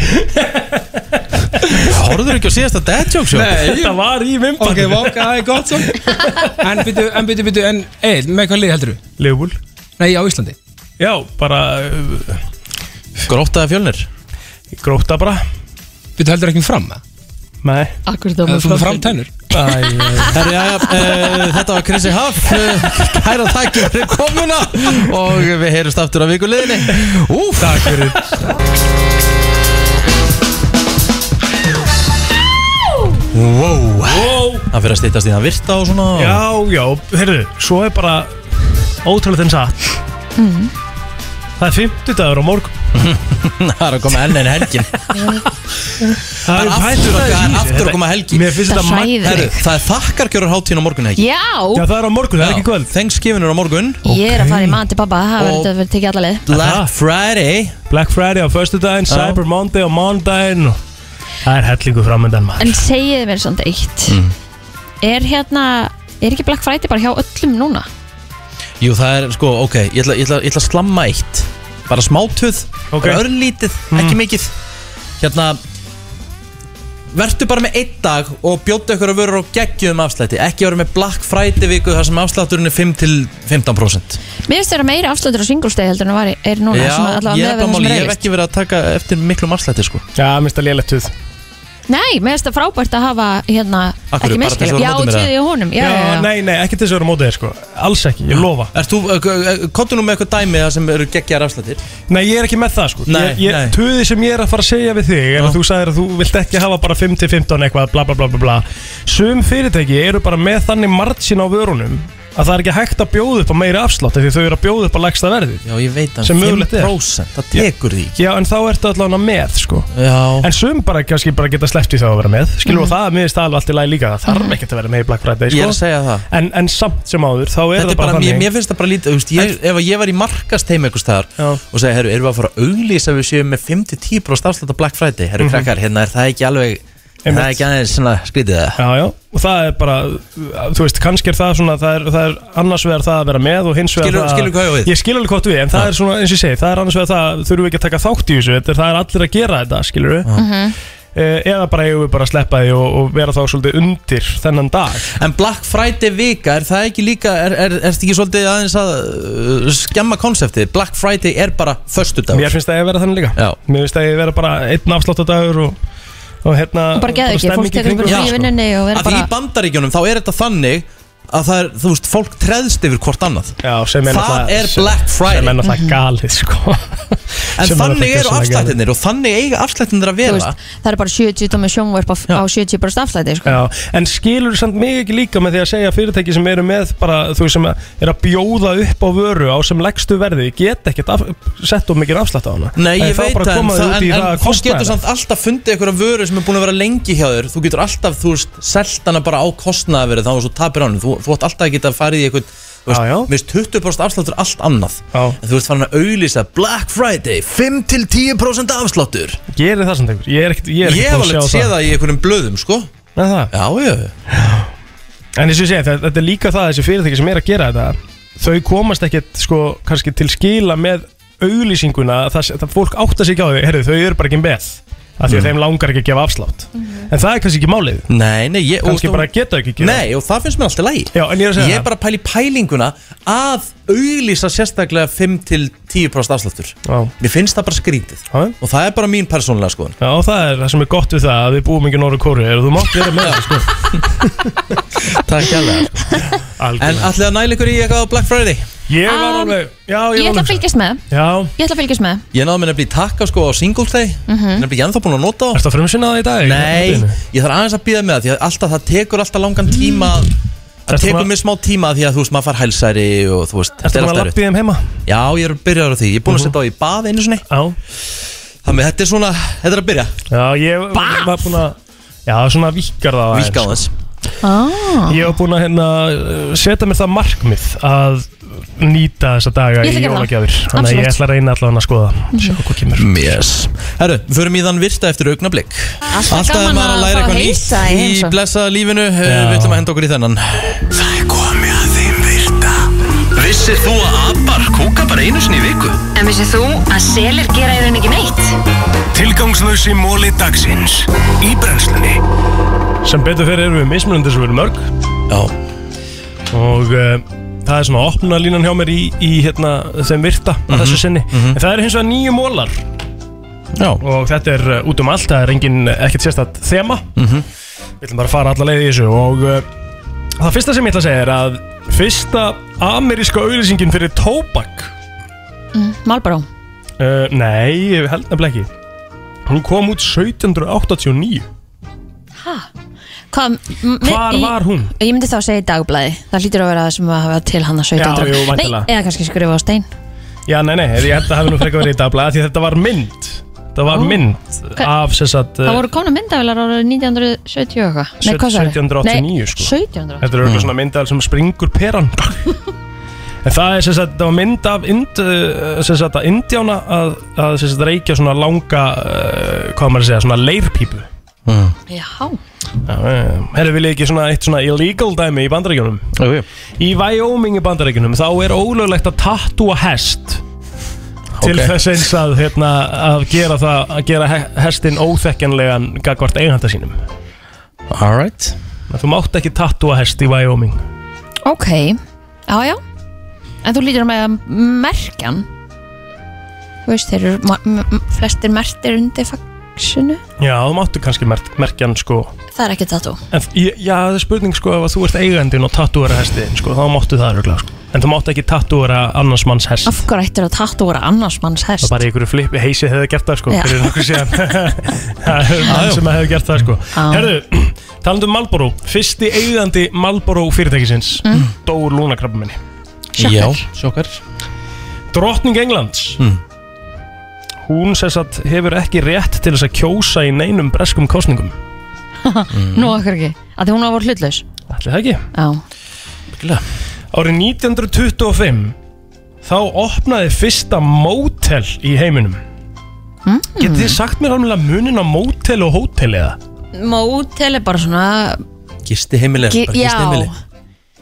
Speaker 1: Horður ekki á síðasta dad joke sjó
Speaker 7: Nei,
Speaker 3: Þetta var í
Speaker 7: Ok,
Speaker 3: mymbandinu
Speaker 7: vaka, það er gott svo En byttu, en byttu, byttu, en Egil, með hvað lið heldur þú?
Speaker 3: Leifbúl
Speaker 7: Nei, á Íslandi
Speaker 3: Já, bara uh,
Speaker 1: Gróttaði fjölnir
Speaker 3: Gróta bara
Speaker 7: Byttu heldur ekki um fram það?
Speaker 3: Nei
Speaker 2: Akkur
Speaker 7: Eða þú með
Speaker 2: framtönn
Speaker 7: framtennur?
Speaker 1: Herri, já,
Speaker 10: eh,
Speaker 1: já, þetta var Krissi Haff eh, Kæra takk fyrir komuna Og við heyrumst aftur á vikuleginni Úf
Speaker 3: Takk fyrir
Speaker 1: Wow
Speaker 3: Wow
Speaker 1: Það fyrir að stýttast í það virta og svona
Speaker 3: Já, já, heyrðu, svo er bara ótrúlega þinn satt
Speaker 2: Mm.
Speaker 3: Það er 50 dagur á morgun
Speaker 1: Það er að koma enn en helgin
Speaker 3: Það eru
Speaker 1: aftur að- það
Speaker 3: pældur í
Speaker 1: er
Speaker 3: þessu.
Speaker 1: aftur að koma helgi.
Speaker 3: Mér finnst
Speaker 2: Það
Speaker 3: þetta magn-
Speaker 2: hræðir
Speaker 1: Herru,
Speaker 2: mig.
Speaker 1: það er þakkargjörur hátíðin á morgun ekki
Speaker 3: Já,
Speaker 2: Já,
Speaker 3: það er á morgun, það er ekki í kvöld
Speaker 1: Thanksgiving er á morgun
Speaker 2: ég er að fara í mann til pappa Það
Speaker 1: Og-
Speaker 2: verður þetta verður tekið alla leið
Speaker 3: Aha.
Speaker 1: Black Friday
Speaker 3: Black Friday á föstudaginn,
Speaker 1: Já.
Speaker 3: Cyber Monday á mánudaginn og Það er hellingu framöndan maður
Speaker 2: En segiði mér samt eitt Er hérna, er ekki Black Friday bara hjá öllum núna?
Speaker 1: Jú, það er sko, ok, ég ætla, ég ætla, ég ætla að slamma eitt Bara smátuð,
Speaker 3: Ok. Mhm.
Speaker 1: bara örlítið, ekki mikið Hérna Vertu bara með einn dag og bjóta ykkur að vera á geggjum afslætti Ekki vera með Black Friday viku þar sem afslátturinn er 5-15%
Speaker 2: Mér finnst þetta meira afslöndur á singulstegi heldur en var, er núna svona allavega
Speaker 1: ég er
Speaker 2: meðverðum
Speaker 1: bara máli,
Speaker 2: sem
Speaker 1: ég hef
Speaker 2: reyðist
Speaker 1: ekki verið að taka eftir miklum afslætti sko
Speaker 3: Já, minnst það lélegt tuð
Speaker 2: Nei, mér finnst þetta frábært að hafa hérna,
Speaker 1: Af hverju?
Speaker 2: ekki
Speaker 1: Bara til þess að
Speaker 2: miskilum
Speaker 1: vera
Speaker 2: Já,
Speaker 1: á móti mér,
Speaker 2: tviðið í honum já, já, já.
Speaker 3: Nei, nei, ekki til þess að vera mótið þér sko Alls ekki, ég lofa
Speaker 1: Ert þú, eh, kontu nú með eitthvað dæmi það sem eru geggjar afslættir
Speaker 3: Nei, ég er ekki með það sko
Speaker 1: Nei,
Speaker 3: ég, ég,
Speaker 1: nei.
Speaker 3: Töði sem ég er að fara að segja við þig er að þú sagðir að þú vilt ekki hafa bara 5-15 eitthvað bla bla bla bla bla Sum fyrirtæki eru bara með þannig margin á vörunum að það er ekki hægt að bjóða upp á meiri afslátt af því þau eru að bjóða upp á lægsta verði
Speaker 1: Já, ég veit að
Speaker 3: Sem mögulegt er.
Speaker 1: 5% það tekur því
Speaker 3: Já, en þá ertu allavega með sko
Speaker 1: Já,
Speaker 3: En sum bara kannski bara geta sleppt í þá að vera með Skilur og það er miðist alveg allt í lagi líka Það þarf ekkert að vera með í Black Friday
Speaker 1: Mhm. ég er að
Speaker 3: sko.
Speaker 1: segja það
Speaker 3: en, en samt sem áður þá er
Speaker 1: Þetta
Speaker 3: það
Speaker 1: er bara,
Speaker 3: bara
Speaker 1: mér,
Speaker 3: þannig
Speaker 1: mér finnst það bara lítið, þú veist, ég, ef að ég var í markast heim einhvers staðar
Speaker 3: Já.
Speaker 1: og segja, herru, erum við að fara að auglýsa við séum með 5-10% afslátt á Black Friday, herru krakkar, hérna er það ekki alveg, er það
Speaker 3: Mhm. Einmitt.
Speaker 1: ekki aðeins svona skrítið það?
Speaker 3: Já, já, og það er bara, uh, þú veist, kannski er það svona, það er, það er annars vegar það að vera með og hins vegar
Speaker 1: Skilur-
Speaker 3: það
Speaker 1: skilur hvað ég á við?
Speaker 3: Ég skilur alveg hvað þú við, en það er svona, eins og ég segi, það er annars vegar það, þurfum við ekki að taka þátt í þessu, þetta er, það er allir að gera þetta, skilur við
Speaker 2: Mhm.
Speaker 3: Eða bara eigum við bara að sleppa því og, og vera þá svolítið undir þennan dag
Speaker 1: En Black Friday vika, er það ekki líka, er, er, er þetta ekki svolítið aðeins að uh, skemma konseptið? Black Friday er bara föstudag.
Speaker 3: Mér finnst það að vera þannig líka
Speaker 1: Já.
Speaker 3: Mér finnst það að vera bara einn afsláttadagur og, og hérna
Speaker 2: Og bara geðu ekki, fólk
Speaker 3: stemning í
Speaker 2: tekur
Speaker 3: kringum
Speaker 2: bara
Speaker 1: Já,
Speaker 3: það,
Speaker 2: frí
Speaker 1: sko.
Speaker 2: vinnunni og
Speaker 1: Að
Speaker 2: verður
Speaker 1: því
Speaker 2: bara
Speaker 1: í bandaríkjunum þá er þetta þannig að það er, þú veist, fólk treðst yfir hvort annað.
Speaker 3: Já, sem er
Speaker 1: Það
Speaker 3: náttúrulega-
Speaker 1: er
Speaker 3: sem-
Speaker 1: Black Friday.
Speaker 3: Sem er
Speaker 2: Mhm.
Speaker 3: náttúrulega galið, sko
Speaker 1: En
Speaker 3: Sem er
Speaker 1: þannig
Speaker 3: náttúrulega
Speaker 1: eru
Speaker 3: gjörsamlega galið.
Speaker 1: afslættinir og þannig eiga afslættinir að
Speaker 2: þú
Speaker 1: vera.
Speaker 2: veist, Það er bara 70 tómi sjónvarp á, á 70 bara staflæti sko.
Speaker 3: Já, en skilur samt mig ekki líka með því að segja að fyrirtæki sem eru með bara, þú veist sem er að bjóða upp á vöru á sem leggstu verði, get ekkert af, sett of mikið afslætt á hana
Speaker 1: Nei, ég
Speaker 3: þá
Speaker 1: veit
Speaker 3: bara
Speaker 1: það, en,
Speaker 3: koma
Speaker 1: það,
Speaker 3: þau út í
Speaker 1: en, en
Speaker 3: það að
Speaker 1: þú
Speaker 3: kosta
Speaker 1: getur
Speaker 3: hana.
Speaker 1: samt alltaf fundið einhverja vöru sem er búin að vera lengi hjá þér Þú getur alltaf, þú veist, selt hana bara á kostnaðverið þá og svo tapir ánum Þú, þú átt alltaf að geta að fara í eitthvað, þú
Speaker 3: Já, já.
Speaker 1: veist, veist 20% afsláttur er allt annað
Speaker 3: Já.
Speaker 1: En þú veist farin að auglýsa Black Friday, 5-10% afsláttur
Speaker 3: Gerir það samt einhver, ég er ekkert, ég
Speaker 1: Ég
Speaker 3: er ekkert
Speaker 1: hef
Speaker 3: búinn
Speaker 1: alveg
Speaker 3: að sjá
Speaker 1: séð
Speaker 3: það,
Speaker 1: það í einhverjum blöðum, sko
Speaker 3: Nei, það.
Speaker 1: Já, já, já.
Speaker 3: En eins og ég segi, þetta- þetta er líka það að þessi fyrirtæki sem er að gera þetta, þau komast ekkert sko kannski til skila með auglýsinguna það, það fólk átta sig ekki á því, herri þau eru bara ekki með af því að
Speaker 1: Mm.
Speaker 3: þeim langar ekki að gefa afslátt en það er kannski ekki málið
Speaker 1: Nei, nei, ég
Speaker 3: Kannski
Speaker 1: og-
Speaker 3: bara geta ekki gera.
Speaker 1: Nei, og það finnst mér alltaf lægi
Speaker 3: Já, en ég er að segja
Speaker 1: Ég er
Speaker 3: það.
Speaker 1: bara að pæla í pælinguna að auglýsa sérstaklega 5-10% afsláttur
Speaker 3: Já.
Speaker 1: Mér finnst það bara skrítið
Speaker 3: Já.
Speaker 1: Og það er bara mín persónulega skoðun
Speaker 3: Já, það er það sem er gott við það að við búum ekki norður kóru og þú mátt vera með það sko.
Speaker 1: Takk alveg En ætlið að næla ykkur í eitthvað á Black Friday?
Speaker 3: Ég
Speaker 2: var Um, alveg-
Speaker 3: Já,
Speaker 2: Ég ætla að fylgjast með
Speaker 3: Já
Speaker 2: Ég ætla að fylgjast með
Speaker 1: Ég náði mér nefnilega í takka sko á Singles Day mm
Speaker 2: Mhm.
Speaker 1: -hmm. Nefnilega ég ennþá búin að nota á
Speaker 3: Ertu að frumsynna það í dag?
Speaker 1: Nei, ég þarf aðeins að býða með það Því að alltaf það tekur alltaf langan tíma að- Það
Speaker 3: Mm. Ertu
Speaker 1: tekur
Speaker 3: búin að-
Speaker 1: mér smá tíma því að þú veist maður far hælsæri og þú veist þetta
Speaker 3: Ertu
Speaker 1: er alltaf
Speaker 3: maður að
Speaker 1: erfitt.
Speaker 3: lappa í þeim heima?
Speaker 1: Já, ég er byrjaður á því Ég er búin að
Speaker 3: Mhm.
Speaker 1: setja á í bað einu sinni
Speaker 3: Já
Speaker 1: Þannig þetta er svona, þetta er að byrja
Speaker 3: Já, ég var búin að Já, svona vikar það aðeins,
Speaker 1: Víkka á
Speaker 3: sko.
Speaker 1: þess
Speaker 2: ah.
Speaker 3: Ég var búin að hérna, uh, setja mér það markmið að nýta þessa daga
Speaker 1: Ég ætla
Speaker 3: í
Speaker 1: að gera það.
Speaker 3: jólagjafir Þannig að ég
Speaker 1: Absolutt.
Speaker 3: ætla að reyna allavega að skoða Sjá hvað kemur
Speaker 1: Yes Herru, förum í þann virta eftir augnablik
Speaker 3: Alltaf
Speaker 1: er
Speaker 3: gaman
Speaker 1: maður
Speaker 3: að
Speaker 1: að læra
Speaker 3: fá
Speaker 1: eitthvað
Speaker 3: heilsa
Speaker 1: nýtt
Speaker 3: í
Speaker 1: í
Speaker 3: heimsókn.
Speaker 1: blessaða lífinu uh, Við ætlum að henda okkur í þennan
Speaker 11: Það er komið að þeim virta Vissir þú að abar kúka bara einu sinni í viku?
Speaker 14: En vissið þú að selir gera í rauninni ekki neitt?
Speaker 11: Tilgangslösi móli dagsins Í brennslunni
Speaker 3: Sem betur fyrir erum við mismunandi sem við erum mörg
Speaker 1: Já
Speaker 3: Og uh, það er svona opna línan hjá mér í, í hérna, þeim virta á
Speaker 1: Mhm,
Speaker 3: þessu sinni
Speaker 1: mhm.
Speaker 3: En það eru hins vegar nýju mólar
Speaker 1: Já.
Speaker 3: Og þetta er uh, út um allt, það er engin uh, ekkert sérstætt þema
Speaker 1: Mhm.
Speaker 3: Við ætlum bara að fara alla leið í þessu og uh, það fyrsta sem ég ætla að segja er að fyrsta ameríska auðlýsingin fyrir tóbak
Speaker 2: mm, Malbaró
Speaker 3: uh, Nei, ég held nefnilega ekki Hún kom út 1789
Speaker 2: Hvað, m-
Speaker 3: Hvar
Speaker 2: í-
Speaker 3: var hún?
Speaker 2: Ég myndi þá að segja í dagblæði Það hlýtur að vera það sem að hafa til hann að 1700
Speaker 3: Já, jú, væntanlega.
Speaker 2: Nei, eða kannski skrifa á stein
Speaker 3: Já, nei, nei, ég held að hafi nú frekar verið í dagblæði af Því að þetta var mynd Það var
Speaker 2: Ó.
Speaker 3: mynd
Speaker 2: Hva-
Speaker 3: af sem sagt
Speaker 2: Það
Speaker 3: uh,
Speaker 2: voru komna myndavilar árið 1970 og eitthvað Nei, hvað sagði?
Speaker 3: 1789
Speaker 2: Nei,
Speaker 3: sko
Speaker 2: 1700
Speaker 3: Þetta er auðvitað svona myndal sem springur peran En það er sem sagt, það var mynd af ind, uh, sem sagt að indjána að, að sem sagt reykja svona langa, uh, hvað á maður að segja, svona leirpípu eh,
Speaker 2: Já
Speaker 3: Herru, vil ég ekki svona eitt svona illegal dæmi í bandaríkjunum?
Speaker 1: Jú, jú.
Speaker 3: Í Wyoming í bandaríkjunum þá er ólöglegt að tattúa hest til
Speaker 1: Ok.
Speaker 3: þess eins að, hérna, að gera það að gera he- hestinn óþekkjanlegan gagvart eiganda sínum
Speaker 1: Alright
Speaker 3: Þú mátt ekki tattúa hest í Wyoming
Speaker 2: Ok, já já En þú lítur með merkjan Þú veist, þeir eru ma- m- m- flestir mertir undir faxinu
Speaker 3: Já, þú máttu kannski merk, merkjan sko
Speaker 2: Það er ekki tattoo
Speaker 3: En, f- ég- já, það er spurning sko ef að þú ert eigandinn og tattúara hestiðin sko, þá máttu það öruglega sko. En þú máttu ekki tattúara annars manns hest
Speaker 2: Af hverju ættir að tattoo vera annars manns
Speaker 3: Það
Speaker 2: hest
Speaker 3: er bara í einhverju flippi heisi hefði gert það sko
Speaker 2: Já.
Speaker 3: fyrir nokkuð síðan Það er mann sem hefði gert það sko
Speaker 2: Já.
Speaker 3: Herðu, talandu um Malboro Fyrsti eigandi Malboro fyrirtækisins
Speaker 1: Mm.
Speaker 3: dó úr lúnakrabba minni
Speaker 1: Já, sjokkar
Speaker 3: Drottning Englands
Speaker 1: Mm.
Speaker 3: Hún sem sagt hefur ekki rétt til þess að kjósa í neinum breskum kosningum
Speaker 2: Nú okkur ekki, að því hún var hlutlaus
Speaker 3: Ætli það ekki?
Speaker 2: Já
Speaker 1: Byggilega.
Speaker 3: Árið 1925 þá opnaði fyrsta mótel í heiminum mm. Getið þið sagt mér alveg munin á mótel og hótel eða?
Speaker 2: Mótel er bara svona
Speaker 1: Gisti heimilega,
Speaker 2: Gi-
Speaker 1: bara
Speaker 2: já.
Speaker 1: gisti heimili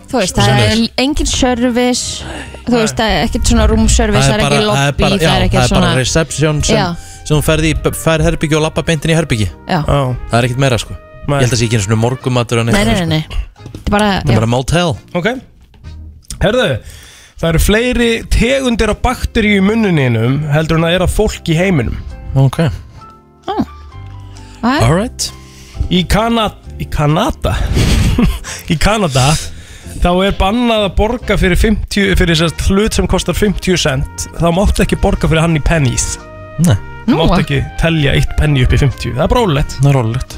Speaker 2: Þú veist, það er engin service Þú veist, það er ekkert svona roomservice Það er ekki
Speaker 1: það er
Speaker 2: lobby,
Speaker 1: bara, já,
Speaker 2: það er
Speaker 1: það er
Speaker 2: ekkert
Speaker 1: bara
Speaker 2: svona
Speaker 1: reception
Speaker 2: Já.
Speaker 1: sem, sem hún ferði í, fær herbyggi og lappa beintin í herbyggi
Speaker 2: Já.
Speaker 1: Það er ekkert meira sko Ég held að það sé ekki einu svona morgumatur eða
Speaker 2: Nei,
Speaker 1: neitt
Speaker 2: nei,
Speaker 1: sko.
Speaker 2: nei, nei Það er bara,
Speaker 1: Það er bara motel
Speaker 3: Ok Herðu, það eru fleiri tegundir af bakteri í munninum heldur en að er að fólk í heiminum
Speaker 1: Ok
Speaker 2: já
Speaker 1: Alright
Speaker 3: Í Kanada Í Kanada Í Kanada Þá er bannað að borga fyrir, 50, fyrir sérst, hlut sem kostar 50 cent Þá máttu ekki borga fyrir hann í pennies
Speaker 1: Nei
Speaker 3: Þú máttu ekki telja eitt penni upp í 50 Það er bara rólegt
Speaker 1: Það er rólegt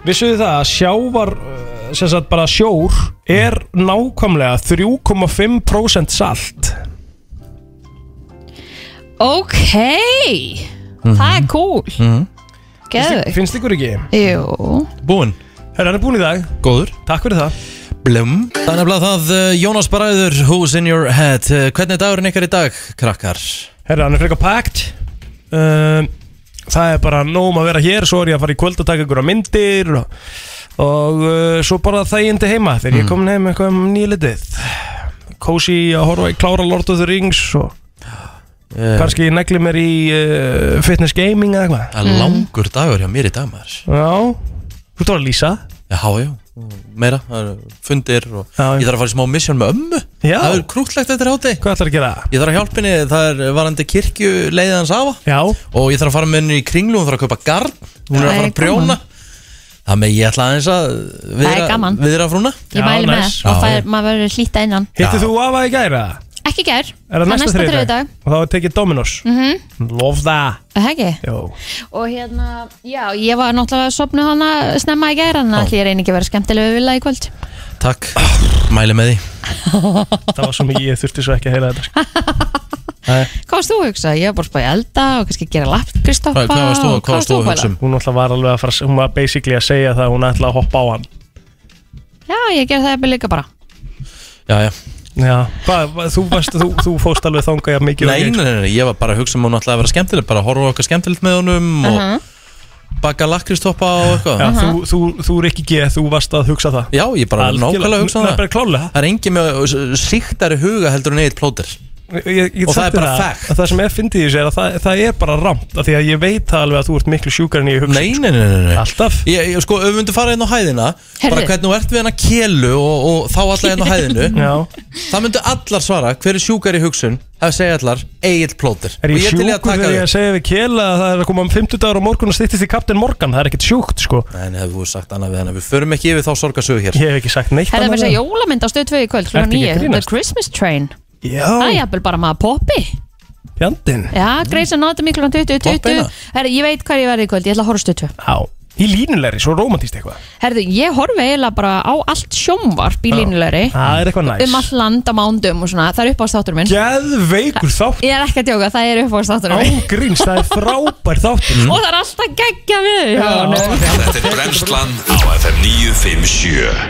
Speaker 3: Vissuðu það að sjávar uh, sem sagt bara sjór er nákvæmlega 3,5% salt
Speaker 2: Ok
Speaker 3: Mhm.
Speaker 2: Það er cool
Speaker 1: mm.
Speaker 2: Geðvig
Speaker 3: Finnst ykkur ekki?
Speaker 2: Jú
Speaker 1: Búinn
Speaker 3: Herra, hann er búinn í dag
Speaker 1: Góður
Speaker 3: Takk fyrir það
Speaker 1: Blum Það er nefnilega það uh, Jónas Bræður Who's in your head uh, Hvernig er dagurinn ykkar í dag, krakkar?
Speaker 3: Herra, hann er frekar pækt um, Það er bara nóg um að vera hér Svo er ég að fara í kvöld að taka ykkur á myndir Og, og uh, svo bara þægindi heima Þegar ég er komin heim eitthvað um nýlitið Kósi að horfa í klára Lord of the Rings Og
Speaker 1: Eh.
Speaker 3: Kanski ég negli mér í uh, fitness gaming eða eitthvað
Speaker 1: Það er
Speaker 2: Mhm.
Speaker 1: langur dagur hjá mér í dag maður
Speaker 3: Já, þú ert að lýsa
Speaker 1: Já, já, og Mm, meira, það eru fundir og ég þarf að fara í smá mission með ömmu
Speaker 3: Já.
Speaker 1: Það er krútlegt eftir hátti
Speaker 3: Hvað ætlar að gera?
Speaker 1: Ég þarf að hjálpa henni, það er varandi kirkju leiðið hans afa
Speaker 3: Já
Speaker 1: Og ég þarf að fara með henni í kringlu, hún þarf að kaupa garn Hún er
Speaker 2: Það
Speaker 1: að fara
Speaker 2: er
Speaker 1: að prjóna Það með ég ætla aðeins að
Speaker 2: Það er gaman.
Speaker 1: viðra frúna
Speaker 2: Ég mæli með það, og það er, maður verður hlýta innan
Speaker 3: Hittir þú afa í gæra?
Speaker 2: Ekki gær,
Speaker 3: Er það næsta þriðdag?
Speaker 2: þriðjudag.
Speaker 3: Og þá er tekið Dominos
Speaker 2: Mhm.
Speaker 3: Love that
Speaker 2: Er það ekki?
Speaker 3: Jó
Speaker 2: Og hérna, já, ég var náttúrulega að sopna hana snemma í gæra Þannig að ég reyni ekki að vera skemmtilega við vilja í kvöld
Speaker 1: Takk, mæli með því
Speaker 3: Það var svo mikið ég þurfti svo ekki að heyra þetta sko.
Speaker 2: Hvað varst þú að hugsa? Ég var bara að spá í elda og kannski gera lapp Kristoffa og
Speaker 1: um?
Speaker 2: pæla?
Speaker 3: Hún alltaf var alveg að fara Hún var basically að segja það að Hún ætla að hoppa á hann
Speaker 2: Já, ég ger það eða líka bara
Speaker 1: Já, já
Speaker 3: Já, hvað, hvað- þú, varst, þú, þú fóst alveg þangað jafn mikið og
Speaker 1: Nei,
Speaker 3: ég,
Speaker 1: nei, nei, nei, ég var bara að hugsa um að hún ætlaði að vera skemmtileg Bara að horfa á okkar skemmtilegt með honum
Speaker 2: Mhm.
Speaker 1: og baka lakkristoppa og eitthvað
Speaker 3: Já, þú, þú, þú er ekki geð, þú varst að hugsa það
Speaker 1: Já, ég bara
Speaker 3: Algjörlega.
Speaker 1: nákvæmlega að hugsa um
Speaker 3: Það er bara klálega
Speaker 1: Það er engin með síktari huga heldur en eitt plóter
Speaker 3: Ég- ég, ég
Speaker 1: Og það
Speaker 3: sagt
Speaker 1: er bara
Speaker 3: þér
Speaker 1: fact.
Speaker 3: að Það sem er fyndið í þessu er að það, það er bara ramt af Því að ég veit það alveg að þú ert miklu sjúkar en ég hugsa
Speaker 1: Nei, nei, nei, nei, nei.
Speaker 3: Alltaf
Speaker 1: Ég, ég sko, ef við myndum fara inn á hæðina
Speaker 3: Heyrðu.
Speaker 1: Bara hvernig þú ert við hennar kelu og, og þá alla inn á hæðinu
Speaker 3: Já.
Speaker 1: Það myndu allar svara hver er sjúkar í hugsun Það segja allar, eigill plóter
Speaker 3: Er
Speaker 1: Og
Speaker 3: ég
Speaker 1: til í
Speaker 3: sjúkur þegar ég
Speaker 1: þig.
Speaker 3: segi við Kjela að það er að koma um 50 dagar á morgun og styttist í Captain Morgan, það er ekkert sjúkt sko
Speaker 1: Nei, nei, hefur þú sagt annað við hennar Við förum ekki yfir þá sorgarsögu hér
Speaker 3: Ég hef ekki sagt neitt
Speaker 2: Það er með
Speaker 3: annað
Speaker 2: þess að
Speaker 3: við
Speaker 2: jólamynd á stöð 2 í kvöld Klukkan
Speaker 3: Ertu ekki
Speaker 2: 9,
Speaker 3: að
Speaker 2: The
Speaker 3: grínast?
Speaker 2: Christmas Train
Speaker 3: Já.
Speaker 2: Það er jafnvel bara maður poppi
Speaker 3: það. Bjandinn
Speaker 2: Já, Grey's Anatomy klukkan 20,
Speaker 3: Poppeina.
Speaker 2: 20 Herri, ég veit hvað ég verði í kvöld, ég ætla að horfa á stöð 2
Speaker 3: Já, í línulegri, svo romantíst eitthvað
Speaker 2: Herðu, ég horfi eiginlega bara á allt sjómvarp í línulegri
Speaker 3: Það er eitthvað næs
Speaker 2: um all land á mándum og svona, það er upp á státur minn
Speaker 3: Geðveikur þátt
Speaker 2: Ég er ekki að djóka, það er upp á státur minn
Speaker 3: Ágríns, það er frábær þáttur sko.
Speaker 2: Og það er alltaf geggja við hjá honum.
Speaker 11: Þetta er brennslan á FM 957